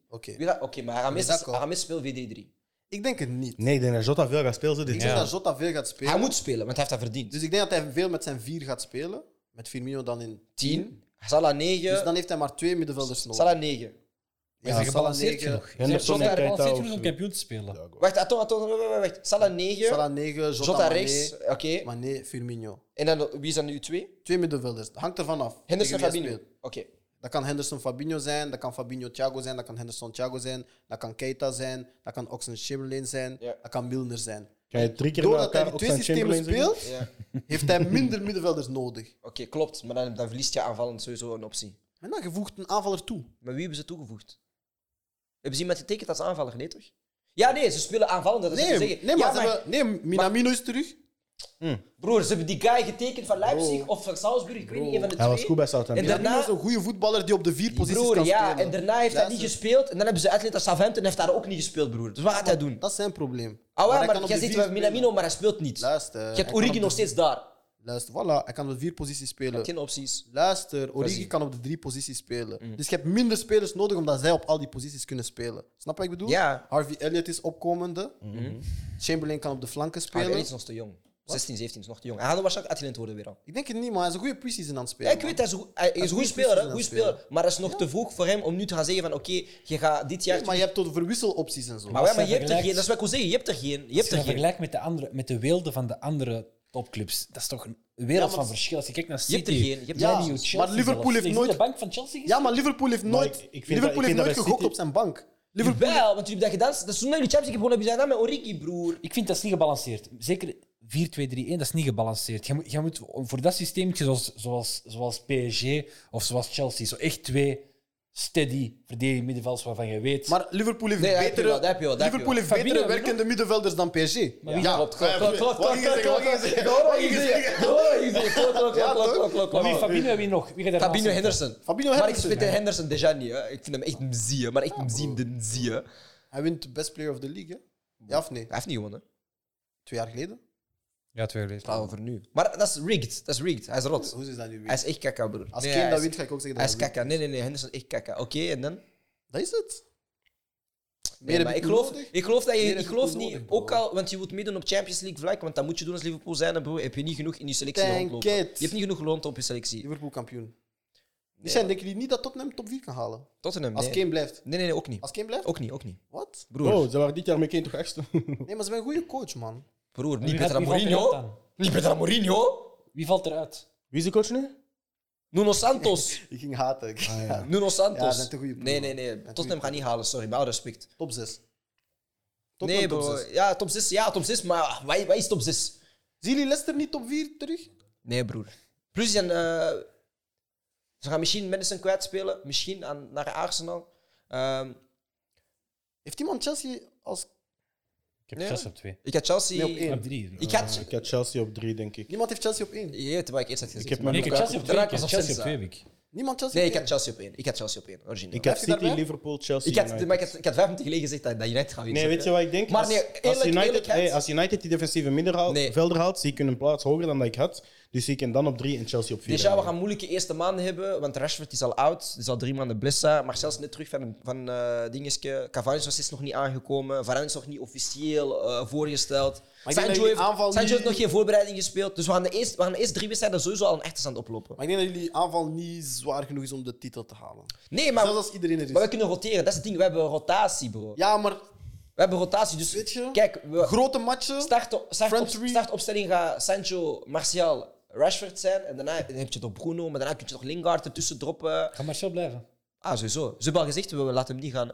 Speaker 2: 4-3-3.
Speaker 1: Oké.
Speaker 2: Wie gaat- Oké, maar Aramis,
Speaker 1: Misako.
Speaker 2: Aramis speelt 4-3-3.
Speaker 1: Ik denk het niet.
Speaker 3: Nee, ik denk dat Jota veel gaat spelen. zo
Speaker 1: Ik
Speaker 3: Dit
Speaker 1: denk
Speaker 3: jaar.
Speaker 1: dat Jota veel gaat spelen.
Speaker 2: Hij moet spelen, want hij heeft dat verdiend.
Speaker 1: Dus ik denk dat hij veel met zijn vier gaat spelen. Met Firmino dan in
Speaker 2: 10, Salah
Speaker 1: Dus
Speaker 2: 9,
Speaker 1: dan heeft hij maar twee middenvelders nodig.
Speaker 2: Salah 9.
Speaker 4: Ja, zijn gebalanceerd
Speaker 1: negen,
Speaker 4: genoeg. Zijn
Speaker 3: Henderson
Speaker 4: Jota
Speaker 3: en Keita
Speaker 4: gebalanceerd
Speaker 3: of
Speaker 4: genoeg om
Speaker 3: zo.
Speaker 4: kampioen te spelen?
Speaker 3: Thiago.
Speaker 2: Wacht, ah, attends, attends, wacht, wacht, wacht. Salah 9,
Speaker 1: Salah 9, Jota,
Speaker 2: Jota
Speaker 1: Mane,
Speaker 2: rechts, oké.
Speaker 1: Mane, Firmino.
Speaker 2: En dan, wie is dan nu 2?
Speaker 1: Twee middenvelders. Dat hangt ervan af.
Speaker 2: Henderson,
Speaker 1: tegen wie hij
Speaker 2: Fabinho. Oké.
Speaker 1: speelt. Dat kan Henderson Fabinho zijn, dat kan Fabinho Thiago zijn, dat kan Henderson Thiago zijn, dat kan Keita zijn, dat kan Oxen Chamberlain zijn,
Speaker 2: Ja.
Speaker 1: dat kan Milner zijn.
Speaker 3: Kan je drie keer bij
Speaker 1: Doordat hij die
Speaker 3: elkaar op
Speaker 1: twee
Speaker 3: zijn
Speaker 1: systemen
Speaker 3: Chamberlain zeggen?
Speaker 1: speelt,
Speaker 2: Ja. Oké,
Speaker 1: heeft hij minder middenvelders nodig.
Speaker 2: klopt. Maar dan, dan verliest je aanvallend sowieso een optie.
Speaker 1: En dan gevoegd een aanvaller toe.
Speaker 2: Maar wie hebben ze toegevoegd? Hebben ze iemand getekend als aanvaller? Nee, toch? Ja, nee, ze spelen aanvallend. Dat is wat
Speaker 1: Nee, nee,
Speaker 2: ik zeggen.
Speaker 1: maar,
Speaker 2: ja,
Speaker 1: ze hebben- nee Minamino is terug.
Speaker 2: Broer, ze hebben die guy getekend van Leipzig of van Salzburg. Ik weet niet, een van de
Speaker 3: Hij
Speaker 2: twee.
Speaker 3: was goed bij
Speaker 2: En
Speaker 3: Southampton.
Speaker 2: daarna-
Speaker 1: Minamino is een goede voetballer die op de vier posities
Speaker 2: Broer,
Speaker 1: kan
Speaker 2: ja.
Speaker 1: spelen.
Speaker 2: En daarna heeft hij
Speaker 1: Ja,
Speaker 2: niet
Speaker 1: ze-
Speaker 2: gespeeld. En dan hebben ze Atlanta Southampton heeft daar ook niet gespeeld, broer. Dus wat gaat hij doen?
Speaker 1: Dat is zijn probleem.
Speaker 2: Ah,
Speaker 1: hij
Speaker 2: ja,
Speaker 1: kan
Speaker 2: maar
Speaker 1: op
Speaker 2: jij
Speaker 1: de
Speaker 2: zegt
Speaker 1: vier
Speaker 2: wel Minamino, maar hij speelt niet.
Speaker 1: spelen. Luister.
Speaker 2: Je
Speaker 1: hij
Speaker 2: hebt
Speaker 1: kan
Speaker 2: Origi
Speaker 1: op
Speaker 2: nog
Speaker 1: de-
Speaker 2: steeds daar.
Speaker 1: Luister, voilà. Hij kan op de vier posities spelen.
Speaker 2: Geen opties.
Speaker 1: Luister, Origi
Speaker 2: Vas-y. Mm.
Speaker 1: kan op de drie posities spelen. Dus je hebt minder spelers nodig omdat zij op al die posities kunnen spelen. Snap wat ik bedoel?
Speaker 2: Ja. Mhm.
Speaker 1: Harvey Elliott is opkomende. Chamberlain kan op de flanken
Speaker 2: Hij
Speaker 1: spelen.
Speaker 2: is nog te jong. 16, 17 is nog te jong. Hij gaat waarschijnlijk uitgeleend worden weer al.
Speaker 1: Ik denk het niet, maar hij is een goede pre-season aan het
Speaker 2: Ja,
Speaker 1: spelen.
Speaker 2: ik weet, hij is, een goe- hij is een goede speler, hè,
Speaker 1: precies
Speaker 2: goede
Speaker 1: aan het
Speaker 2: speler. Maar dat is nog te vroeg voor hem om nu te gaan zeggen van oké, je gaat dit jaar...
Speaker 1: man. Maar je hebt tot verwisselopties en zo.
Speaker 2: maar, ja, maar
Speaker 4: Als hij
Speaker 2: je hebt er
Speaker 4: vergelijkt-
Speaker 2: geen, dat is wat ik wil zeggen, je hebt er geen. Je hebt
Speaker 4: Als je
Speaker 2: er
Speaker 4: dat
Speaker 2: geen.
Speaker 4: vergelijkt met de, andere, met de weelden van de andere topclubs, dat is toch een wereld
Speaker 1: maar-
Speaker 4: van verschil. Als je kijkt naar
Speaker 2: Je hebt er
Speaker 4: City,
Speaker 2: geen, je hebt er
Speaker 4: Menu,
Speaker 1: geen. Ja,
Speaker 4: Chelsea
Speaker 1: maar Liverpool
Speaker 4: zelfs.
Speaker 1: heeft
Speaker 4: Is
Speaker 1: nooit-
Speaker 4: de bank van Chelsea gezien?
Speaker 1: Ja, maar Liverpool heeft nooit,
Speaker 3: ik- ik vind dat- ik
Speaker 1: Liverpool
Speaker 3: vind
Speaker 1: heeft
Speaker 3: dat
Speaker 1: nooit
Speaker 3: bij
Speaker 1: gegokt
Speaker 3: City-
Speaker 1: op zijn bank. Liverpool
Speaker 2: Jawel, want jullie hebben dat gedaan. Dat is toen jullie Champions League gewonnen hebben, zijn gedaan met Origi, broer.
Speaker 4: Ik vind dat is niet gebalanceerd. Zeker 4-2-3-1, dat is niet gebalanceerd. Je moet, je moet voor dat systeemtje zoals, zoals, zoals PSG of zoals Chelsea, zo echt twee steady verdedigende middenvelders waarvan je weet.
Speaker 1: Maar Liverpool heeft
Speaker 2: Nee, dat heb je
Speaker 1: betere,
Speaker 2: wel, dat heb je wel, dat heb je
Speaker 1: Liverpool heeft
Speaker 4: wel.
Speaker 1: betere
Speaker 4: Fabinho,
Speaker 1: werkende middenvelders dan PSG.
Speaker 2: wie klopt, klopt, klopt, klopt,
Speaker 1: Wat ging je zeggen? Wat ging je zeggen? Wat ging je zeggen? Ja, toch?
Speaker 4: Maar wie Fabinho en wie nog? Wie gaat daar
Speaker 2: Fabinho
Speaker 4: naast
Speaker 2: Henderson.
Speaker 1: Fabinho
Speaker 2: Maar ik
Speaker 1: Henderson.
Speaker 2: vind de Henderson déjà niet. hè. Ik vind hem echt een zie, maar echt een ziende zie. Hij
Speaker 1: Hij wint de best player of the league, hè? Ja of nee?
Speaker 2: heeft niet gewonnen.
Speaker 1: Twee jaar geleden?
Speaker 4: Ja, twee geleden.
Speaker 2: Praat over nu. Maar dat is rigged. Dat is rigged. Hij is rot.
Speaker 1: Hoe is dat nu
Speaker 2: Hij
Speaker 1: weer?
Speaker 2: is echt kakka, broer.
Speaker 1: Als
Speaker 2: Nee,
Speaker 1: Kane
Speaker 2: hij
Speaker 1: dat
Speaker 2: is-
Speaker 1: wint, ga ik ook zeggen
Speaker 2: Hij
Speaker 1: dat
Speaker 2: is kakka. Nee, nee, nee. Henderson is echt kakka. Oké, en dan?
Speaker 1: Dat is het.
Speaker 2: Nee,
Speaker 1: heb
Speaker 2: maar
Speaker 1: ik
Speaker 2: ik geloof,
Speaker 1: nodig.
Speaker 2: ik geloof dat je,
Speaker 1: Meer heb
Speaker 2: ik
Speaker 1: ik
Speaker 2: geloof
Speaker 1: nodig,
Speaker 2: niet,
Speaker 1: bro.
Speaker 2: ook al, want je moet meedoen op Champions League vlak, want dat moet je doen als Liverpool zijn, hè, bro. Heb je niet genoeg in je selectie
Speaker 1: Denk
Speaker 2: rondlopen. Je
Speaker 1: het.
Speaker 2: hebt niet genoeg rond op je selectie.
Speaker 1: Liverpool kampioen.
Speaker 2: Nee,
Speaker 1: Dus zijn denken jullie niet dat Tottenham top 4 kan halen?
Speaker 2: Tottenham,
Speaker 1: Als
Speaker 2: nee.
Speaker 1: Kane blijft.
Speaker 2: Nee, nee, nee, ook niet.
Speaker 1: Als Kane blijft?
Speaker 2: Ook niet, ook niet.
Speaker 1: Wat?
Speaker 2: Broer,
Speaker 3: Oh, ze waren dit jaar met Kane toch echt?
Speaker 1: Nee, maar ze zijn een goede coach, man.
Speaker 2: broer,
Speaker 4: Wie
Speaker 2: niet
Speaker 4: gaat-
Speaker 2: Petra
Speaker 4: wie valt eruit
Speaker 2: Mourinho.
Speaker 4: dan?
Speaker 2: Niet Petra Mourinho.
Speaker 4: Wie valt eruit?
Speaker 3: Wie is de coach nu?
Speaker 2: Nuno Santos.
Speaker 1: Ik ging haten. Ik-
Speaker 2: Nuno Santos.
Speaker 1: Ja, dat is een goeie ploeg,
Speaker 2: nee, nee,
Speaker 1: man.
Speaker 2: nee.
Speaker 1: goeie
Speaker 2: Tottenham gaat
Speaker 1: ploeg.
Speaker 2: niet halen, sorry. Met alle respect.
Speaker 1: Top 6.
Speaker 2: nee, bro. Ja, top 6. Ja, top 6. Maar wat wat is top 6?
Speaker 1: Zien jullie Leicester niet top 4 terug?
Speaker 2: Nee, broer. Plus, die zijn, eh, ze gaan misschien Madison kwijtspelen. Misschien aan, naar Arsenal. Ehm,
Speaker 1: Heeft iemand Chelsea als...
Speaker 4: Ik heb
Speaker 2: Nee.
Speaker 4: Chelsea op twee.
Speaker 2: ik had Chelsea...
Speaker 1: Nee, op één.
Speaker 4: Op drie.
Speaker 2: ik had...
Speaker 3: Ik had Chelsea op drie, denk ik.
Speaker 1: Niemand heeft Chelsea op 1.
Speaker 2: Je weet wat ik eerst had gezegd.
Speaker 3: Ik heb
Speaker 2: maar-
Speaker 4: Nee, ik heb
Speaker 3: Lukaku-
Speaker 4: Chelsea op twee. Ik
Speaker 2: Raak was
Speaker 4: heb
Speaker 2: op
Speaker 4: Chelsea op
Speaker 2: zes,
Speaker 4: twee,
Speaker 2: hè.
Speaker 4: Wik.
Speaker 1: Niemand Chelsea
Speaker 2: Nee,
Speaker 1: op
Speaker 2: ik had
Speaker 1: één?
Speaker 2: Chelsea op één. Ik had Chelsea op één, origineel.
Speaker 3: Ik
Speaker 2: Ik
Speaker 3: had
Speaker 1: Blijf je
Speaker 3: City,
Speaker 1: daarbij?
Speaker 3: Liverpool, Chelsea.
Speaker 2: ik had,
Speaker 3: United.
Speaker 2: maar ik had, ik had 25 geleden gezegd dat dat United gaat winnen.
Speaker 3: Nee, weet je wat ik denk?
Speaker 2: Maar
Speaker 3: Als-
Speaker 2: nee,
Speaker 3: als,
Speaker 2: eerlijk-
Speaker 3: United,
Speaker 2: eerlijkheid-
Speaker 3: hey, als United die defensieve minder
Speaker 2: Nee.
Speaker 3: velder haalt, zie ik hun plaats hoger dan dat ik had. Dus zie ik hem dan op drie en Chelsea op vier.
Speaker 2: Dit jaar we gaan moeilijke eerste maanden hebben, want Rashford is al oud. Die is al drie maanden blessa. Marcel is net terug van, van eh dingetje. Cavani is nog niet aangekomen. Varane is nog niet officieel eh, voorgesteld.
Speaker 1: ik denk dat
Speaker 2: Sancho
Speaker 1: jullie
Speaker 2: heeft,
Speaker 1: aanval
Speaker 2: Sancho
Speaker 1: niet-
Speaker 2: heeft nog geen voorbereiding gespeeld. Dus we gaan de eerste, we gaan de eerste drie wedstrijden sowieso al een achterstand oplopen.
Speaker 1: Maar ik denk dat jullie aanval niet zwaar genoeg is om de titel te halen.
Speaker 2: Nee, maar,
Speaker 1: Zelfs als iedereen er
Speaker 2: maar we
Speaker 1: is.
Speaker 2: kunnen roteren. Dat is het ding. We hebben rotatie, bro.
Speaker 1: Ja, maar
Speaker 2: We hebben rotatie, dus
Speaker 1: Weet je?
Speaker 2: kijk, we
Speaker 1: Grote matchen.
Speaker 2: start, start,
Speaker 1: front
Speaker 2: op,
Speaker 1: three.
Speaker 2: startopstelling gaat Sancho, Martial, Rashford zijn. En daarna heb je nog Bruno, maar daarna kun je nog Lingard ertussen droppen.
Speaker 4: Ga Marcel blijven.
Speaker 2: Ah, sowieso. Ze hebben al gezegd, we laten hem niet gaan.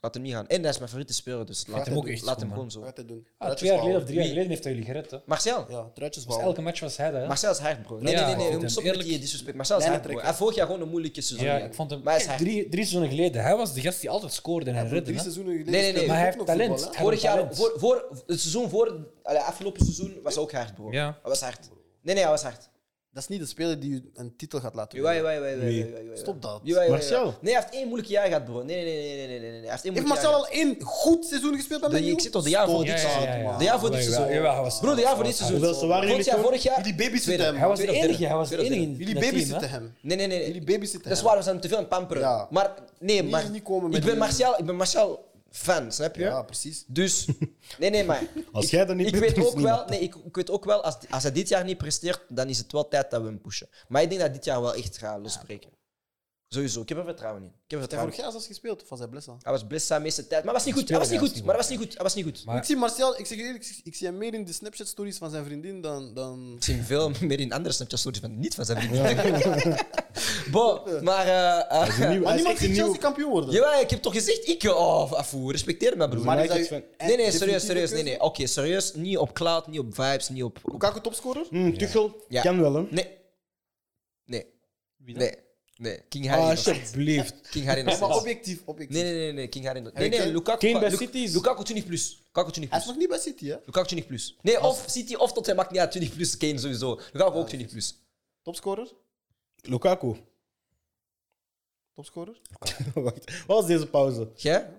Speaker 2: Laat hem niet gaan. En hij is mijn favoriete speler, dus laat
Speaker 4: hem
Speaker 2: hem,
Speaker 4: ook echt
Speaker 2: laat
Speaker 4: goed,
Speaker 2: hem
Speaker 4: man.
Speaker 2: gewoon zo.
Speaker 1: Wat te doen.
Speaker 4: Ah,
Speaker 1: Truitjes
Speaker 4: twee jaar geleden
Speaker 1: bouwen.
Speaker 4: of drie jaar geleden heeft hij jullie gered. Hè.
Speaker 2: Martial.
Speaker 1: Ja, truitjes
Speaker 4: Dus
Speaker 1: bouwen.
Speaker 4: elke match was hij dat. Hè?
Speaker 2: Marcel is hard, bro. Nee,
Speaker 4: Ja,
Speaker 2: nee, nee.
Speaker 4: ik
Speaker 2: nee.
Speaker 4: vind
Speaker 2: Stop
Speaker 4: hem
Speaker 2: met die
Speaker 4: eerlijk-
Speaker 2: disrespect. Marcel is hard, bro.
Speaker 1: Lijnentrekker.
Speaker 2: Hij vorig jaar gewoon een moeilijke seizoen.
Speaker 4: Ja,
Speaker 2: gehad.
Speaker 4: ik vond hem
Speaker 2: Maar hij is
Speaker 4: Kijk,
Speaker 2: hard.
Speaker 4: drie, drie seizoenen geleden. Hij was de gast die altijd scoorde en hij
Speaker 1: Voor
Speaker 4: redde.
Speaker 1: drie
Speaker 4: hè.
Speaker 1: seizoenen geleden.
Speaker 2: Nee, nee, nee.
Speaker 1: speelde
Speaker 4: Maar hij
Speaker 1: ook nog
Speaker 4: heeft talent.
Speaker 1: voetbal, hè?
Speaker 4: Hij
Speaker 2: Vorig
Speaker 4: heeft
Speaker 2: jaar,
Speaker 4: talent.
Speaker 2: voor, voor, het seizoen voor, allee, afgelopen seizoen, was hij ook hard, bro.
Speaker 4: Ja.
Speaker 2: Hij was hard. Nee, nee, hij was hard.
Speaker 1: Dat is niet de speler die je een titel gaat laten
Speaker 2: Jawel,
Speaker 1: winnen.
Speaker 2: jawel, jawel, jawel,
Speaker 3: Nee.
Speaker 2: jawel, jawel.
Speaker 1: Stop dat.
Speaker 2: Jawel, jawel,
Speaker 3: Marcel.
Speaker 2: jawel. Nee, hij heeft één moeilijk jaar gehad, bro. Nee, nee, nee, nee, nee, nee. nee. Hij heeft één
Speaker 1: Heeft
Speaker 2: moeilijk
Speaker 1: Marcel
Speaker 2: jaar
Speaker 1: al één goed seizoen gespeeld bij
Speaker 2: De-
Speaker 1: Man U?
Speaker 2: ik zit al de jaar voor
Speaker 1: Stop
Speaker 4: dit
Speaker 1: dat,
Speaker 4: seizoen.
Speaker 1: man.
Speaker 2: De jaar voor dit
Speaker 4: Jawel,
Speaker 2: seizoen.
Speaker 4: jawel, hij was-
Speaker 2: gehad. Bro, de jaar voor dit
Speaker 4: Hoeveel
Speaker 2: seizoen.
Speaker 3: ze waren
Speaker 2: Vorig
Speaker 3: jullie
Speaker 2: jaar,
Speaker 3: toen?
Speaker 2: vorig jaar...
Speaker 1: Jullie babysitten
Speaker 2: Tweede.
Speaker 1: hem.
Speaker 4: Hij was de
Speaker 2: Tweede,
Speaker 4: enige. Hij was de
Speaker 2: tweede,
Speaker 4: enige in
Speaker 1: Jullie
Speaker 4: dat team, hè.
Speaker 1: babysitten hem.
Speaker 2: Nee, nee, nee.
Speaker 1: Jullie
Speaker 2: nee.
Speaker 1: babysitten
Speaker 2: Dat is
Speaker 1: hem.
Speaker 2: waar, we zijn te veel aan het pamperen.
Speaker 1: Ja.
Speaker 2: Maar, nee,
Speaker 1: Hier
Speaker 2: maar...
Speaker 1: niet komen met
Speaker 2: Ik ben
Speaker 1: die-
Speaker 2: Martial, ik ben Martial fan, snap je?
Speaker 1: Ja, precies.
Speaker 2: Dus, nee, nee, maar.
Speaker 3: Als
Speaker 2: ik,
Speaker 3: jij dat niet
Speaker 2: ik
Speaker 3: doet,
Speaker 2: weet
Speaker 3: is
Speaker 2: ook
Speaker 3: niemand.
Speaker 2: wel, nee, ik, ik weet ook wel, als, als hij dit jaar niet presteert, dan is het wel tijd dat we hem pushen. Maar ik denk dat dit jaar wel echt gaat losbreken. Sowieso, ik heb er vertrouwen in. Ik heb
Speaker 1: Hij
Speaker 2: er vertrouwen
Speaker 1: vorig
Speaker 2: in.
Speaker 1: jaar zelfs gespeeld, of was hij blessa?
Speaker 2: Hij was blessa de meeste tijd, maar hij was niet goed. Hij was niet goed, maar hij was niet goed. Hij was niet goed.
Speaker 4: Maar-
Speaker 1: Ik zie Martial, ik zeg je eerlijk, ik zie- ik zie hem meer in de Snapchat-stories van zijn vriendin dan... dan...
Speaker 2: Ik zie veel meer in andere Snapchat-stories van niet van zijn vrienden. Bo, maar... eh, eh,
Speaker 3: Hij is een nieuwe-
Speaker 1: Maar
Speaker 3: hij is
Speaker 1: niemand
Speaker 3: echt een
Speaker 1: ziet
Speaker 3: nieuwe-
Speaker 1: Chelsea kampioen worden.
Speaker 2: jawel, ik heb toch gezegd, ik... Oh, afu, respecteer me, broer.
Speaker 1: Maar is
Speaker 3: United
Speaker 1: dat-
Speaker 3: fan.
Speaker 1: en
Speaker 2: Nee, nee, serieus,
Speaker 1: definitieve
Speaker 2: serieus. Nee, nee.
Speaker 1: keuze?
Speaker 2: Oké, serieus. Niet op cloud, niet op vibes, niet op... op-
Speaker 1: Lukaku topscorer?
Speaker 3: Mm, Tuchel
Speaker 2: Ja.
Speaker 3: kan wel, hè?
Speaker 2: Nee. Nee.
Speaker 4: Wie dan?
Speaker 2: Nee. Nee. King
Speaker 3: Ah,
Speaker 2: Harry. nog.
Speaker 3: alsjeblieft.
Speaker 2: King Harry. nog
Speaker 1: Maar
Speaker 2: steeds.
Speaker 1: objectief, objectief.
Speaker 2: Nee, nee, nee, nee. King Harry. nog- Nee,
Speaker 1: Harry
Speaker 2: nee.
Speaker 1: Kane?
Speaker 2: Lukaku.
Speaker 3: Kane bij
Speaker 2: Lu-
Speaker 3: City is-
Speaker 2: Lukaku 20 plus. Lukaku 20
Speaker 1: Hij is nog
Speaker 2: plus.
Speaker 1: niet bij City, hè?
Speaker 2: Lukaku 20 plus. Nee, of City of tot hij maakt niet uit. 20 plus. Kane sowieso. Lukaku ook 20 plus.
Speaker 1: Topscorer?
Speaker 3: Lukaku.
Speaker 1: Topscorer?
Speaker 3: Wacht, wat was deze pauze?
Speaker 2: Jij?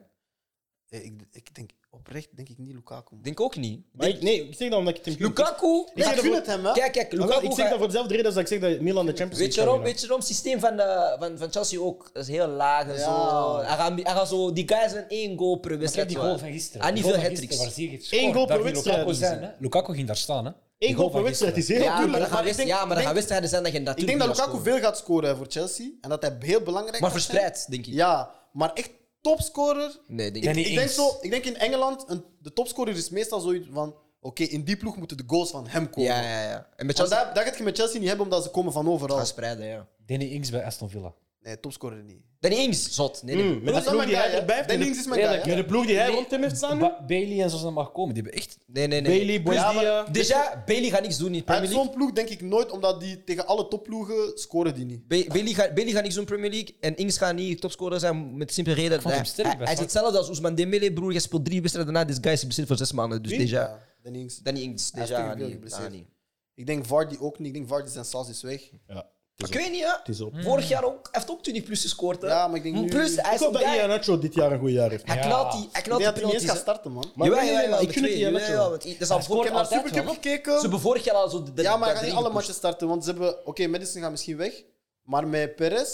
Speaker 1: Eh, Ik, ik denk oprecht denk ik niet Lukaku. man.
Speaker 2: Denk ook niet.
Speaker 3: Maar ik, nee, ik zeg dat omdat ik het in
Speaker 2: Lukaku.
Speaker 1: Nee, ik
Speaker 3: zeg
Speaker 1: gun
Speaker 3: dat
Speaker 1: het hem, hè?
Speaker 2: Kijk, kijk.
Speaker 3: Ah, wel,
Speaker 2: Lukaku.
Speaker 3: ik zeg dat
Speaker 2: gaat-
Speaker 3: voor dezelfde reden als dat ik zeg dat Milan de Champions
Speaker 2: Weet
Speaker 3: League
Speaker 2: je waarom?
Speaker 3: kan
Speaker 2: Weet je waarom? Het systeem van, eh, van, van Chelsea ook is heel laag en
Speaker 1: Ja.
Speaker 2: zo. Hij gaat- hij gaat zo. Die guys zijn één goal per
Speaker 4: Maar kijk
Speaker 2: wedstrijd.
Speaker 4: die goal
Speaker 2: wel.
Speaker 4: van gisteren.
Speaker 2: Ah,
Speaker 4: Die
Speaker 2: niet
Speaker 4: goal
Speaker 2: veel
Speaker 4: van
Speaker 2: hat-tricks.
Speaker 4: gisteren, waar zie je het scoren?
Speaker 3: Eén goal per
Speaker 4: Daar ging
Speaker 3: wedstrijd
Speaker 4: Lukaku
Speaker 3: is het.
Speaker 4: zijn, hè. Lukaku ging daar staan, hè.
Speaker 3: Eén goal per wedstrijd is heel
Speaker 2: Ja, maar
Speaker 3: natuurlijk.
Speaker 2: dan gaan
Speaker 3: maar ik
Speaker 2: wedst-
Speaker 3: denk-
Speaker 2: ja, maar er gaan wedstrijden zijn dat je natuurlijk
Speaker 1: Ik denk dat
Speaker 2: niet gaat
Speaker 1: Lukaku
Speaker 2: scoren.
Speaker 1: veel gaat scoren hè, voor Chelsea. En dat hij heel belangrijk
Speaker 2: Maar
Speaker 1: gaat zijn.
Speaker 2: verspreid, denk ik.
Speaker 1: Ja, maar echt topscorer.
Speaker 2: Nee, denk
Speaker 1: Ik,
Speaker 2: ik.
Speaker 4: niet
Speaker 1: ik, denk
Speaker 4: eens.
Speaker 1: zo, ik denk in Engeland, een, de topscorer is meestal zoiets van... Oké, in die ploeg moeten de goals van hem komen.
Speaker 2: Ja, ja, ja. En met
Speaker 1: Want
Speaker 2: Chelsea
Speaker 1: dat, dat gaat je met Chelsea niet hebben, omdat ze komen van overal.
Speaker 2: gaan spreiden, ja.
Speaker 4: Danny Ings bij Aston Villa.
Speaker 1: Nee, topscorer niet.
Speaker 2: Danny Ings, zot. Nee, nee.
Speaker 3: Mm, Met de
Speaker 1: Dat is
Speaker 3: ploeg
Speaker 1: mijn
Speaker 3: die
Speaker 1: guy,
Speaker 3: hij
Speaker 1: hè.
Speaker 3: erbij heeft.
Speaker 1: Dan
Speaker 3: en de-
Speaker 1: links is mijn guy, hè.
Speaker 3: Met de ploeg die hij
Speaker 2: Nee.
Speaker 3: rond hem heeft staan. nu.
Speaker 4: Ba- Bailey en zo zijn mag komen. Die hebben echt...
Speaker 2: Nee, nee, nee.
Speaker 3: Bailey, Boys, die... eh,
Speaker 2: Déjà, Bailey gaat niks doen in de
Speaker 1: Uit
Speaker 2: Premier League.
Speaker 1: zo'n ploeg denk ik nooit, omdat die tegen alle topploegen scoren die niet.
Speaker 2: Ba- Bailey gaat, Bailey gaat niks doen in de Premier League. En Ings gaat niet topscorer zijn met de simpele reden.
Speaker 4: vond
Speaker 2: hij,
Speaker 4: hem sterk
Speaker 2: hij-
Speaker 4: bij
Speaker 2: hij is
Speaker 4: Frank-
Speaker 2: hetzelfde als Ousmane Dembele, broer. Je speelt drie wedstrijden daarna. This guy is geblesseerd voor zes maanden. Dus déjà,
Speaker 1: Ja, dan links.
Speaker 2: Danny Ings,
Speaker 1: Hij is
Speaker 2: déjà
Speaker 1: toch veel
Speaker 2: niet.
Speaker 1: geblesseerd.
Speaker 2: Ah, niet.
Speaker 1: Ik denk Vardy ook niet. Ik denk Vardy zijn saus is weg.
Speaker 3: Ja,
Speaker 2: Maar Ik weet niet, hè.
Speaker 3: het is op.
Speaker 2: Vorig jaar ook, hij heeft ook 20 plus gescoord. hè.
Speaker 1: Ja, maar ik denk nu-
Speaker 2: Plus, hij
Speaker 3: Ik
Speaker 2: is
Speaker 3: hoop
Speaker 2: een
Speaker 3: dat
Speaker 2: guy-
Speaker 3: Iheanacho dit jaar een goed jaar heeft.
Speaker 2: Hij
Speaker 4: Ja.
Speaker 2: knalt die, hij
Speaker 1: Ik denk
Speaker 2: knalt die
Speaker 1: dat hij niet eens
Speaker 2: penalties.
Speaker 1: gaat
Speaker 2: hè.
Speaker 1: starten, man.
Speaker 3: Maar
Speaker 2: jawel,
Speaker 3: nee, nee,
Speaker 2: jawel,
Speaker 3: nee,
Speaker 2: jawel,
Speaker 3: ik
Speaker 2: met
Speaker 3: gun het
Speaker 2: twee,
Speaker 3: Iheanacho.
Speaker 2: jawel, want Dat is al vorig
Speaker 4: Hij scoort
Speaker 1: Ik heb
Speaker 2: jaar
Speaker 1: naar
Speaker 4: altijd
Speaker 1: Supercup
Speaker 4: wel.
Speaker 1: gekeken.
Speaker 2: Ze hebben vorig jaar al zo... de-
Speaker 1: Ja, maar hij
Speaker 2: dat
Speaker 1: gaat niet
Speaker 2: drie
Speaker 1: alle
Speaker 2: gepusht.
Speaker 1: matchen starten, want ze hebben... Oké, Madison gaat misschien weg, maar met Perez...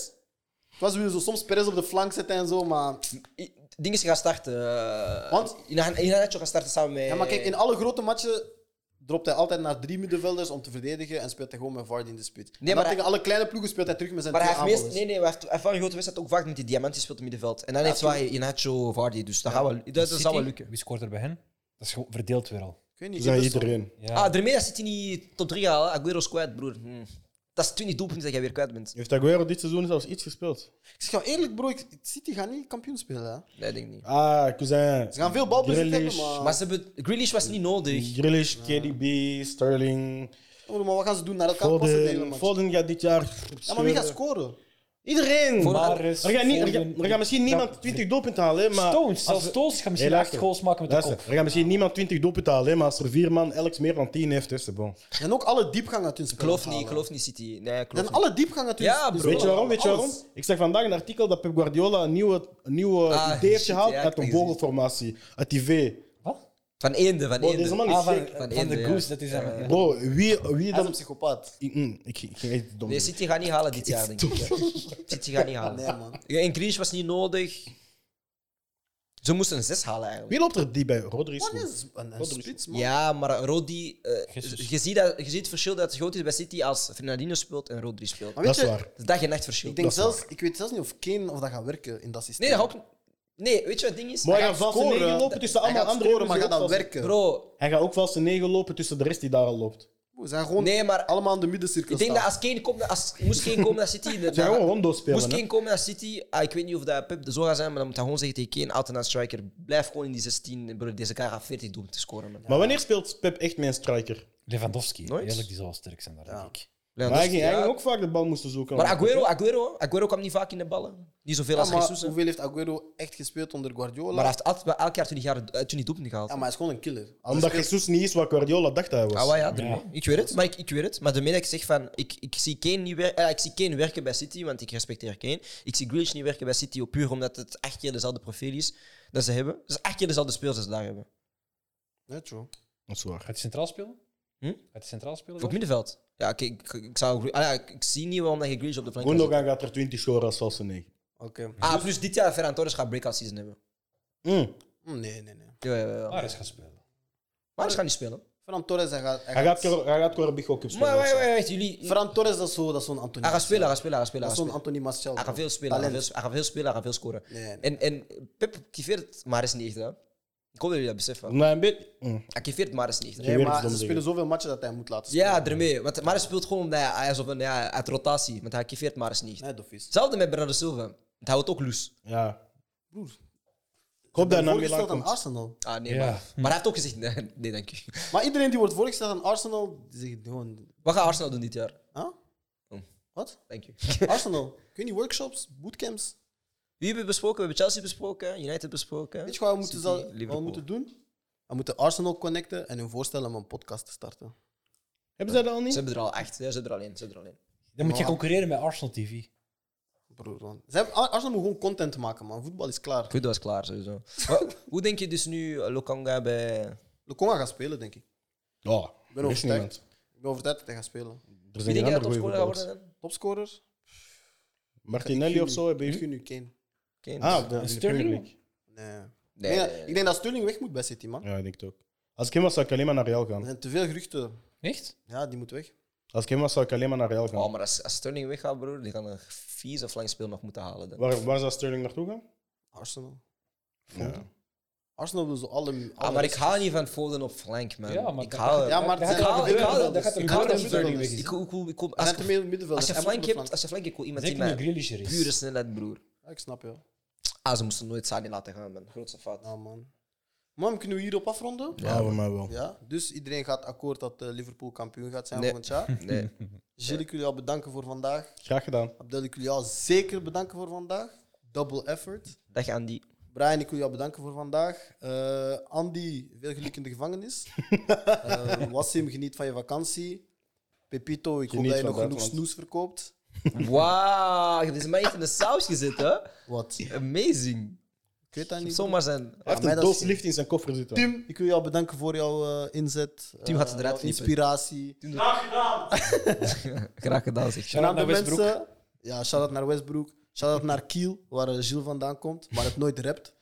Speaker 1: Het was weer zo soms Perez op de flank zetten en zo, maar...
Speaker 2: I- Ding is, je gaat starten. eh,
Speaker 1: Want-
Speaker 2: in Inacho gaat starten samen met.
Speaker 1: Ja, maar kijk, in alle grote matchen dropt hij altijd naar drie middenvelders om te verdedigen en speelt hij gewoon met Vardy in de spits. Nee, maar
Speaker 2: maar hij-
Speaker 1: tegen alle kleine ploegen speelt hij terug met zijn
Speaker 2: Maar hij
Speaker 1: twee
Speaker 2: heeft meest,
Speaker 1: aanvallers.
Speaker 2: nee, nee, hij heeft, hij heeft wel een grote wedstrijd ook vaak met die diamant die speelt in het middenveld. En dan heeft hij Inacho Vardy, dus dat, gaat wel, dat, dat
Speaker 4: City,
Speaker 2: zal wel lukken.
Speaker 4: Wie scoort er bij hen? Dat is gewoon verdeeld weer al.
Speaker 1: Ik weet
Speaker 3: Ze
Speaker 1: niet,
Speaker 3: zijn
Speaker 1: Ederson.
Speaker 3: iedereen.
Speaker 4: Ja.
Speaker 2: Ah, daarmee dat zit hij niet top 3 halen. Aguero is kwijt, broer. Hm. Dat is 20 doelpunten dat jij weer kwijt bent.
Speaker 3: Heeft Aguero dit seizoen zelfs iets gespeeld?
Speaker 1: Ik zeg jou eerlijk, bro, ik- City gaat niet kampioen spelen. Hè.
Speaker 2: Nee, denk ik niet.
Speaker 3: Ah, cousin.
Speaker 1: Ze gaan veel balbezit hebben,
Speaker 3: Grealish.
Speaker 1: maar...
Speaker 2: Maar ze hebben, Grealish was niet nodig.
Speaker 3: Grealish, KDB, Sterling,
Speaker 1: Oh, maar wat gaan ze doen? Naar elkaar passen de hele
Speaker 3: Foden.
Speaker 1: match.
Speaker 3: Foden gaat dit jaar...
Speaker 1: Ja, maar wie gaat scoren?
Speaker 2: Iedereen!
Speaker 4: Maar
Speaker 3: Er gaat, niet, er, gaat, er gaat misschien niemand 20 doelpunten halen, hè, maar...
Speaker 4: Stones, zelfs
Speaker 3: als we-
Speaker 4: Stones gaat misschien
Speaker 3: Hey,
Speaker 4: echt
Speaker 3: luister.
Speaker 4: goals maken met de
Speaker 3: Luister,
Speaker 4: kop.
Speaker 3: er gaat misschien niemand 20 doelpunten halen, hè, maar als er vier man elks meer dan 10 heeft, is het bon.
Speaker 1: En ook alle diepgang uit hun
Speaker 2: Ik geloof niet, ik geloof niet City. Nee, ik geloof
Speaker 1: En
Speaker 2: niet.
Speaker 1: alle diepgang uit hun
Speaker 2: Ja,
Speaker 1: hun
Speaker 2: bro.
Speaker 3: Weet je waarom? Weet je
Speaker 1: Alles.
Speaker 3: waarom? Ik zag vandaag een artikel dat Pep Guardiola een nieuwe, een nieuwe
Speaker 2: Ah,
Speaker 3: idee heeft
Speaker 2: shit,
Speaker 3: gehaald
Speaker 2: ja, ik
Speaker 3: uit
Speaker 2: heb
Speaker 3: een
Speaker 2: het gezien.
Speaker 3: vogelformatie. Uit die V.
Speaker 4: Wat?
Speaker 2: Van Eende, van
Speaker 3: Bro, deze
Speaker 2: Eende.
Speaker 3: man
Speaker 4: Ah,
Speaker 3: is
Speaker 4: van,
Speaker 3: gek.
Speaker 4: van,
Speaker 2: Van Eende,
Speaker 4: de
Speaker 2: ja.
Speaker 4: Goose, dat is hem. ja.
Speaker 3: Bro, wie, wie
Speaker 1: Hij is een
Speaker 3: dan...
Speaker 1: psychopaat.
Speaker 3: Ik, mm, ik, ik ging echt dom.
Speaker 2: Nee, City gaat niet halen dit jaar, denk ik. City gaat niet halen.
Speaker 1: Nee, man.
Speaker 2: Ja, En Grealish was niet nodig. Ze moesten een 6 halen eigenlijk.
Speaker 3: Wie loopt er die bij? Rodri is
Speaker 1: Wat
Speaker 3: goed.
Speaker 1: is een, een spits, man?
Speaker 2: Ja, maar Rodri, eh,
Speaker 4: Jesus.
Speaker 2: je, ziet dat, je ziet het verschil dat het groot is bij City als Fernandinho speelt en Rodri speelt.
Speaker 1: Maar
Speaker 2: Dus Dat
Speaker 1: weet
Speaker 3: Dat is
Speaker 1: je,
Speaker 3: waar.
Speaker 2: is dag en nacht verschil.
Speaker 1: Ik, denk
Speaker 3: Dat is
Speaker 1: zelfs, ik weet zelfs niet of Kane of dat gaat werken in dat systeem.
Speaker 2: nee, dat hoopt Nee, weet je wat het ding is?
Speaker 3: Maar hij
Speaker 2: Hij
Speaker 3: gaat
Speaker 2: gaat
Speaker 3: valse negen
Speaker 2: scoren.
Speaker 3: lopen tussen
Speaker 1: Hij
Speaker 3: allemaal
Speaker 1: gaat
Speaker 3: andere
Speaker 1: scoren,
Speaker 3: jongens
Speaker 1: maar
Speaker 3: die
Speaker 1: gaat dat
Speaker 3: ook valse-
Speaker 1: werken?
Speaker 2: Bro,
Speaker 3: Hij gaat ook valse negen lopen tussen de rest die daar al loopt.
Speaker 1: We zijn gewoon
Speaker 2: nee, maar
Speaker 1: allemaal in de middencirkel
Speaker 2: ik denk dat als Kane komt, als moest Kane komen naar City,
Speaker 3: Ze gaan
Speaker 2: dan,
Speaker 3: gewoon Rondo spelen.
Speaker 2: moest
Speaker 3: hè.
Speaker 2: Kane komen naar City, ah, ik weet niet of dat Pep de zo gaat zijn, maar dan moet hij gewoon zeggen tegen Kane, alternate striker, blijf gewoon in die 16, bro, deze guy gaat 40 doen om te scoren. Man.
Speaker 3: Maar wanneer speelt Pep echt mijn striker?
Speaker 4: Lewandowski,
Speaker 2: Nooit.
Speaker 4: eerlijk, die zal wel sterk zijn daar,
Speaker 1: Ja.
Speaker 4: denk ik.
Speaker 2: Ja,
Speaker 3: maar hij
Speaker 2: dus-
Speaker 3: ging,
Speaker 2: ja.
Speaker 3: hij ging ook vaak de bal moesten zoeken.
Speaker 2: Maar Aguero, Aguero, Aguero kwam niet vaak in de ballen. Niet zoveel als
Speaker 1: maar
Speaker 2: Jesus. hè.
Speaker 1: hoeveel heeft Aguero echt gespeeld onder Guardiola?
Speaker 2: Maar hij heeft altijd, bij elk jaar 20 jaar 20 doelpunten gehaald.
Speaker 1: ja, maar hij is gewoon een killer. Als
Speaker 3: Omdat
Speaker 1: hij speelt-
Speaker 3: Jesus niet is wat Guardiola dacht dat hij was.
Speaker 2: Ah, wel, ja, tuurlijk. Ik weet het, maar ik, ik weet het. Maar de middag ik zeg van, ik, ik, zie Kane niet wer- eh, ik zie Kane werken bij City, want ik respecteer Kane. Ik zie Grealish niet werken bij City, ook puur omdat het acht keer dezelfde profiel is dat ze hebben. Dus acht keer dezelfde spelers dat ze daar hebben.
Speaker 1: Ja, true.
Speaker 3: Dat is waar.
Speaker 4: Gaat hij centraal spelen?
Speaker 2: Hm?
Speaker 4: Gaat hij centraal spelen?
Speaker 2: Op middenveld. Ja, ik, ik, ik zou, ah, ja, ik, ik zie niet waarom dat je Grealish op de flank kan
Speaker 3: Gundogan gaat er 20 scoren als valse negen.
Speaker 1: Oké.
Speaker 2: zetten. Ah, plus dit jaar Ferran Torres gaat breakout season hebben.
Speaker 3: Mm.
Speaker 1: Hm, Nee, nee, nee.
Speaker 2: Ja, ja, Ah, ja. Maar
Speaker 4: Maris gaat spelen.
Speaker 2: anders gaat niet spelen.
Speaker 1: Ferran Torres, hij gaat...
Speaker 3: Hij gaat, Cor- hij gaat Corbigo Cup spelen.
Speaker 2: Maar
Speaker 3: of
Speaker 2: wacht,
Speaker 3: zo.
Speaker 2: wacht, wacht, jullie...
Speaker 1: Ferran Torres, dat is zo- dat is zo'n Anthony.
Speaker 2: Hij gaat spelen, hij gaat spelen, hij gaat spelen.
Speaker 1: Dat is
Speaker 2: hij gaat
Speaker 1: zo'n Anthony
Speaker 2: spelen.
Speaker 1: Martial.
Speaker 2: Hij gaat veel spelen, hij gaat
Speaker 1: Talent.
Speaker 2: veel, hij gaat veel spelen, hij gaat veel scoren.
Speaker 1: Nee, nee.
Speaker 2: En, en Pep kiveert het maar eens niet, hè. Ik hoop dat jullie dat beseffen.
Speaker 3: Nee, een beetje. Mm.
Speaker 2: Hij kiveert maar eens niet. hè.
Speaker 1: Nee,
Speaker 3: weer
Speaker 1: maar
Speaker 3: iets
Speaker 1: ze
Speaker 3: dom
Speaker 1: spelen zoveel matchen dat hij moet laten spelen.
Speaker 2: Ja, daarmee. Want Maris speelt gewoon omdat hij, hij is op een, ja, uit rotatie. Want hij kiveert Maris niet.
Speaker 1: Nee, dof is.
Speaker 2: Hetzelfde met Bernardo Silva. Want hij houdt ook loes.
Speaker 3: Ja.
Speaker 1: Broer.
Speaker 3: Ik hoop dat hij naar Milan
Speaker 1: Voorgesteld aan
Speaker 3: komt.
Speaker 1: Arsenal.
Speaker 2: Ah, nee,
Speaker 4: Ja.
Speaker 2: maar, maar hij heeft ook gezegd, nee, nee dank u.
Speaker 1: Maar iedereen die wordt voorgesteld aan Arsenal, die zegt gewoon...
Speaker 2: Wat gaat Arsenal doen dit jaar?
Speaker 1: Huh?
Speaker 2: Hmm.
Speaker 1: Wat?
Speaker 2: Dank u.
Speaker 1: Arsenal. Kun je niet workshops, bootcamps?
Speaker 2: Wie hebben we besproken? We hebben Chelsea besproken, United besproken.
Speaker 1: Weet je wat we moeten,
Speaker 2: City,
Speaker 1: zal- wat we
Speaker 2: Liverpool.
Speaker 1: moeten doen? We moeten Arsenal connecten en hun voorstellen om een podcast te starten.
Speaker 3: Hebben zij dat al
Speaker 2: Ze
Speaker 3: niet?
Speaker 2: hebben er al echt. Ja, ze hebben er al één. Ze hebben er al één.
Speaker 4: Dan moet je
Speaker 1: Maar-
Speaker 4: concurreren met Arsenal TV.
Speaker 1: Broer, man. Ze hebben- Ar- Arsenal moet gewoon content maken, man. Voetbal is klaar.
Speaker 2: Goed, dat was klaar sowieso. Maar hoe denk je dus nu eh, Lokanga bij...
Speaker 1: Lokonga gaat spelen, denk ik.
Speaker 3: Ja.
Speaker 1: Ik ben
Speaker 3: Er is
Speaker 1: overtuigd.
Speaker 3: niemand.
Speaker 1: Ik ben overtuigd dat hij gaat spelen.
Speaker 3: Er
Speaker 2: Wie
Speaker 3: zijn
Speaker 2: denk
Speaker 3: geen
Speaker 2: je dat
Speaker 3: andere
Speaker 2: topscorer gaat
Speaker 3: goede
Speaker 2: worden dan?
Speaker 1: Topscorer?
Speaker 3: Martinelli of zo hebben
Speaker 1: Ik
Speaker 2: Hm?
Speaker 3: jullie?
Speaker 1: gun nu Kane.
Speaker 2: Kane.
Speaker 3: Ah, de, in de
Speaker 4: Sterling?
Speaker 3: Premier League.
Speaker 1: Nee.
Speaker 2: nee,
Speaker 1: Ik denk
Speaker 2: nee, nee.
Speaker 1: dat- Ik denk dat Sterling weg moet bij City, man.
Speaker 3: Ja, ik denk het ook. Als ik hem was, zou ik alleen maar naar Real
Speaker 1: Er
Speaker 3: gaan.
Speaker 1: zijn te veel geruchten.
Speaker 4: Echt?
Speaker 1: Ja, die moet weg.
Speaker 3: Als ik hem was, zou ik alleen maar naar Real gaan.
Speaker 2: Oh, maar als, als Sterling weggaat, broer, die gaan een vieze flankspeel nog moeten halen. Dan.
Speaker 3: Waar, waar zou Sterling naartoe gaan?
Speaker 1: Arsenal.
Speaker 3: Ja.
Speaker 1: Arsenal wil zo alle...
Speaker 2: Ah,
Speaker 1: alle
Speaker 2: maar ik hou niet van Foden op flank, man.
Speaker 4: Ja, maar
Speaker 2: ik
Speaker 4: dat-
Speaker 2: hou...
Speaker 1: Ja, maar
Speaker 4: Dat
Speaker 1: het
Speaker 4: gaat
Speaker 1: zijn
Speaker 2: er
Speaker 1: wel
Speaker 2: gebeuren,
Speaker 1: middenvelders.
Speaker 2: dat
Speaker 4: gaat er
Speaker 1: Ik
Speaker 4: gebeuren
Speaker 1: hou
Speaker 4: als Sterling
Speaker 1: middenvelders.
Speaker 4: weg is.
Speaker 2: Ik, ik, ik, ik-
Speaker 1: Er
Speaker 2: als,
Speaker 1: zijn te veel
Speaker 2: als
Speaker 1: middenvelders.
Speaker 2: je
Speaker 1: dus Hij moet op
Speaker 2: flank
Speaker 1: de
Speaker 2: hebt, als je flank hebt, ik wil iemand die
Speaker 4: Zeker nu
Speaker 2: met
Speaker 4: Grealish er
Speaker 2: pure
Speaker 4: is.
Speaker 2: snelheid, broer.
Speaker 1: Ja, ik snap je.
Speaker 2: Ah, ze moesten nooit Sani laten gaan, man. Grootste fout.
Speaker 1: Ja, man. Mam, kunnen we hierop afronden?
Speaker 3: Ja, Ah, voor mij wel.
Speaker 1: Ja, dus iedereen gaat akkoord dat eh, Liverpool kampioen gaat zijn
Speaker 2: Nee.
Speaker 1: volgend jaar.
Speaker 2: Nee.
Speaker 1: Gilles, ik wil jou bedanken voor vandaag.
Speaker 3: Graag gedaan.
Speaker 1: Abdel, ik wil jou zeker bedanken voor vandaag. Double effort.
Speaker 2: Dag, Andy.
Speaker 1: Brian, ik wil jou bedanken voor vandaag. Eh, Andy, veel geluk in de gevangenis. Eh Wassim, geniet van je vakantie. Pepito, ik hoop
Speaker 3: Geniet
Speaker 1: dat je
Speaker 3: van
Speaker 1: nog genoeg
Speaker 3: Duitsland.
Speaker 1: snoes verkoopt.
Speaker 2: Wauw, je hebt deze man echt in de saus gezet, hè?
Speaker 1: Wat? Ik
Speaker 2: Amazing.
Speaker 1: weet dat niet.
Speaker 2: Zomaar zijn.
Speaker 3: Hij heeft
Speaker 1: mij
Speaker 3: een
Speaker 1: dat
Speaker 3: doos
Speaker 1: is-
Speaker 3: lift in zijn koffer zitten.
Speaker 1: Tim, ik wil jou bedanken voor jouw eh, inzet.
Speaker 2: Tim had
Speaker 1: eh,
Speaker 2: het
Speaker 1: jouw
Speaker 2: eruit knippen.
Speaker 1: Inspiratie.
Speaker 2: Graag gedaan, zeg.
Speaker 1: En
Speaker 4: Shout-out
Speaker 1: andere
Speaker 4: naar Westbrook.
Speaker 1: mensen. eh, Ja, shout-out naar Westbrook. Shout-out naar Kiel, waar eh, Gilles vandaan komt, maar het nooit rapt.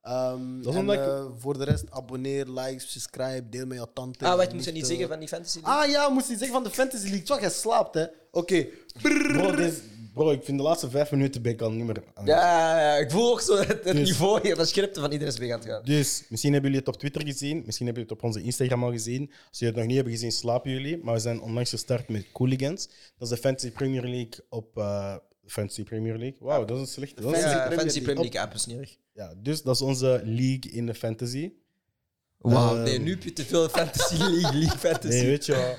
Speaker 1: Ehm,
Speaker 3: Dat is
Speaker 1: en,
Speaker 3: omdat ik-
Speaker 1: eh, voor de rest, abonneer, like, subscribe, deel met jouw tante.
Speaker 2: Ah,
Speaker 1: je
Speaker 2: wat moest je niet
Speaker 1: liefde.
Speaker 2: zeggen van die fantasy?
Speaker 1: Ah ja, moest je zeggen van de Fantasy League. Toch, jij slaapt, hè? Oké.
Speaker 3: Bro, dit- bro, ik vind de laatste vijf minuten ben ik al niet meer aan.
Speaker 2: Ja, ja, ja, ik voel ook zo het, het
Speaker 3: Dus-
Speaker 2: niveau hier, dat scripten van iedereen is mee aan het gaan.
Speaker 3: Dus, misschien hebben jullie het op Twitter gezien, misschien hebben jullie het op onze Instagram al gezien. Als jullie het nog niet hebben gezien, slapen jullie. Maar we zijn onlangs gestart met Cooligans. Dat is de Fantasy Premier League op... eh Fantasy Premier League? Wauw, dat is een slechte... dat is een
Speaker 2: Ja,
Speaker 3: slechte-
Speaker 1: Premier
Speaker 2: fantasy
Speaker 1: League.
Speaker 2: Premier League app is niet erg.
Speaker 3: Ja, dus dat is onze league in de fantasy.
Speaker 2: Wauw,
Speaker 3: Ehm.
Speaker 2: nee, nu heb je te veel fantasy league, league fantasy.
Speaker 3: Nee, weet je wel.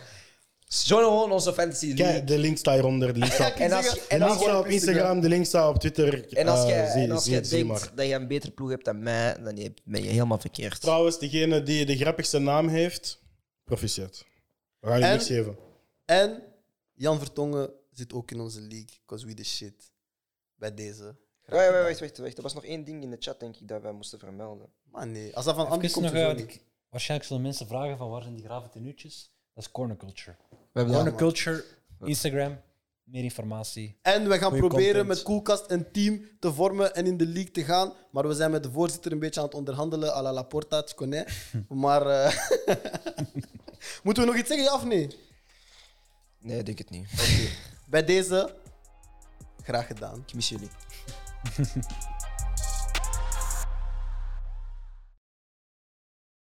Speaker 2: Join gewoon onze fantasy league.
Speaker 3: Kijk, de link staat hieronder. De link staat,
Speaker 2: En als,
Speaker 3: de
Speaker 2: en
Speaker 3: link
Speaker 2: als,
Speaker 3: staat op Instagram, de link staat op Twitter.
Speaker 2: en als
Speaker 3: Eh,
Speaker 2: jij
Speaker 3: zie-
Speaker 2: en als
Speaker 3: zie-
Speaker 2: jij
Speaker 3: zie
Speaker 2: denkt
Speaker 3: maar.
Speaker 2: dat je een betere ploeg hebt dan mij, dan heb- ben je helemaal verkeerd.
Speaker 3: Trouwens, degene die de grappigste naam heeft, proficiat. We gaan
Speaker 1: En-
Speaker 3: jullie niks geven.
Speaker 1: En Jan Vertongen zit ook in onze league. Cause we the shit. Bij deze.
Speaker 2: Wacht, wacht, wacht, wacht, wacht. Er was nog één ding in de chat, denk ik, dat wij moesten vermelden.
Speaker 1: Maar nee, als dat van Andy
Speaker 4: Even
Speaker 1: komt,
Speaker 4: nog,
Speaker 1: dan zo
Speaker 4: eh,
Speaker 1: niet.
Speaker 4: ik- waarschijnlijk zullen mensen vragen van waar zijn die graven tenuutjes? Dat is Corner Culture.
Speaker 2: We hebben
Speaker 1: Ja,
Speaker 4: Corner
Speaker 1: man.
Speaker 4: Culture, Instagram, meer informatie.
Speaker 1: En we gaan
Speaker 4: Goeie
Speaker 1: proberen
Speaker 4: content.
Speaker 1: met Koelkast een team te vormen en in de league te gaan. Maar we zijn met de voorzitter een beetje aan het onderhandelen. à la Laporta, tu connais. Maar. eh, moeten we nog iets zeggen, ja of nee?
Speaker 2: Nee, ik denk het niet.
Speaker 1: Bij deze, graag gedaan.
Speaker 2: Ik mis jullie.